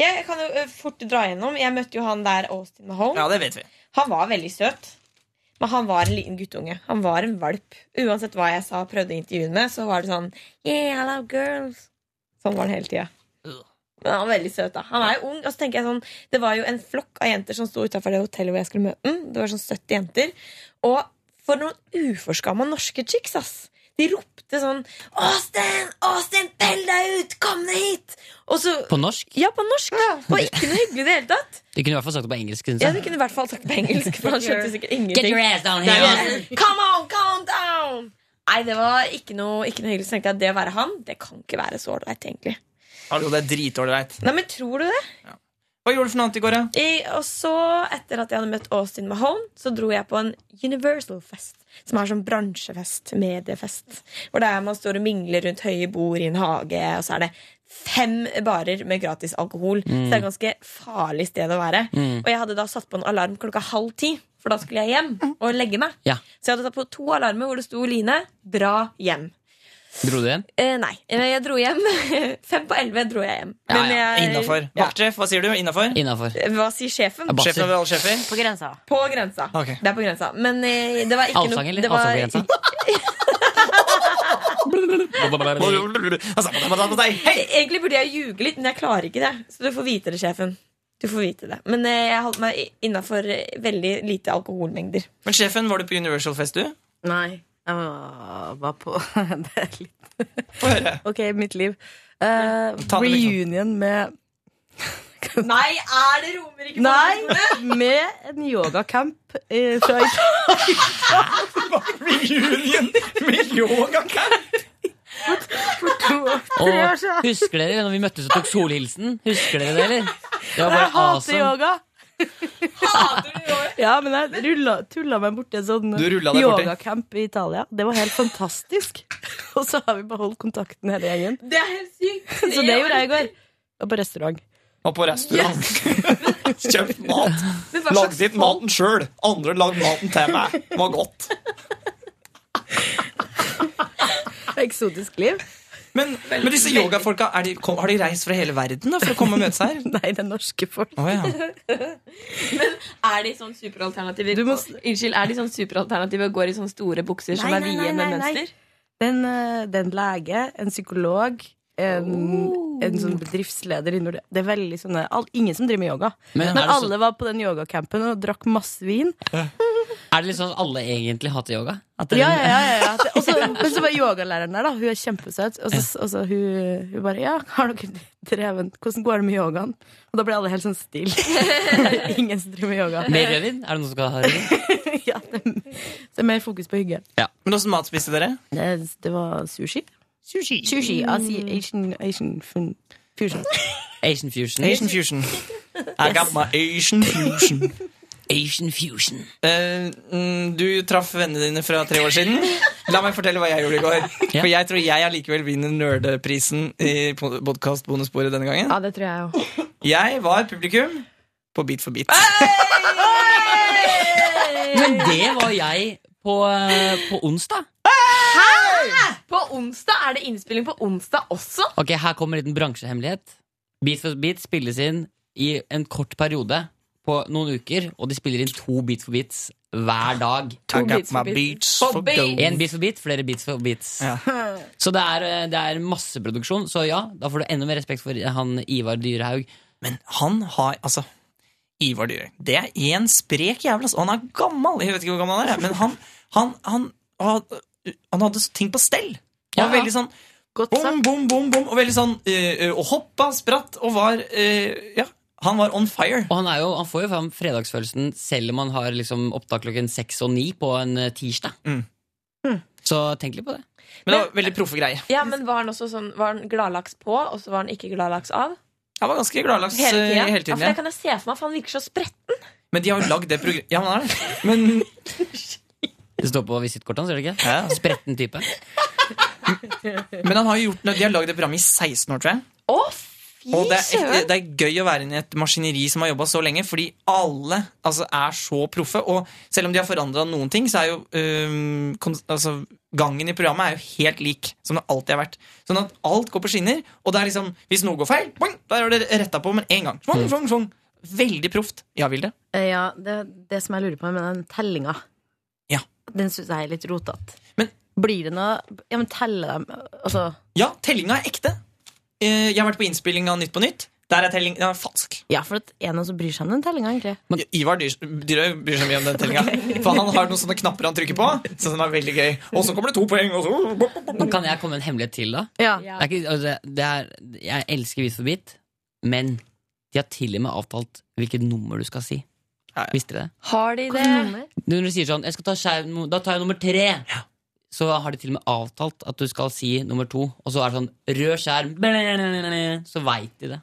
[SPEAKER 2] Jeg kan jo ø, fort dra gjennom. Jeg møtte jo han der, Austin Mahone.
[SPEAKER 1] Ja, det vet vi.
[SPEAKER 2] Han var veldig søt. Men han var en liten guttunge. Han var en valp. Uansett hva jeg sa og prøvde å intervjue ham med, så var det sånn Yeah, I love girls. Sånn var han hele tida. Men han var veldig søt, da. Han er jo ung. Og så tenker jeg sånn Det var jo en flokk av jenter som sto utafor det hotellet hvor jeg skulle møte ham. Det var sånn 70 jenter. Og for noen uforskamma norske chicks, ass. De ropte sånn Austin! Austin, fell deg ut! Kom deg hit! Og så
[SPEAKER 5] På norsk?
[SPEAKER 2] Ja, på norsk. Og ikke noe hyggelig i det hele tatt.
[SPEAKER 5] Du kunne i hvert fall sagt det på engelsk. Synes
[SPEAKER 2] Ja,
[SPEAKER 5] jeg.
[SPEAKER 2] du kunne i hvert fall sagt det på engelsk, for han skjønte sikkert ingenting.
[SPEAKER 5] Get your ass down
[SPEAKER 2] Det er jo-
[SPEAKER 5] here.
[SPEAKER 2] Come on, calm down! Nei, det var ikke noe, ikke noe hyggelig. Så tenkte jeg at det å være han, det kan ikke være så ålreit, egentlig.
[SPEAKER 1] Hallo, det er dritålreit.
[SPEAKER 2] Nei, men tror du det?
[SPEAKER 1] Hva gjorde du for noe annet i går, da?
[SPEAKER 2] I, og så, etter at jeg hadde møtt Austin Mahone, så dro jeg på en Universal-fest. Som er sånn bransjefest, mediefest. Hvor det er man står og mingler rundt høye bord i en hage, og så er det fem barer med gratis alkohol.
[SPEAKER 15] Mm.
[SPEAKER 2] Så det er et ganske farlig sted å være.
[SPEAKER 15] Mm.
[SPEAKER 2] Og jeg hadde da satt på en alarm klokka halv ti, for da skulle jeg hjem og legge meg.
[SPEAKER 5] Ja.
[SPEAKER 2] Så jeg hadde tatt på to alarmer hvor det sto Line, dra hjem.
[SPEAKER 5] Dro du hjem?
[SPEAKER 2] Eh, nei, eh, jeg dro hjem. <laughs> Fem på elleve dro jeg hjem. Men jeg-
[SPEAKER 1] Innafor. Vaktsjef, hva sier du? Innafor?
[SPEAKER 5] Innafor.
[SPEAKER 2] Hva sier sjefen?
[SPEAKER 1] Ja, basser. Sjefen over alle sjefer?
[SPEAKER 3] På grensa.
[SPEAKER 2] På grensa.
[SPEAKER 1] Ok.
[SPEAKER 2] Det er på grensa. Men eh, det var ikke
[SPEAKER 5] Allsang, eller?
[SPEAKER 2] det var-
[SPEAKER 5] Allsang på
[SPEAKER 2] <laughs> Egentlig burde jeg ljuge litt, men jeg klarer ikke det. Så du får vite det, sjefen. Du får vite det. Men eh, jeg holdt meg innafor veldig lite alkoholmengder.
[SPEAKER 1] Men sjefen, var du på Universal-fest, du?
[SPEAKER 3] Nei, jeg var, var på <laughs> Det er
[SPEAKER 1] <laughs>
[SPEAKER 3] litt Ok, mitt liv. Eh,
[SPEAKER 1] Ta det liksom.
[SPEAKER 3] reunion med
[SPEAKER 2] Nei, er det Romerike?
[SPEAKER 3] Nei, <laughs> med en yogacamp eh, fra
[SPEAKER 1] Reunion med yogacamp?
[SPEAKER 3] For to år, tre år
[SPEAKER 5] Og
[SPEAKER 3] siden.
[SPEAKER 5] husker dere når vi møttes og tok solhilsen? Husker dere det, eller? Det var
[SPEAKER 3] Jeg
[SPEAKER 5] bare awesome.
[SPEAKER 3] hater yoga. Ja, men jeg rulla, tulla meg borti en sånn
[SPEAKER 5] Du rullet deg borti?
[SPEAKER 3] yogacamp i Italia. Det var helt fantastisk. <laughs> Og så har vi beholdt kontakten hele gjengen.
[SPEAKER 2] Det er helt sykt.
[SPEAKER 3] Så det gjorde jeg i går. Var på restaurant.
[SPEAKER 1] Og på restaurant. <laughs> Kjøpt mat.
[SPEAKER 2] Men hva slags
[SPEAKER 1] Lagd ditt maten sjøl. Andre lagde maten til meg. Det var godt.
[SPEAKER 3] Eksotisk liv.
[SPEAKER 1] Men, men disse yogafolka, er de, kom, har de reist fra hele verden da, for å komme og møtes her?
[SPEAKER 3] Nei, det er norske folk.
[SPEAKER 1] Å, ja.
[SPEAKER 2] Men er de sånn superalternativer? Unnskyld, er de sånn superalternativer og går i sånne store bukser som
[SPEAKER 3] Nei,
[SPEAKER 2] er
[SPEAKER 3] nei,
[SPEAKER 2] vide
[SPEAKER 3] nei,
[SPEAKER 2] med
[SPEAKER 3] nei, nei.
[SPEAKER 2] mønster?
[SPEAKER 3] Det er en, eh, det er en lege, en psykolog, en, en sånn bedriftsleder innover det. Det er veldig sånne all, Ingen som driver med yoga.
[SPEAKER 5] Men er
[SPEAKER 3] Men,
[SPEAKER 5] det så-
[SPEAKER 3] alle var på den yogacampen og drakk masse vin.
[SPEAKER 5] Er det litt sånn at alle egentlig hater yoga? At
[SPEAKER 3] Ja,
[SPEAKER 5] dere-
[SPEAKER 3] ja, ja, ja, ja. Og så
[SPEAKER 5] <laughs>
[SPEAKER 3] Men så var yogalæreren der, da. Hun er kjempesøt. Og så, og så hun, hun bare Ja, har dere drevet Hvordan går det med yogaen? Og da ble alle helt sånn stille. <laughs> Ingen som driver med yoga. <laughs>
[SPEAKER 11] Mer rødvin? Er det noen som skal ha rødvin?
[SPEAKER 3] Så det er mer fokus på hygge.
[SPEAKER 1] Men åssen mat spiste dere?
[SPEAKER 3] Det, det var sushi. Sushi. Sushi, Asi, Asian, Asian fun- fusion.
[SPEAKER 11] Asian fusion.
[SPEAKER 1] Asian fusion. I got my Asian fusion.
[SPEAKER 11] Asian fusion.
[SPEAKER 1] Eh, mm, du traff vennene dine fra tre år siden. La meg fortelle hva jeg gjorde i går. For jeg tror jeg allikevel vinner nerdeprisen i podkast-bonussporet denne gangen.
[SPEAKER 3] Ja, det tror jeg òg.
[SPEAKER 1] Jeg var publikum på Beat for beat.
[SPEAKER 3] Ah!
[SPEAKER 11] Men det var jeg på, eh, på onsdag.
[SPEAKER 2] Hæ? På onsdag er det innspilling på onsdag også?
[SPEAKER 11] Ok, Her kommer en liten bransjehemmelighet. Beat for beat spilles inn i en kort periode på noen uker, og de spiller inn to Beat for beats hver dag.
[SPEAKER 1] To I got Beats for my Beats. beats for gold.
[SPEAKER 11] En beat for beat, flere Beats for beats.
[SPEAKER 1] <laughs>
[SPEAKER 11] Så det er, eh, det er masseproduksjon. Så ja, da får du enda mer respekt for han Ivar Dyrehaug.
[SPEAKER 1] Men han har altså Ivar Dyre. Det er én sprek jævel. Altså. Han er gammel. Jeg vet ikke hvor gammel han er, men han, han, han, han, han hadde ting på stell. Han var
[SPEAKER 17] Ja.
[SPEAKER 1] veldig sånn bom, bom, bom, bom, og veldig sånn eh, eh, Og hoppa, spratt og var eh, Ja, han var on fire.
[SPEAKER 11] Og han, er jo, han får jo fram fredagsfølelsen selv om han har liksom opptak klokken seks og ni på en eh, tirsdag. Så tenk litt på det.
[SPEAKER 1] Men det var veldig proffe greier.
[SPEAKER 2] Ja, men Var han også sånn, var han gladlaks på, og så var han ikke gladlaks av?
[SPEAKER 1] Han var ganske gladlaks
[SPEAKER 2] Hele tiden?
[SPEAKER 1] eh, hele
[SPEAKER 2] ja,
[SPEAKER 1] tiden.
[SPEAKER 11] Altså,
[SPEAKER 2] for det
[SPEAKER 1] Ja.
[SPEAKER 2] kan jeg se for meg, for han virker så spretten.
[SPEAKER 1] Men de har jo lagd det programmet Ja, han er det.
[SPEAKER 11] <laughs>
[SPEAKER 1] Men
[SPEAKER 11] Det står på visittkortet hans, gjør det ikke? Spretten type.
[SPEAKER 1] Men han har jo gjort, de har lagd det programmet i 16 år, tror jeg. og det er,
[SPEAKER 17] søren!
[SPEAKER 1] det er gøy å være inne i et maskineri som har jobba så lenge, fordi alle altså, er så proffe. Og selv om de har forandra noen ting, så er jo øhm, kon- altså, gangen i programmet er jo helt lik som det alltid har vært. Sånn at alt går på skinner, og det er liksom Hvis noe går feil, boing, der har det retta på med en gang. Svong, svong, svong. Veldig proft. Ja, Vilde?
[SPEAKER 3] Eh, Ja, det, det som jeg lurer på med den tellinga,
[SPEAKER 1] Ja.
[SPEAKER 3] den syns jeg er litt rotete. Blir det noe Ja, men telle dem Altså
[SPEAKER 1] Ja, tellinga er ekte. Eh, Jeg har vært på innspilling av Nytt på nytt. Der er tellinga falsk.
[SPEAKER 3] Ja, for det er noen som bryr seg om den tellinga, egentlig.
[SPEAKER 1] Ivar Dyr- Dyrhaug bryr seg mye om den
[SPEAKER 11] <laughs>
[SPEAKER 1] tellinga. For han har noen sånne knapper han trykker på. Så den er veldig gøy Og så kommer det to poeng. Og så...
[SPEAKER 11] Men kan jeg komme med en hemmelighet til, da? Det er ikke, altså, det er, jeg elsker Bit for bit, men de har til og med avtalt hvilket nummer du skal si. Visste dere det?
[SPEAKER 2] Har de det?
[SPEAKER 11] Du, Når du sier sånn jeg skal ta skjerm, no- Da tar jeg nummer tre! Så har de til og med avtalt at du skal si nummer to, og så er det sånn rød skjerm, blablabla, så veit de det.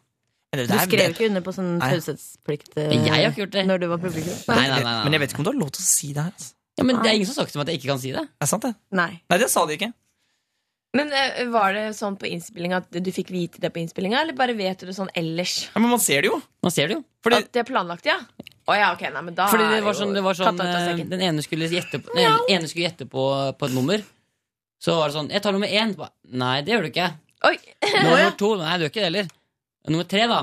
[SPEAKER 3] Du skrev ikke under på sånn
[SPEAKER 11] Nei.
[SPEAKER 3] taushetsplikt eh,
[SPEAKER 11] Jeg har ikke gjort det.
[SPEAKER 3] når du var publikum?
[SPEAKER 11] Nei, nei, nei, nei.
[SPEAKER 1] Men jeg vet ikke om du har lov til å si det her. Altså.
[SPEAKER 11] Ja, men det er ingen som har sagt til meg at jeg ikke kan si det.
[SPEAKER 1] Er sant det?
[SPEAKER 3] Nei.
[SPEAKER 1] Nei, det sa de ikke.
[SPEAKER 2] Men eh, var det sånn på innspillinga at du fikk vite det på innspillinga, eller bare vet du det sånn ellers?
[SPEAKER 1] Ja, men man ser det jo.
[SPEAKER 11] Man ser det jo.
[SPEAKER 2] At det er planlagt, ja? Å ja, ok, nei, men da
[SPEAKER 11] Fordi det
[SPEAKER 2] er
[SPEAKER 11] var
[SPEAKER 2] jo
[SPEAKER 11] sånn, det var
[SPEAKER 2] katta
[SPEAKER 11] sånn
[SPEAKER 2] ut av
[SPEAKER 11] eh,
[SPEAKER 2] sekken.
[SPEAKER 11] Den ene skulle gjette, på- den ene- ene skulle gjette på, på et nummer. Så var det sånn Jeg tar nummer én. Ba, nei, det gjør du ikke. Nummer to. Nei, du gjør ikke det heller. Nummer tre, da.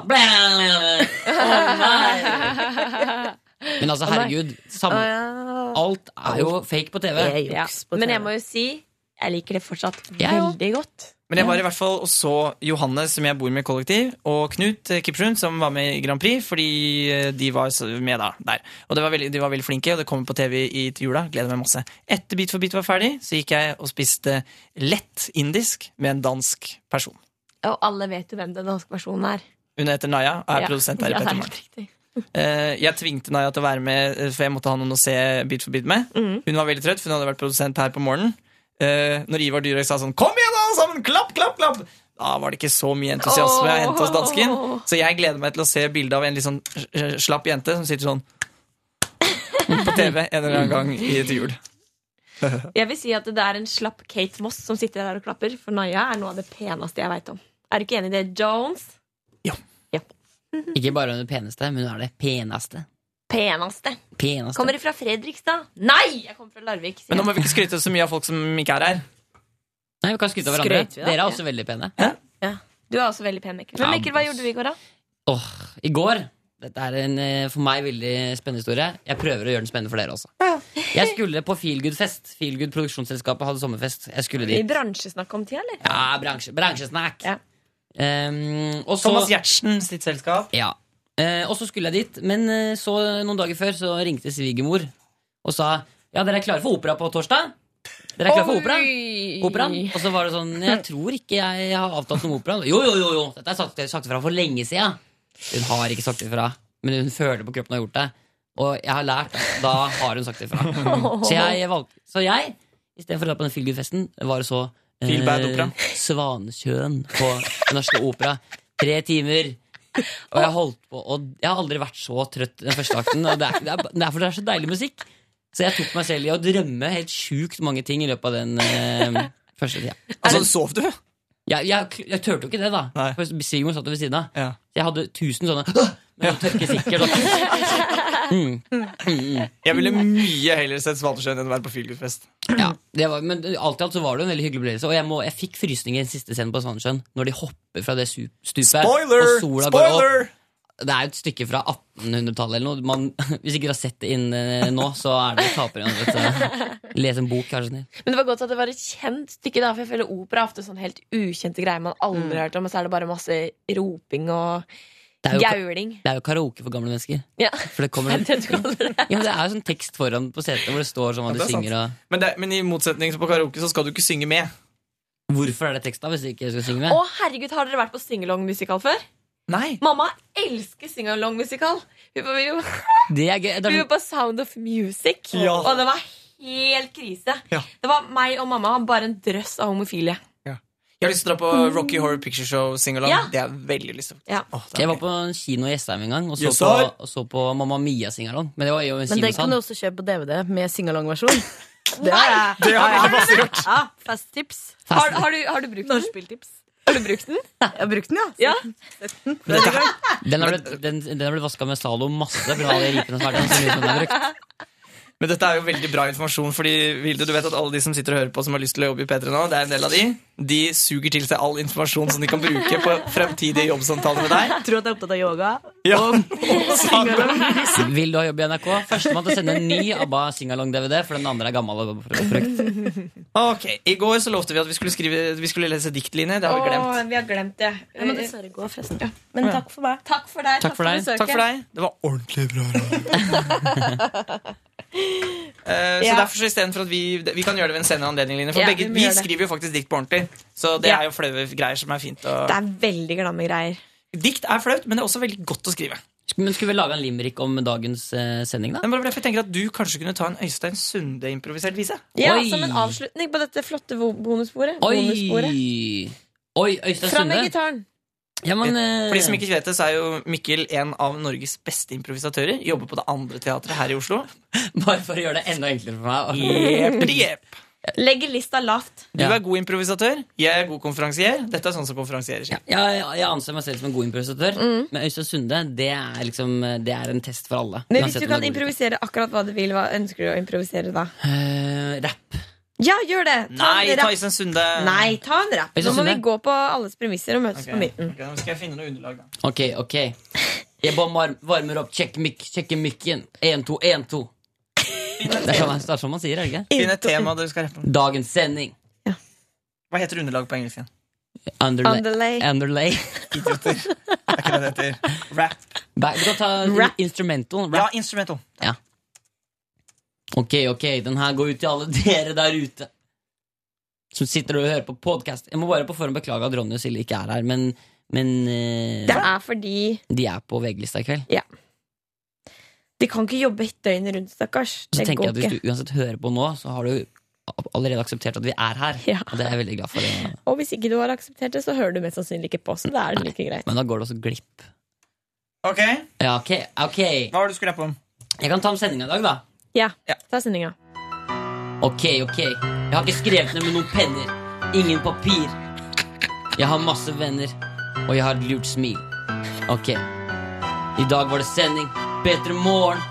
[SPEAKER 11] Men altså,
[SPEAKER 2] Å, nei.
[SPEAKER 11] herregud. Samme,
[SPEAKER 2] Å, ja.
[SPEAKER 11] alt er jo fake på TV.
[SPEAKER 2] Ja. Men jeg må jo si, jeg liker det fortsatt
[SPEAKER 1] Jeg òg.
[SPEAKER 2] veldig godt.
[SPEAKER 1] Men jeg var i hvert fall og så Johannes, som jeg bor med i kollektiv, og Knut eh, Kipsrund, som var med i Grand Prix, fordi eh, de var så- med da, der. Og det var veldig, de var veldig flinke, og det kommer på TV i til jula. Gleder meg masse. Etter Bit for bit var ferdig, så gikk jeg og spiste lett indisk med en dansk person.
[SPEAKER 2] Og alle vet jo hvem den norske versjonen er.
[SPEAKER 1] Hun heter Naya og er
[SPEAKER 2] Ja.
[SPEAKER 1] produsent her i
[SPEAKER 2] Ja, det er
[SPEAKER 1] Petter
[SPEAKER 2] helt
[SPEAKER 1] Morn. Eh, jeg tvingte Naya til å være med, eh, for jeg måtte ha noen å se Bit for bit med.
[SPEAKER 2] Mm.
[SPEAKER 17] Mhm.
[SPEAKER 1] Hun var veldig trøtt, for hun hadde vært produsent her på morgenen. Eh, når Ivar Dyrøy sa sånn 'Kom igjen, alle sammen! Klapp, klapp, klapp!' Da var det ikke så mye entusiasme
[SPEAKER 17] Åh.
[SPEAKER 1] å hente hos dansken. Så jeg gleder meg til å se bilde av en litt sånn eh, slapp jente som sitter sånn <laughs> på TV en eller annen gang i til jul.
[SPEAKER 2] Jeg vil si at det er en slapp Kate Moss som sitter der og klapper, for Naya er noe av det peneste jeg veit om. Er du ikke enig i det, Jones?
[SPEAKER 11] Ikke bare hun er den peneste, men hun er det peneste.
[SPEAKER 2] Peneste.
[SPEAKER 11] peneste.
[SPEAKER 2] Kommer du fra Fredrikstad? Nei! Jeg kommer fra Larvik. sier
[SPEAKER 1] Men nå må
[SPEAKER 2] jeg.
[SPEAKER 1] vi ikke skryte så mye av folk som ikke er her.
[SPEAKER 11] Nei, vi kan skryte av hverandre.
[SPEAKER 1] Skrøt vi da?
[SPEAKER 11] Dere er også veldig pene.
[SPEAKER 2] Du er også veldig pen, Mikkel. Men
[SPEAKER 11] Ja,
[SPEAKER 2] Mikkel, hva gjorde du i går, da?
[SPEAKER 11] Åh, I går Dette er en eh, for meg veldig spennende historie. Jeg prøver å gjøre den spennende for dere også. Jeg skulle på Feelgood-fest. Feelgood Produksjonsselskapet hadde sommerfest. Jeg skulle
[SPEAKER 2] I
[SPEAKER 11] dit.
[SPEAKER 2] bransjesnakk om tida, eller?
[SPEAKER 11] Ja, bransje, bransjesnakk. Ehm, og så,
[SPEAKER 1] Thomas Giertsen sitt selskap.
[SPEAKER 11] Ja. Eh, og så skulle jeg dit, men eh, så noen dager før så ringte svigermor og sa Ja, dere er klare for opera på torsdag? Dere er klare for opera?
[SPEAKER 2] Oi.
[SPEAKER 11] Operaen? Og så var det sånn Jeg tror ikke jeg har avtalt noe opera. Jo, jo, jo, jo. Dette er sagt, sagt ifra for lenge siden. Hun har ikke sagt ifra, men hun føler på kroppen hun har gjort det. Og jeg har lært at da har hun sagt ifra. Så jeg valgte Så jeg, istedenfor å dra på den Feel Good-festen, var det så
[SPEAKER 1] Feel Bad Opera.
[SPEAKER 11] Svanekjøen på Den Norske Opera. Tre timer. Og jeg holdt på Og jeg har aldri vært så trøtt den første akten. Og det er, det er, det er fordi det er så deilig musikk. Så jeg tok meg selv i å drømme helt sjukt mange ting i løpet av den eh, første tida. Altså,
[SPEAKER 1] sov du?
[SPEAKER 11] Jeg, jeg, jeg turte jo ikke det, da. For Svigermoren satt jo ved siden av. Så jeg hadde tusen sånne Men jeg tørker sikkert.
[SPEAKER 2] <laughs>
[SPEAKER 11] da. Mm. Mm.
[SPEAKER 1] Jeg ville mye heller sett Svalesjøen enn å være på Feelgood-fest.
[SPEAKER 11] Ja, det var, men alt i alt så var det jo en veldig hyggelig opplevelse. Og jeg, må, jeg fikk frysninger i den siste scenen på Sandnessjøen, når de hopper fra det su- stupet.
[SPEAKER 1] Spoiler!
[SPEAKER 11] Og sola går
[SPEAKER 1] Spoiler!
[SPEAKER 11] opp. Det er jo et stykke fra 1800-tallet eller noe. Man, <laughs> hvis ikke du har sett det inn eh, nå, så er det tapere. vet du. Les en bok, vær så snill.
[SPEAKER 2] Men det var godt at det var et kjent stykke, da, for jeg føler opera er ofte sånn helt ukjente greier man aldri
[SPEAKER 11] Mm.
[SPEAKER 2] har hørt om, og så er det bare masse roping og
[SPEAKER 11] Det er jo-
[SPEAKER 2] jauling.
[SPEAKER 11] Det er jo karaoke for gamle mennesker.
[SPEAKER 2] <laughs> Ja.
[SPEAKER 11] For det kommer
[SPEAKER 2] Det du kaller det.
[SPEAKER 11] Ja, men det er jo sånn tekst foran på setet hvor det står sånn hva
[SPEAKER 1] Ja,
[SPEAKER 11] de
[SPEAKER 1] det er sant.
[SPEAKER 11] synger og
[SPEAKER 1] Men, det, men i motsetning til på karaoke så skal du ikke synge med.
[SPEAKER 11] Hvorfor er det tekst da, hvis du ikke skal synge
[SPEAKER 2] Å, herregud, har dere vært på singalong-musikal før?
[SPEAKER 1] Nei
[SPEAKER 2] Mamma elsker singalong-musikal. Hun var jo
[SPEAKER 11] Det er sånn- gøy. Det
[SPEAKER 2] Vi
[SPEAKER 11] er,
[SPEAKER 2] var på Sound of Music,
[SPEAKER 11] Ja.
[SPEAKER 2] og det var helt krise.
[SPEAKER 1] Ja.
[SPEAKER 2] Det var meg og mamma, bare en drøss av homofile.
[SPEAKER 1] Jeg har lyst til å dra på Rocky Horror Picture Show singalong.
[SPEAKER 2] Ja.
[SPEAKER 1] Det har jeg veldig lyst til.
[SPEAKER 2] Ja.
[SPEAKER 11] jeg var på en kino i Jessheim en gang og så,
[SPEAKER 1] Yes,
[SPEAKER 11] på,
[SPEAKER 1] sir.
[SPEAKER 11] og så på Mamma Mia-singalong. Men det var jo
[SPEAKER 3] Men
[SPEAKER 11] en
[SPEAKER 3] den kan
[SPEAKER 11] kinosal.
[SPEAKER 3] du også kjøpe på DVD med singalong-versjon.
[SPEAKER 11] <laughs>
[SPEAKER 3] Det
[SPEAKER 11] Det har jeg masse gjort.
[SPEAKER 3] Ja, festtips.
[SPEAKER 2] Har, har, du, har du brukt den? Har du brukt den?
[SPEAKER 3] Jeg har brukt den,
[SPEAKER 2] ja.
[SPEAKER 11] Den har blitt, den, den har blitt vaska med Zalo masse fra alle ripene som er der. så mye som den er brukt.
[SPEAKER 1] Men dette er jo veldig bra informasjon, Fordi Vilde, du vet at alle de som sitter og hører på som har lyst til å jobbe i P3 nå, det er en del av de. De suger til seg all informasjon som de kan bruke på fremtidige jobbsamtaler med deg.
[SPEAKER 3] Tror at jeg er opptatt av yoga.
[SPEAKER 1] Ja.
[SPEAKER 11] Vil du ha jobb i NRK? Førstemann til å sende en ny ABBA singalong-DVD, for den andre er gammel. og brukt.
[SPEAKER 1] Ok, I går så lovte vi at vi skulle, skrive, vi skulle lese diktlinjer. Det har vi glemt.
[SPEAKER 2] Åh, vi har glemt det.
[SPEAKER 3] Jeg må dessverre gå, forresten.
[SPEAKER 2] Men
[SPEAKER 3] takk for meg.
[SPEAKER 2] Takk for deg.
[SPEAKER 1] Takk for deg.
[SPEAKER 2] besøket.
[SPEAKER 1] Takk for deg. Det var ordentlig bra.
[SPEAKER 2] <laughs>
[SPEAKER 1] Eh, så
[SPEAKER 2] Ja.
[SPEAKER 1] derfor så i stedet for at vi, vi kan gjøre det ved en senere anledning, Line. For
[SPEAKER 2] Ja,
[SPEAKER 1] begge,
[SPEAKER 2] vi må
[SPEAKER 1] vi
[SPEAKER 2] gjøre det.
[SPEAKER 1] skriver jo faktisk dikt på ordentlig. Så det
[SPEAKER 2] Ja.
[SPEAKER 1] er jo flaue greier som er fint å
[SPEAKER 2] Det er veldig glamme greier.
[SPEAKER 1] Dikt er flaut, men det er også veldig godt å skrive.
[SPEAKER 11] Men Skulle vi lage en limerick om dagens eh, sending, da?
[SPEAKER 1] Men bare derfor jeg tenker at Du kanskje kunne ta en Øystein Sunde-improvisert vise?
[SPEAKER 2] Ja, Som en avslutning på dette flotte vo- bonussporet. bonussporet.
[SPEAKER 11] Oi! Oi, Øystein
[SPEAKER 2] Fram med
[SPEAKER 11] Sunde.
[SPEAKER 2] gitaren.
[SPEAKER 11] Ja, men, eh,
[SPEAKER 1] For de som ikke vet det, så er jo Mikkel en av Norges beste improvisatører. Jobber på det andre teatret her i Oslo.
[SPEAKER 11] <laughs> Bare for å gjøre det enda enklere for meg.
[SPEAKER 1] Jepp, jepp.
[SPEAKER 2] Legger lista lavt.
[SPEAKER 1] Du er god improvisatør, jeg er god konferansier. Dette er sånn som konferansierer sier.
[SPEAKER 11] Jeg, jeg anser meg selv som en god improvisatør, men Øystein Sunde det er, liksom, det er en test for alle.
[SPEAKER 2] Men hvis
[SPEAKER 11] uansett
[SPEAKER 2] du kan
[SPEAKER 11] om det er god eller ikke.
[SPEAKER 2] improvisere akkurat hva du vil, hva ønsker du å improvisere da?
[SPEAKER 11] Eh, rapp.
[SPEAKER 2] Ja, gjør det!
[SPEAKER 1] Nei,
[SPEAKER 2] en
[SPEAKER 1] ta
[SPEAKER 2] rapp.
[SPEAKER 1] Øystein Sunde.
[SPEAKER 2] Nei, ta en rapp.
[SPEAKER 11] Øystein
[SPEAKER 2] Nå må vi
[SPEAKER 11] Sunde.
[SPEAKER 2] gå på alles premisser og møtes på midten.
[SPEAKER 1] Ok, nå skal jeg finne noe underlag, da.
[SPEAKER 11] Ok, ok. Jeg bare mar- varmer opp. Sjekk mic, sjekker mikken. Én, to, én, to. Det er sånn det er sånn man sier, er det
[SPEAKER 1] Finn et
[SPEAKER 11] ikke?
[SPEAKER 1] tema du skal rappe om.
[SPEAKER 11] Dagens sending.
[SPEAKER 1] Hva heter underlag på engelsk igjen?
[SPEAKER 11] Underlay.
[SPEAKER 2] Underlay.
[SPEAKER 11] Underlay.
[SPEAKER 1] Er ikke det det heter?
[SPEAKER 2] <laughs>
[SPEAKER 1] Rap.
[SPEAKER 11] Ba- Du kan ta
[SPEAKER 1] Rap.
[SPEAKER 11] instrumental.
[SPEAKER 1] Ja,
[SPEAKER 11] Rap.
[SPEAKER 1] instrumental.
[SPEAKER 11] Ja. Ok, ok, den her går ut til alle dere der ute som sitter og hører på podkast. Jeg må bare på forhånd beklage at Ronny og Silje ikke er her, men, men eh,
[SPEAKER 2] Det er fordi
[SPEAKER 11] de er på VG-lista i kveld.
[SPEAKER 2] Ja. de kan ikke jobbe døgnet rundt, stakkars.
[SPEAKER 11] Så
[SPEAKER 2] Det
[SPEAKER 11] tenker
[SPEAKER 2] går
[SPEAKER 11] jeg at Hvis
[SPEAKER 2] ikke.
[SPEAKER 11] du uansett hører på nå, så har du allerede akseptert at vi er her. Og det er jeg veldig glad for. eh.
[SPEAKER 2] Og hvis ikke du har akseptert det, så hører du mest sannsynlig ikke på. Så da er det like greit.
[SPEAKER 11] Men da går det også glipp.
[SPEAKER 1] Ok,
[SPEAKER 11] Ja, ok, ok
[SPEAKER 1] Hva var det du skulle rappe om?
[SPEAKER 11] Jeg kan ta om sendinga i dag, da.
[SPEAKER 2] Ja, ta sendinga.
[SPEAKER 11] Ok, ok. Jeg har ikke skrevet ned med noen penner. Ingen papir. Jeg har masse venner, og jeg har et lurt smil. Ok. I dag var det sending. Bedre morgen.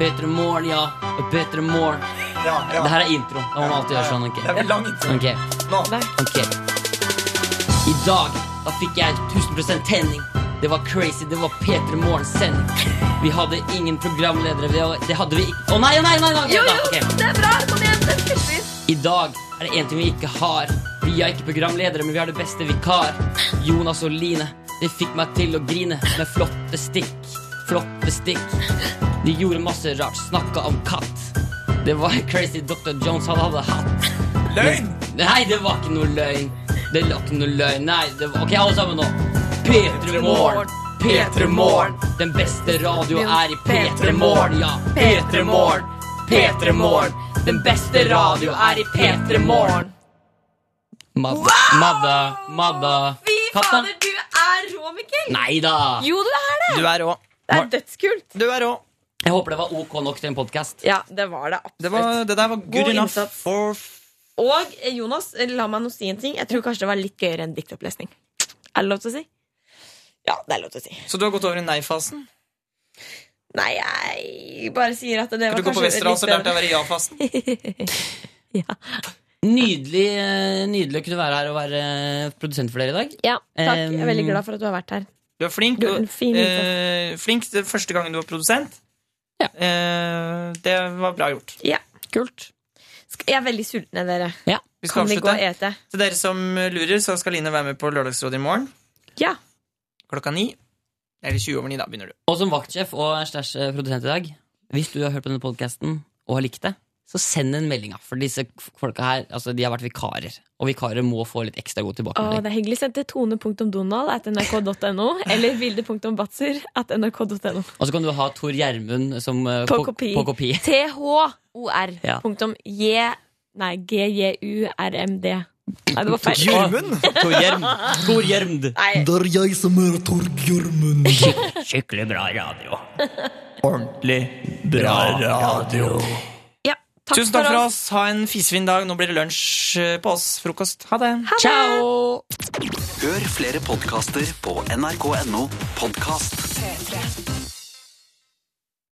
[SPEAKER 11] Bedre morgen, ja. Og bedre morgen.
[SPEAKER 1] Ja, ja.
[SPEAKER 11] Det her er intro. Da må man alltid gjøre sånn. ok?
[SPEAKER 1] Det er vel lang intro.
[SPEAKER 11] Ok. Ok. I dag da fikk jeg 1000 tenning. Det var crazy. Det var P3 Morgens sending. Vi hadde ingen programledere. Det var- Det hadde vi ikke Å nei, å nei, nei! nei.
[SPEAKER 2] Jo,
[SPEAKER 11] da,
[SPEAKER 2] jo,
[SPEAKER 11] ok.
[SPEAKER 2] det er bra! Kom igjen! Det er kjempefint.
[SPEAKER 11] I dag er det en ting vi ikke har. Vi er ikke programledere, men vi har det beste vikar. Jonas og Line. Det fikk meg til å grine med flotte stikk. Flotte stikk. De gjorde masse rart. Snakka om katt. Det var <laughs> Crazy Dr. Jones han hadde hatt. Løgn! Nei, det var ikke noe løgn. Det var ikke noe løgn. Nei, det var... Ok, alle sammen nå. P3 Morgen. P3 Morgen. Den beste radio er i P3 Morgen, ja. P3 Morgen. P3 Morgen. Den beste radio er i P3 Morgen. Madda, Madda, Madda.
[SPEAKER 2] Fy
[SPEAKER 11] Katta?
[SPEAKER 2] fader, du er rå, Mikkel!
[SPEAKER 11] Nei da.
[SPEAKER 2] Jo, du er det!
[SPEAKER 11] Du er rå.
[SPEAKER 2] Det er dødskult.
[SPEAKER 1] Du er rå.
[SPEAKER 11] Jeg håper det var ok nok til en podkast.
[SPEAKER 2] Ja, det var det absolutt.
[SPEAKER 1] Det, var, det der var good
[SPEAKER 2] God
[SPEAKER 1] enough
[SPEAKER 2] innsats.
[SPEAKER 1] for
[SPEAKER 2] Og eh, Jonas, la meg nå si en ting. Jeg tror kanskje det var litt gøyere enn diktopplesning. Er det lov til å si? Ja, det er lov til å si.
[SPEAKER 1] Så du har gått over i nei-fasen?
[SPEAKER 2] Nei, jeg bare sier at det
[SPEAKER 1] Du
[SPEAKER 2] var
[SPEAKER 1] går på
[SPEAKER 2] kanskje
[SPEAKER 1] Vesterålen, så
[SPEAKER 2] litt eh,
[SPEAKER 1] lærte jeg å være i ja-fasen.
[SPEAKER 11] Nydelig, eh, nydelig å kunne være her og være eh, produsent for dere i dag.
[SPEAKER 2] Ja, eh, takk. Jeg er veldig
[SPEAKER 1] Mm.
[SPEAKER 11] Em,
[SPEAKER 2] glad for at du har vært her.
[SPEAKER 1] Du er flink.
[SPEAKER 2] Du er
[SPEAKER 1] og,
[SPEAKER 2] en fin
[SPEAKER 1] eh, flink det første gangen du var produsent. Eh, det var bra gjort.
[SPEAKER 2] Ja, kult. Sk- Jeg er veldig sulten, jeg, dere.
[SPEAKER 1] Vi skal
[SPEAKER 2] Kan vi gå og
[SPEAKER 1] avslutte.
[SPEAKER 2] ete?
[SPEAKER 1] Til dere som lurer, så skal Line være med på Lørdagsrådet i morgen.
[SPEAKER 2] Ja.
[SPEAKER 1] Klokka ni. Eller 20 over ni, da begynner du.
[SPEAKER 11] Og som vaktsjef og stæsj eh, produsent i dag, hvis du har hørt på denne podkasten og har likt det, så send en melding. da. For disse f- folka her altså, de har vært vikarer, og vikarer må få litt ekstra god
[SPEAKER 2] Å,
[SPEAKER 11] tilbakemelding.
[SPEAKER 2] det er hyggelig. Send til tone.donald at nrk.no eller bilde.batser at nrk.no.
[SPEAKER 11] Og så kan du ha Tor Gjermund som eh,
[SPEAKER 2] På
[SPEAKER 11] ko-
[SPEAKER 2] kopi.
[SPEAKER 11] På
[SPEAKER 2] <laughs>
[SPEAKER 11] kopi.
[SPEAKER 2] THOR.
[SPEAKER 11] Ja.
[SPEAKER 2] Punktum J... Nei, GJURMD. Nei, det var feil.
[SPEAKER 11] Tor Gjerm. Tor Gjermd.
[SPEAKER 2] Nei.
[SPEAKER 18] Det er jeg som er Torgjørmund.
[SPEAKER 11] Skikkelig bra radio.
[SPEAKER 1] Ordentlig
[SPEAKER 18] bra
[SPEAKER 1] radio.
[SPEAKER 2] Ja, takk
[SPEAKER 1] Tusen takk
[SPEAKER 2] for
[SPEAKER 1] for oss. Ha en fisefin dag. Nå blir det lunsj eh, på oss. Frokost. Ha det.
[SPEAKER 11] Ciao!
[SPEAKER 19] Hør flere podkaster på nrk.no podkast.